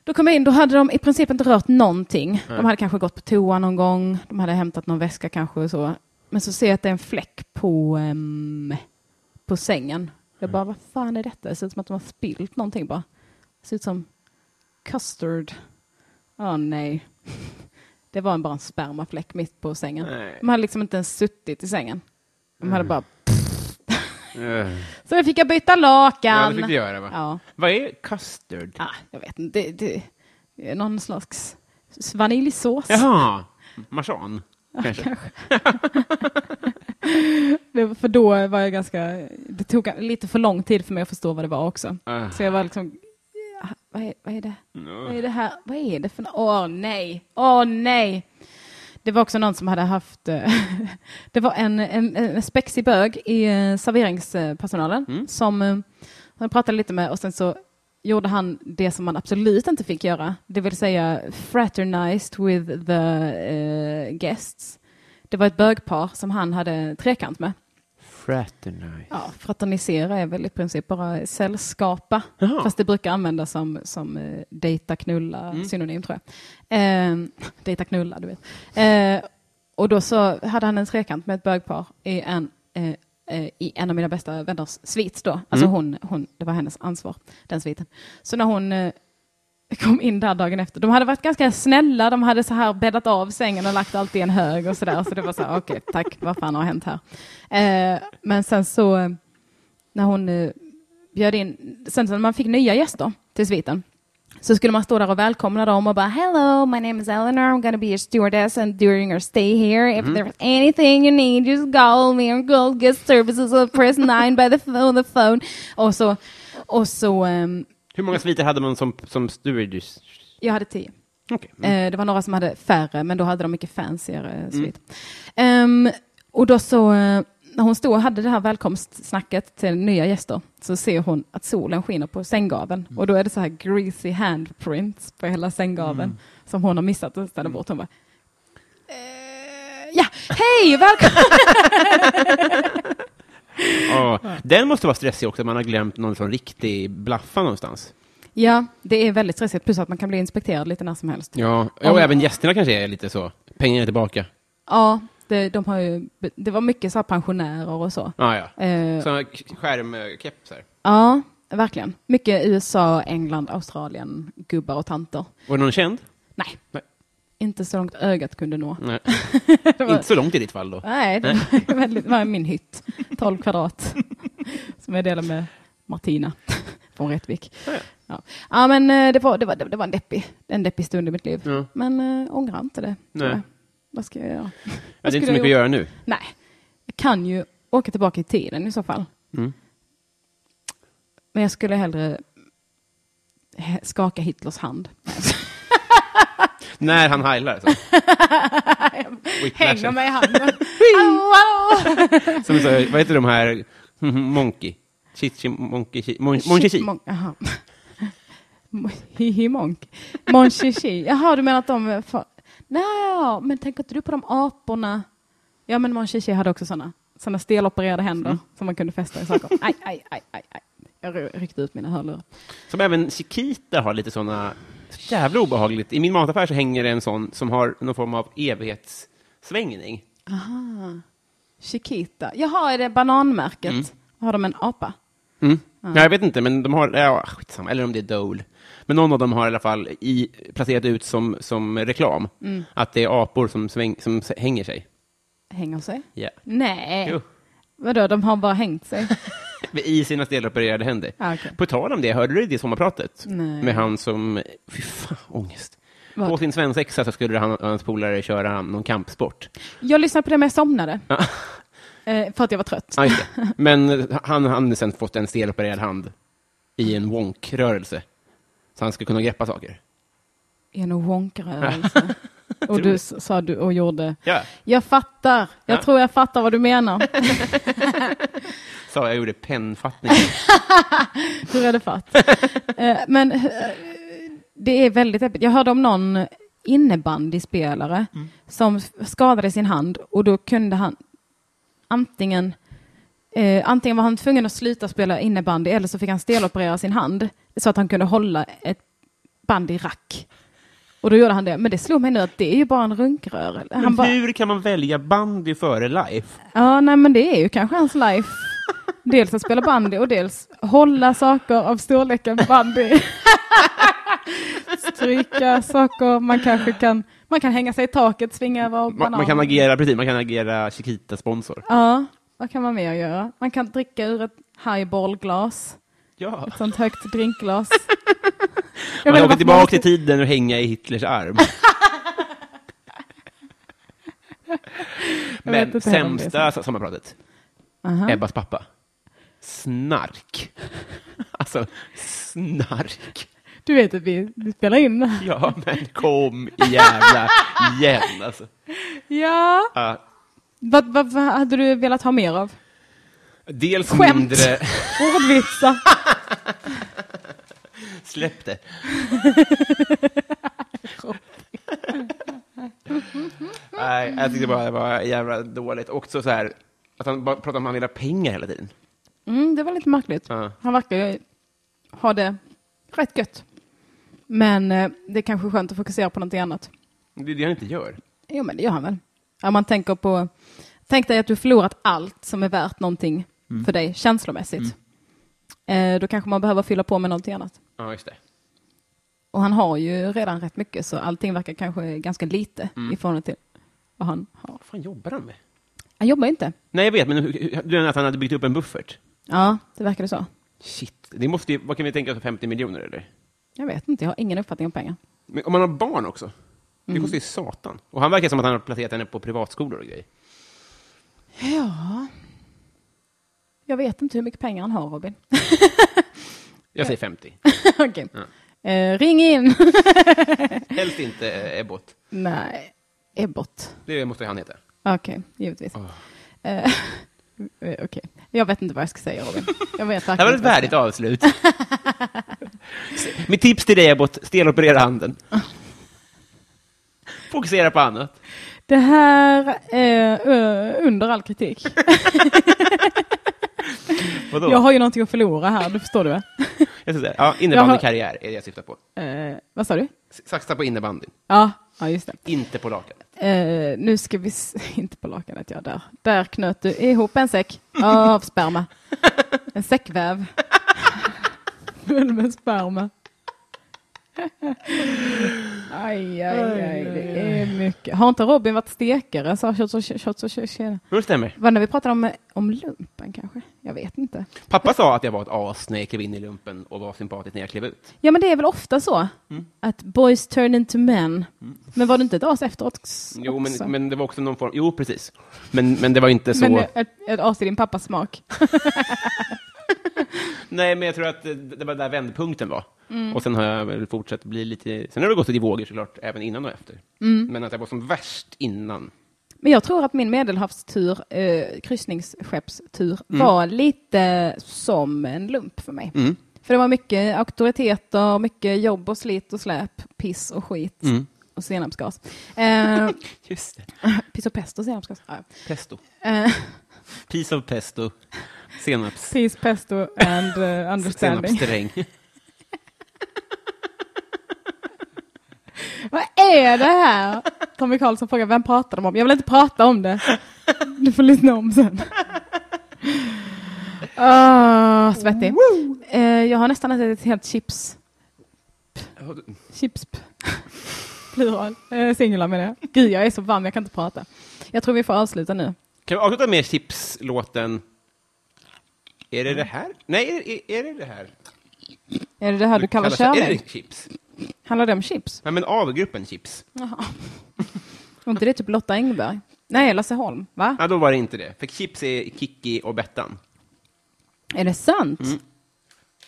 [SPEAKER 1] Då kom jag in, då hade de i princip inte rört någonting. De hade kanske gått på toa någon gång, de hade hämtat någon väska kanske och så. Men så ser jag att det är en fläck på, ehm, på sängen. Jag bara, vad fan är detta? Det ser ut som att de har spillt någonting bara. Det ser ut som custard. Åh nej. [LAUGHS] Det var en- bara en spermafläck mitt på sängen.
[SPEAKER 3] Nej.
[SPEAKER 1] De hade liksom inte ens suttit i sängen. De hade bara
[SPEAKER 3] Eh,
[SPEAKER 1] så då fick jag byta
[SPEAKER 3] Ja,
[SPEAKER 1] lakan.
[SPEAKER 3] det fick du göra, va?
[SPEAKER 1] Ja.
[SPEAKER 3] Vad är custard?
[SPEAKER 1] Ah, jag vet inte. Det, det, det är någon slags s- vaniljsås.
[SPEAKER 3] Jaha, marsan, kanske.
[SPEAKER 1] Det, för då var jag ganska... Det tog lite för lång tid för mig att förstå vad det var också.
[SPEAKER 3] Ah.
[SPEAKER 1] Så jag var liksom... "Ah, Vad är, vad är det? Vad är det här? Vad är det för nå- Åh nej! Åh nej! Det var också någon som hade haft... eh, [LAUGHS] det var en, en, en spexig bög i eh, serveringspersonalen
[SPEAKER 3] Mm.
[SPEAKER 1] som eh, han pratade lite med och sen så gjorde han det som man absolut inte fick göra. Det vill säga fraternized with the eh, guests. Det var ett bögpar som han hade trekant med.
[SPEAKER 3] Fraternize.
[SPEAKER 1] Ja, fraternisera är väl i princip bara sällskapa.
[SPEAKER 3] Jaha.
[SPEAKER 1] Fast det brukar användas som, som eh, dejta, knulla,
[SPEAKER 3] Mm.
[SPEAKER 1] synonym tror jag. Eh, dejta, knulla, du vet. Eh, och då så hade han en trekant med ett bögpar i en, eh, eh, i en av mina bästa vänners svit då. Alltså hon, hon, det var hennes ansvar, den sviten. Så när hon eh, kom in där dagen efter. De hade varit ganska snälla, de hade så här bäddat av sängen och lagt allt i en hög och sådär. Så det var så här, okej, tack, vad fan har hänt här? Eh, men sen så, eh, när hon eh, bjöd in, sen när man fick nya gäster till sviten, så skulle man stå där och välkomna dem och bara Hello, my name is Eleanor, I'm gonna be your stewardess and during your stay here, if there's anything you need just call me or call guest services or press nine by the phone, the phone. Och så, och så, ehm,
[SPEAKER 3] Hur många sviter hade man som, som stewardess?
[SPEAKER 1] jag hade tio.
[SPEAKER 3] Okej. mm.
[SPEAKER 1] Eh, Det var några som hade färre, men då hade de mycket fancyare svit. Ehm, och då så, eh, när hon stod och hade det här välkomstsnacket till nya gäster, så ser hon att solen skiner på sänggaveln.
[SPEAKER 3] Mm.
[SPEAKER 1] Och då är det så här greasy handprints på hela sänggaveln
[SPEAKER 3] Mm.
[SPEAKER 1] som hon har missat och ställer bort. Hon bara, eh, ja, hej, välkommen!
[SPEAKER 3] Ja. Den måste vara stressig också, att man har glömt någon sån riktig blaffa någonstans.
[SPEAKER 1] [LAUGHS] ja, det är väldigt stressigt, plus att man kan bli inspekterad lite när som helst.
[SPEAKER 3] Ja, och
[SPEAKER 1] Om-
[SPEAKER 3] även gästerna kanske är lite så. Pengarna är tillbaka.
[SPEAKER 1] Ja, det, de har ju, det var mycket så här pensionärer och så.
[SPEAKER 3] Ah, ja.
[SPEAKER 1] Eh,
[SPEAKER 3] Såna k- skärmkepsar.
[SPEAKER 1] Ja, verkligen. Mycket USA, England, Australien, gubbar och tanter.
[SPEAKER 3] Var det någon känd?
[SPEAKER 1] Nej.
[SPEAKER 3] Nej.
[SPEAKER 1] Inte så långt ögat kunde nå.
[SPEAKER 3] Nej.
[SPEAKER 1] Det var,
[SPEAKER 3] [LAUGHS] Inte så långt i ditt fall då.
[SPEAKER 1] nej, det var, [LAUGHS] väldigt, det var min hytt. 12
[SPEAKER 3] [LAUGHS]
[SPEAKER 1] kvadrat. Som jag delar med Martina [LAUGHS] från Rättvik.
[SPEAKER 3] Ja, ja.
[SPEAKER 1] Ja. ja, men eh, det var, det var, det var en, deppig, en deppig stund i mitt liv.
[SPEAKER 3] Ja.
[SPEAKER 1] Men äh, ångrar inte det. tror
[SPEAKER 3] Nej.
[SPEAKER 1] jag. Vad ska jag göra?
[SPEAKER 3] Ja, det är
[SPEAKER 1] skulle
[SPEAKER 3] inte så mycket
[SPEAKER 1] jag
[SPEAKER 3] att göra nu.
[SPEAKER 1] Nej, kan ju åka tillbaka i tiden i så fall.
[SPEAKER 3] Mm.
[SPEAKER 1] Men jag skulle hellre he- skaka Hitlers hand. [LAUGHS]
[SPEAKER 3] När han heilar. [LAUGHS] Så.
[SPEAKER 1] Hänger
[SPEAKER 3] Whiplashen.
[SPEAKER 1] mig i handen. Au, au.
[SPEAKER 3] Som så, vad heter de här? [LAUGHS] Monkey. Chichi, monkey, chi, [LAUGHS] mon, Monchichi.
[SPEAKER 1] Mon- Jaha. Mon- Hihi Monk. Monchichi. Jaha, du menar att de... är För... Nej, men tänker inte du på de aporna? Ja, men Monchichi hade också sådana. Sådana stelopererade händer
[SPEAKER 3] Mm.
[SPEAKER 1] som man kunde fästa i saker. Aj, aj, aj, aj, aj. Jag ry- ryckte ut mina hörlurar.
[SPEAKER 3] Som även Chiquita har lite sådana, så jävla obehagligt. I min mataffär så hänger det en sån som har någon form av evighetssvängning.
[SPEAKER 1] Aha. Chiquita. Jaha, är det bananmärket? Har de en apa?
[SPEAKER 3] Mm. Ja, jag vet inte, men de har, ja, skitsamma, eller om det är Dole. Men någon av dem har i alla fall i, placerat ut som, som reklam
[SPEAKER 1] Mm.
[SPEAKER 3] att det är apor som, sväng, som s- hänger sig.
[SPEAKER 1] Hänger sig?
[SPEAKER 3] Ja. [LAUGHS]
[SPEAKER 1] Nej.
[SPEAKER 3] Jo.
[SPEAKER 1] Vadå, de har bara hängt sig?
[SPEAKER 3] I sina stelopererade händer.
[SPEAKER 1] Ah, okej.
[SPEAKER 3] På tal om det, hörde du det i sommarpratet?
[SPEAKER 1] Nej.
[SPEAKER 3] Med han som, fy fan, ångest.
[SPEAKER 1] Vad?
[SPEAKER 3] På sin svensexa så skulle han och hans polare köra någon kampsport.
[SPEAKER 1] Jag lyssnade på det men jag somnade.
[SPEAKER 3] Ja.
[SPEAKER 1] Eh, för att jag var trött.
[SPEAKER 3] Ja, just det. Men han hade sen fått en stelopererad hand i en wonk-rörelse. Så han skulle kunna greppa saker.
[SPEAKER 1] är en
[SPEAKER 3] [LAUGHS]
[SPEAKER 1] wonkrörelse. och du s- sa du och gjorde.
[SPEAKER 3] Ja,
[SPEAKER 1] Jag fattar. Jag
[SPEAKER 3] Ja.
[SPEAKER 1] tror jag fattar vad du menar.
[SPEAKER 3] sa jag gjorde pennfattning.
[SPEAKER 1] [LAUGHS] Hur är det fatt? Eh, Men eh, det är väldigt öppet. Jag hörde om någon innebandyspelare
[SPEAKER 3] Mm.
[SPEAKER 1] som skadade sin hand och då kunde han antingen eh, antingen var han tvungen att sluta spela innebandy eller så fick han steloperera sin hand så att han kunde hålla ett band i rack. Och då gjorde han det. Men det slog mig nu att det är ju bara en runkrörelse. [LAUGHS]
[SPEAKER 3] Men
[SPEAKER 1] Han bara-
[SPEAKER 3] hur kan man välja bandy före life?
[SPEAKER 1] Ja, nej men det är ju kanske hans life. Dels att spela bandy och dels hålla saker av storleken bandy. Stryka saker, man kanske kan, man kan hänga sig i taket, svinga över
[SPEAKER 3] Man, man kan
[SPEAKER 1] bananer.
[SPEAKER 3] agera, precis, man kan agera Chiquita-sponsor.
[SPEAKER 1] Ja, vad kan man mer göra? Man kan dricka ur ett highballglas,
[SPEAKER 3] Ja.
[SPEAKER 1] ett sånt högt drinkglas. Jag
[SPEAKER 3] Man
[SPEAKER 1] menar,
[SPEAKER 3] kan
[SPEAKER 1] varför
[SPEAKER 3] åka tillbaka i
[SPEAKER 1] måste-
[SPEAKER 3] tiden och hänga i Hitlers
[SPEAKER 1] [LAUGHS]
[SPEAKER 3] arm.
[SPEAKER 1] Jag vet
[SPEAKER 3] Men
[SPEAKER 1] inte heller om det är
[SPEAKER 3] sämsta sommarpratet,
[SPEAKER 1] Aha.
[SPEAKER 3] Ebbas pappa. Snark. Alltså, snark.
[SPEAKER 1] Du vet att vi, vi spelar in. det här.
[SPEAKER 3] [LAUGHS] Ja, men kom jävla igen alltså.
[SPEAKER 1] Ja,
[SPEAKER 3] Ja,
[SPEAKER 1] vad, vad, vad hade du velat ha mer av?
[SPEAKER 3] dels
[SPEAKER 1] Skämt.
[SPEAKER 3] mindre...
[SPEAKER 1] Ordvitsar.
[SPEAKER 3] [LAUGHS] Släpp det. [LAUGHS] Nej, jag tyckte bara det var jävla dåligt. Också så här, att han bara pratade om att han ville ha pengar hela tiden.
[SPEAKER 1] Mm, det var lite märkligt.
[SPEAKER 3] Ja.
[SPEAKER 1] Han verkar ju ha det rätt gött. Men eh, det är kanske skönt att fokusera på någonting annat.
[SPEAKER 3] Det är det han inte gör.
[SPEAKER 1] Jo, men det gör han väl. Ja, man tänker på... Tänk dig att du förlorat allt som är värt någonting för dig känslomässigt. Eh, då kanske man behöver fylla på med någonting annat.
[SPEAKER 3] Ja, just det.
[SPEAKER 1] Och han har ju redan rätt mycket, så allting verkar kanske ganska lite i förhållande till vad han har.
[SPEAKER 3] Vad fan jobbar han med?
[SPEAKER 1] Han jobbar ju inte.
[SPEAKER 3] Nej, jag vet, men hur- hur- du menar att han hade byggt upp en buffert?
[SPEAKER 1] Ja, det verkar det så.
[SPEAKER 3] Shit, det måste ju, vad kan vi tänka oss, 50 miljoner eller?
[SPEAKER 1] Jag vet inte, jag har ingen uppfattning om pengar.
[SPEAKER 3] Men om man har barn också? Det kostar ju satan. Och han verkar som att han har placerat henne på privatskolor och grejer.
[SPEAKER 1] Ja. Jag vet inte hur mycket pengar han har, Robin.
[SPEAKER 3] Jag säger 50.
[SPEAKER 1] Okej. Eh, ring in! [LAUGHS]
[SPEAKER 3] Helst inte eh, Ebbot.
[SPEAKER 1] Nej, Ebbot.
[SPEAKER 3] Det måste han heta.
[SPEAKER 1] Okej, givetvis.
[SPEAKER 3] Ah.
[SPEAKER 1] Eh, [LAUGHS] eh, Okej, jag vet inte vad jag ska säga, Robin. Jag vet
[SPEAKER 3] [LAUGHS] Det här var ett värdigt avslut. Mitt tips till dig, Abbot, steloperera handen. Fokusera på annat.
[SPEAKER 1] Det här är eh, under all kritik.
[SPEAKER 3] Vadå?
[SPEAKER 1] Jag har ju någonting att förlora här, du förstår du va? [LAUGHS]
[SPEAKER 3] Jag ska säga, ja, innebandykarriär är det jag syftar på.
[SPEAKER 1] Eh, vad sa du?
[SPEAKER 3] S- Satsa på innebandyn,
[SPEAKER 1] Ja, ja just det.
[SPEAKER 3] inte på lakan.
[SPEAKER 1] Eh, nu ska vi... S- [LAUGHS] inte på lakanet, ja där. Där knöt du ihop en säck av sperma. [LAUGHS] En säckväv. Full med sperma. Aj, aj, aj, det är mycket. Har inte Robin varit stekare? Så, kört, så, kört, så, kört, så.
[SPEAKER 3] Jo, det stämmer.
[SPEAKER 1] Var det när vi pratade om, om lumpen kanske? Jag vet inte.
[SPEAKER 3] Pappa sa att jag var ett as när jag klev in i lumpen och var sympatisk när jag klev ut.
[SPEAKER 1] Ja, men det är väl ofta så?
[SPEAKER 3] Mm.
[SPEAKER 1] Att boys turn into men. Men var du inte ett as efteråt också?
[SPEAKER 3] Jo, men, men det var också någon form... Jo, precis. Men, men det var inte så...
[SPEAKER 1] Men ett, ett as i din pappas smak?
[SPEAKER 3] Nej, men jag tror att det- det var där vändpunkten var.
[SPEAKER 1] Mm.
[SPEAKER 3] Och sen har jag väl fortsatt bli lite... Sen har det gått i vågor såklart, även innan och efter.
[SPEAKER 1] Mm.
[SPEAKER 3] Men att jag var som värst innan.
[SPEAKER 1] Men jag tror att min medelhavstur, eh, kryssningsskeppstur, var lite som en lump för mig. För det var mycket auktoriteter, mycket jobb och slit och släp, piss och skit
[SPEAKER 3] Mm.
[SPEAKER 1] och senapsgas. Eh, [LAUGHS]
[SPEAKER 3] Just det.
[SPEAKER 1] piss och pest och senapsgas. Ja.
[SPEAKER 3] Pesto.
[SPEAKER 1] Eh,
[SPEAKER 3] Piece of pesto. Senaps...
[SPEAKER 1] piss, pest och and, eh, understanding.
[SPEAKER 3] Senapssträng.
[SPEAKER 1] Vad är det här? Tommy Karlsson frågar, vem pratar de om? Jag vill inte prata om det. Du får lyssna om sen. Åh, Ah, svettig. Eh, jag har nästan ätit ett helt chips. Chips. Plural. Eh, singular menar jag. Gud, jag är så varm, jag kan inte prata. Jag tror vi får avsluta nu.
[SPEAKER 3] Kan vi avsluta med chipslåten? Är det det här? Nej, är, är, är det det här?
[SPEAKER 1] Är det det här du kallar
[SPEAKER 3] Kallas- Är
[SPEAKER 1] kärlek?
[SPEAKER 3] det chips?
[SPEAKER 1] Handlar det om chips?
[SPEAKER 3] Ja, men av gruppen chips.
[SPEAKER 1] Var inte det typ Lotta Engberg? Nej, Lasse Holm, va?
[SPEAKER 3] Ja, då var det inte det. För chips är Kikki och Bettan.
[SPEAKER 1] Är det sant?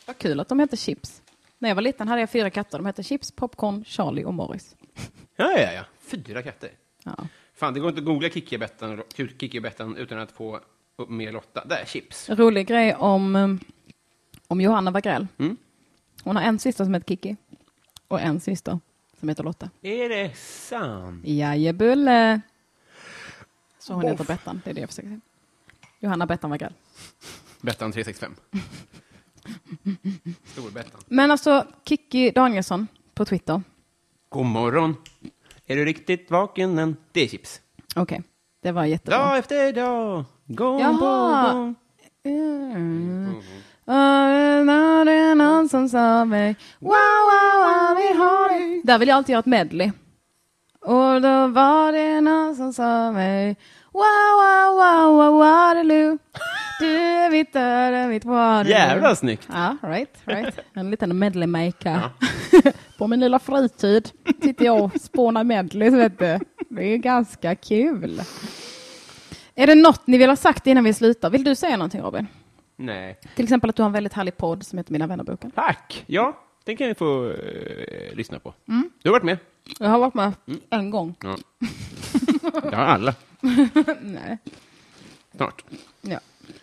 [SPEAKER 1] Vad kul att de heter Chips. När jag var liten hade jag fyra katter. De hette Chips, Popcorn, Charlie och Morris.
[SPEAKER 3] Ja, ja, ja. Fyra katter.
[SPEAKER 1] Ja.
[SPEAKER 3] Fan, det går inte att googla Kikki och Bettan, Kikki och Bettan utan att få upp med Lotta. Där, chips.
[SPEAKER 1] Rolig grej om, eh, om Johanna Wagrell.
[SPEAKER 3] Mm.
[SPEAKER 1] Hon har en syster som heter Kiki och en syster som heter Lotta.
[SPEAKER 3] Är det sant?
[SPEAKER 1] Jajebulle! Så hon heter Bettan, det är det jag försöker säga. Johanna Bettan Wagrell.
[SPEAKER 3] Bettan 365. [LAUGHS] Stor-Bettan.
[SPEAKER 1] Men alltså, Kiki Danielsson på Twitter.
[SPEAKER 3] God morgon. Är du riktigt vaken än? Det är chips.
[SPEAKER 1] Okej, det var jättebra.
[SPEAKER 3] Dag efter dag. Gång
[SPEAKER 1] Jaha.
[SPEAKER 3] på gång.
[SPEAKER 1] Mm. Ah, när det är någon som sa mig Wow, wow, wow, vi har det Där vill jag alltid göra ett medley. Och då var det någon som sa mig Wow, wow, wow, wow, Waterloo Du är mitt öde, mitt Waterloo
[SPEAKER 3] Jävla snyggt.
[SPEAKER 1] Ja, right, right. En liten medleymaker. [LAUGHS] På min lilla fritid sitter jag och spånar medleys, vet du. Det är ju ganska kul. Är det något ni vill ha sagt innan vi slutar? Vill du säga någonting, Robin?
[SPEAKER 3] Nej.
[SPEAKER 1] Till exempel att du har en väldigt härlig podd som heter Mina vännerboken.
[SPEAKER 3] Tack. Ja, den kan vi få eh, lyssna på.
[SPEAKER 1] Mm.
[SPEAKER 3] Du har varit med.
[SPEAKER 1] Jag har varit med en gång. [LAUGHS]
[SPEAKER 3] Ja. Det har alla.
[SPEAKER 1] Nej.
[SPEAKER 3] Snart.
[SPEAKER 1] Ja.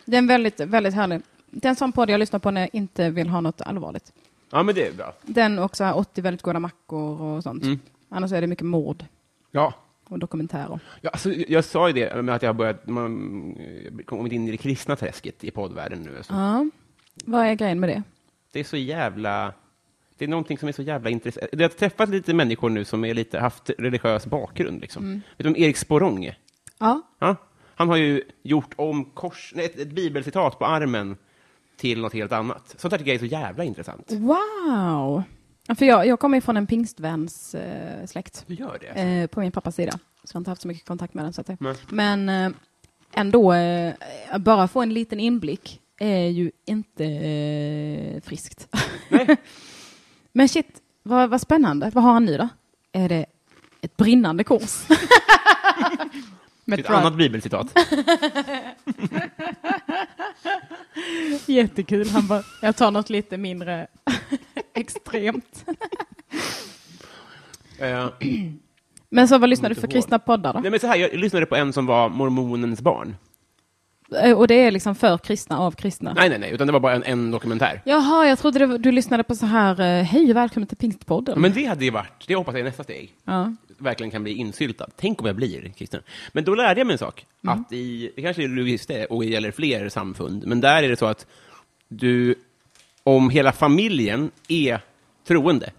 [SPEAKER 1] Det är en väldigt, väldigt härlig. Det är en sån podd jag lyssnar på när jag inte vill ha något allvarligt.
[SPEAKER 3] Ja, men det är bra.
[SPEAKER 1] Den och så här 80 väldigt goda mackor och sånt. Annars är det mycket mord
[SPEAKER 3] Ja.
[SPEAKER 1] och dokumentärer.
[SPEAKER 3] Ja, alltså, jag sa ju det, med att jag har börjat, man, eh, kommit in i det kristna träsket i poddvärlden nu. Alltså.
[SPEAKER 1] Ja. Vad är grejen med det?
[SPEAKER 3] Det är så jävla... Det är någonting som är så jävla intressant. Jag har träffat lite människor nu som är lite, haft religiös bakgrund. Liksom.
[SPEAKER 1] Mm.
[SPEAKER 3] Vet du om Erik Sporonge?
[SPEAKER 1] Ja.
[SPEAKER 3] Ja? Han har ju gjort om kors, nej, ett, ett bibelcitat på armen till något helt annat. Sånt här tycker jag är så jävla intressant.
[SPEAKER 1] Mm. Wow! Ja, För jag, jag kommer ju från en pingstväns eh, släkt
[SPEAKER 3] Du gör det?
[SPEAKER 1] eh, på min pappas sida. Så jag har inte haft så mycket kontakt med den. Så att det.
[SPEAKER 3] Nej.
[SPEAKER 1] Men eh, ändå, eh, bara få en liten inblick är ju inte eh, friskt. [LAUGHS] Men shit, vad, vad spännande. Vad har han nu då? Är det ett brinnande kors? [LAUGHS] Med
[SPEAKER 3] Ett
[SPEAKER 1] drive. [LAUGHS]
[SPEAKER 3] annat bibelcitat.
[SPEAKER 1] Jättekul. Han bara, jag tar något lite mindre
[SPEAKER 3] [LAUGHS]
[SPEAKER 1] [LAUGHS] extremt.
[SPEAKER 3] Eh,
[SPEAKER 1] Men så vad lyssnar du för
[SPEAKER 3] ihåg.
[SPEAKER 1] kristna poddar då?
[SPEAKER 3] nej, men så här, jag lyssnade på en som var mormonens barn.
[SPEAKER 1] Eh, Och det är liksom för kristna, av kristna?
[SPEAKER 3] Nej, nej, nej, utan det var bara en, en dokumentär.
[SPEAKER 1] Jaha, jag trodde det var, du lyssnade på så här, eh, hej och välkommen till Pingstpodden.
[SPEAKER 3] Men det hade ju varit, det hoppas jag är nästa steg.
[SPEAKER 1] ja.
[SPEAKER 3] verkligen kan bli insyltad. Tänk om jag blir kristen. Men då lärde jag mig en sak.
[SPEAKER 1] Mm.
[SPEAKER 3] Att i, det kanske är Lugiste och det gäller fler samfund, men där är det så att du, om hela familjen är troende,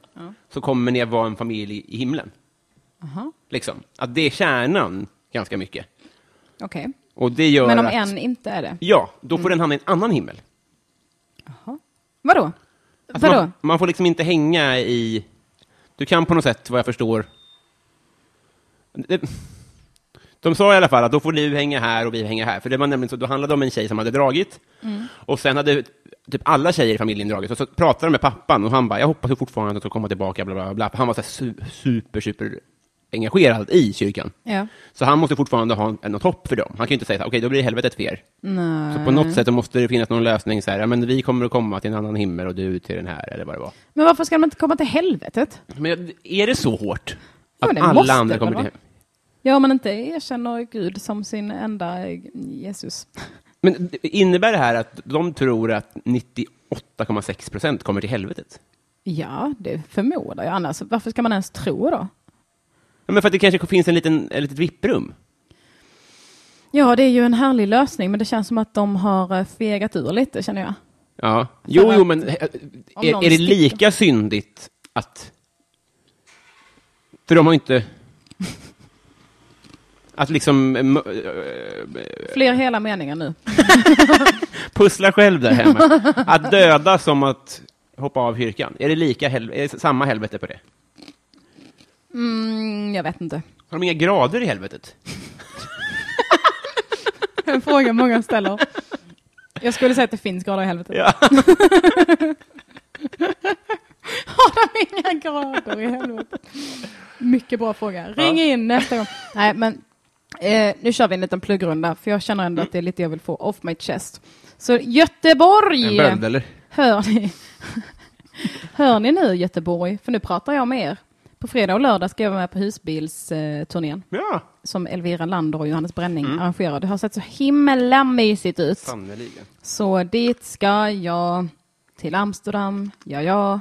[SPEAKER 3] så kommer ni att vara en familj i himlen.
[SPEAKER 1] Aha,
[SPEAKER 3] Liksom. Att det är kärnan ganska mycket.
[SPEAKER 1] okej.
[SPEAKER 3] Och det gör
[SPEAKER 1] Men om
[SPEAKER 3] att,
[SPEAKER 1] en Mm. inte är det?
[SPEAKER 3] Ja, då får den hamna i en annan himmel.
[SPEAKER 1] Jaha. Vadå?
[SPEAKER 3] Alltså
[SPEAKER 1] Vadå?
[SPEAKER 3] Man, man får liksom inte hänga i Du kan på något sätt, vad jag förstår. Det- De sa i alla fall att då får du hänga här och vi hänger här. För det var nämligen så, då handlade det om en tjej som hade dragit. Och sen hade typ alla tjejer i familjen dragit. Och så pratade de med pappan och han bara, jag hoppas ju fortfarande att du kommer tillbaka, bla bla bla. Han var så här su- super, super engagerad i kyrkan.
[SPEAKER 1] Ja.
[SPEAKER 3] Så han måste fortfarande ha en- något hopp för dem. Han kan ju inte säga så här, okej, då blir helvetet för er.
[SPEAKER 1] Nej.
[SPEAKER 3] Så på något sätt då måste det finnas någon lösning, så här, ja, men vi kommer att komma till en annan himmel och du till den här, eller vad det var.
[SPEAKER 1] Men varför ska de inte komma till helvetet?
[SPEAKER 3] Men är det så hårt?
[SPEAKER 1] Ja,
[SPEAKER 3] Att
[SPEAKER 1] det måste
[SPEAKER 3] alla andra
[SPEAKER 1] det
[SPEAKER 3] kommer
[SPEAKER 1] vara.
[SPEAKER 3] till
[SPEAKER 1] Ja, om man inte erkänner Gud som sin enda eh, Jesus.
[SPEAKER 3] Men innebär det här att de tror att 98,6 procent kommer till helvetet?
[SPEAKER 1] Ja, det förmodar jag. Annars, varför ska man ens tro då?
[SPEAKER 3] Ja, men för att det kanske finns en liten, ett litet vipprum.
[SPEAKER 1] Ja, det är ju en härlig lösning, men det känns som att de har eh, fegat ur lite, känner jag.
[SPEAKER 3] Ja. Jo,
[SPEAKER 1] att-
[SPEAKER 3] jo, men eh, eh,
[SPEAKER 1] Om någon
[SPEAKER 3] är, är det
[SPEAKER 1] sticker.
[SPEAKER 3] lika syndigt att... För de har ju
[SPEAKER 1] [LAUGHS]
[SPEAKER 3] inte... Att liksom eh, mö-
[SPEAKER 1] Fler hela meningar nu.
[SPEAKER 3] pussla själv
[SPEAKER 1] [LAUGHS]
[SPEAKER 3] där hemma. Att döda som att hoppa av kyrkan. Är det, lika hel- är det samma helvete på det?
[SPEAKER 1] Mm, jag vet inte.
[SPEAKER 3] Har de inga grader i helvetet?
[SPEAKER 1] [LAUGHS] En fråga många ställer. Jag skulle säga att det finns grader i helvetet.
[SPEAKER 3] Ja.
[SPEAKER 1] [LAUGHS] Har de inga grader i helvetet? Mycket bra fråga. Ring in nästa gång. Nej, men eh, nu kör vi en liten pluggrunda, för jag känner ändå att det är lite jag vill få off my chest. Så
[SPEAKER 3] En
[SPEAKER 1] Göteborg!
[SPEAKER 3] böld, eller?
[SPEAKER 1] Hör ni? Hör ni nu Göteborg? För nu pratar jag med er. På fredag och lördag ska jag vara med på husbilsturnén
[SPEAKER 3] Ja,
[SPEAKER 1] som Elvira Lander och Johannes Bränning
[SPEAKER 3] Mm.
[SPEAKER 1] arrangerar. Det har sett så himla mysigt ut.
[SPEAKER 3] sannerligen.
[SPEAKER 1] Så dit ska jag, till Amsterdam, ja ja,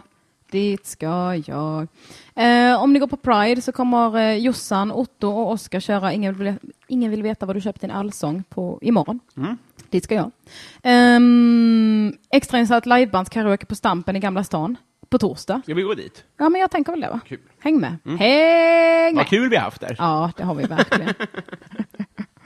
[SPEAKER 1] dit ska jag. Eh, om ni går på Pride så kommer eh, Jossan, Otto och Oskar köra Ingen vill, ingen vill veta vad du köpt din allsång på imorgon.
[SPEAKER 3] Mm.
[SPEAKER 1] Dit ska jag. Um, extrainsatt livebandskaraoke på Stampen i Gamla stan på torsdag.
[SPEAKER 3] Ska vi gå dit?
[SPEAKER 1] Ja, men jag tänker väl det va?
[SPEAKER 3] Kul. Mm.
[SPEAKER 1] Häng med. Häng med!
[SPEAKER 3] Vad kul vi har haft där.
[SPEAKER 1] Ja, det har vi verkligen. [LAUGHS]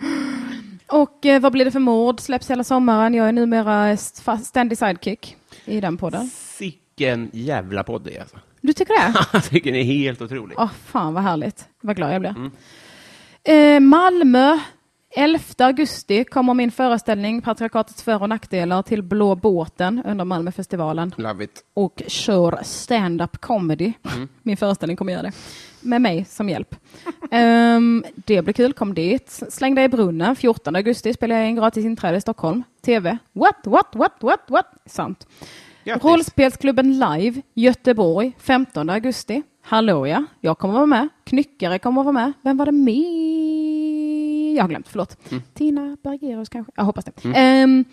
[SPEAKER 1] Och eh, vad blir det för mord? Släpps hela sommaren. Jag är numera st- fast- ständig sidekick i den podden.
[SPEAKER 3] Sicken jävla podd det är alltså. [LAUGHS]
[SPEAKER 1] Du tycker det?
[SPEAKER 3] Jag tycker den är helt otrolig.
[SPEAKER 1] Åh, fan vad härligt. Vad glad jag blir. Eh, Malmö. 11 augusti kommer min föreställning Patriarkatets för och nackdelar till Blå båten under Malmöfestivalen
[SPEAKER 3] Love it.
[SPEAKER 1] och kör stand-up comedy. [LAUGHS] Min föreställning kommer göra det. Med mig som hjälp. Ehm, det blir kul, kom dit. Släng dig i brunnen. 14 augusti spelar jag in gratis inträde i Stockholm. TV. What, what, what, what, what? Sant.
[SPEAKER 3] Grattis.
[SPEAKER 1] Rollspelsklubben live, Göteborg, 15 augusti. Hallå ja, jag kommer vara med. Knyckare kommer vara med. Vem var det med? Jag har glömt, förlåt. Tina Bergerus kanske? Jag hoppas det. Ehm,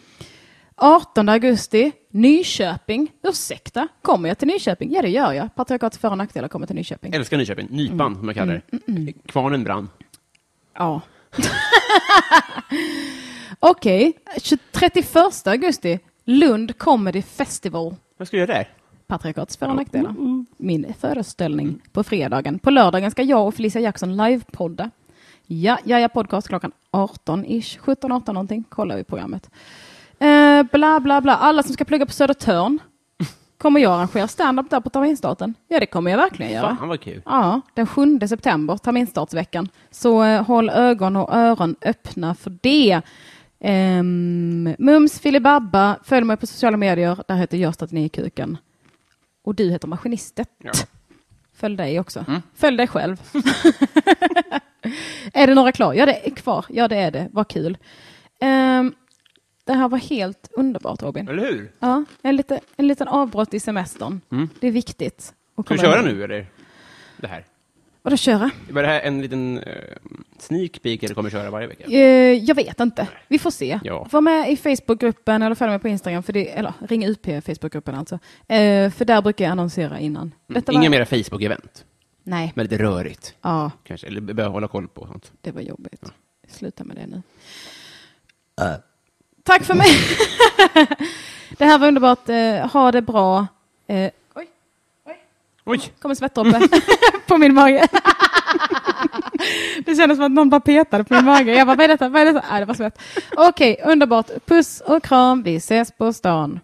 [SPEAKER 1] 18 augusti, Nyköping. Ursäkta, kommer jag till Nyköping? Ja, det gör jag. Patriarkatets för och nackdelar kommer till Nyköping.
[SPEAKER 3] Älskar Nyköping. Nypan,
[SPEAKER 1] Mm.
[SPEAKER 3] som jag kallar det. Kvarnen brann.
[SPEAKER 1] Ja. [LAUGHS] Okej, 31 augusti, Lund Comedy Festival.
[SPEAKER 3] Vad ska jag göra där?
[SPEAKER 1] Patriarkatets för och nackdelar. Min föreställning på fredagen. På lördagen ska jag och Felicia Jackson livepodda. Ja, ja, ja, podcast klockan 18-ish. 17-18 någonting. Kollar i programmet. Eh, bla, bla, bla. Alla som ska plugga på Södertörn. Kommer jag arrangera stand-up där på terminsstarten? Ja, det kommer jag verkligen göra.
[SPEAKER 3] Fan vad kul.
[SPEAKER 1] Ja, den 7 september, terminsstartsveckan. Så eh, håll ögon och öron öppna för det. Um, mums filibabba, följ mig på sociala medier. Där heter jag att ni i kuken. Och du heter Maskinistet.
[SPEAKER 3] Ja. Mm.
[SPEAKER 1] Följ dig också. Följ dig själv. [LAUGHS] är det några kvar? Ja, det är kvar. Ja, det är det. Vad kul. Ehm, det här var helt underbart, Robin.
[SPEAKER 3] Eller hur?
[SPEAKER 1] Ja, en, lite, en liten avbrott i semestern. Det är viktigt. att
[SPEAKER 3] Mm. Ska vi
[SPEAKER 1] komma
[SPEAKER 3] köra
[SPEAKER 1] ihåg.
[SPEAKER 3] nu, eller? Det här.
[SPEAKER 1] Vadå köra?
[SPEAKER 3] Var det här en liten uh, sneak peek, eller kommer vi köra varje vecka?
[SPEAKER 1] Eh, jag vet inte. Vi får se.
[SPEAKER 3] Ja.
[SPEAKER 1] Var med i Facebookgruppen eller följ mig på Instagram, för det, eller ring UP i Facebookgruppen alltså. Eh, för där brukar jag annonsera innan. Detta var-
[SPEAKER 3] Inga mera Facebook-event.
[SPEAKER 1] Nej.
[SPEAKER 3] Väldigt rörigt,
[SPEAKER 1] Ja,
[SPEAKER 3] kanske. Eller börja hålla koll på sånt.
[SPEAKER 1] det var jobbigt. Sluta med det nu. Tack för mig. [LAUGHS] det här var underbart. Eh, ha det bra. Eh, oj,
[SPEAKER 3] Oj!
[SPEAKER 1] kommer svettdroppe [LAUGHS] på min mage. det kändes som att någon bara petade på min mage. Jag bara, vad är detta? Vad är detta? Nej, det var svett. Okej, underbart. Puss och kram. Vi ses på stan.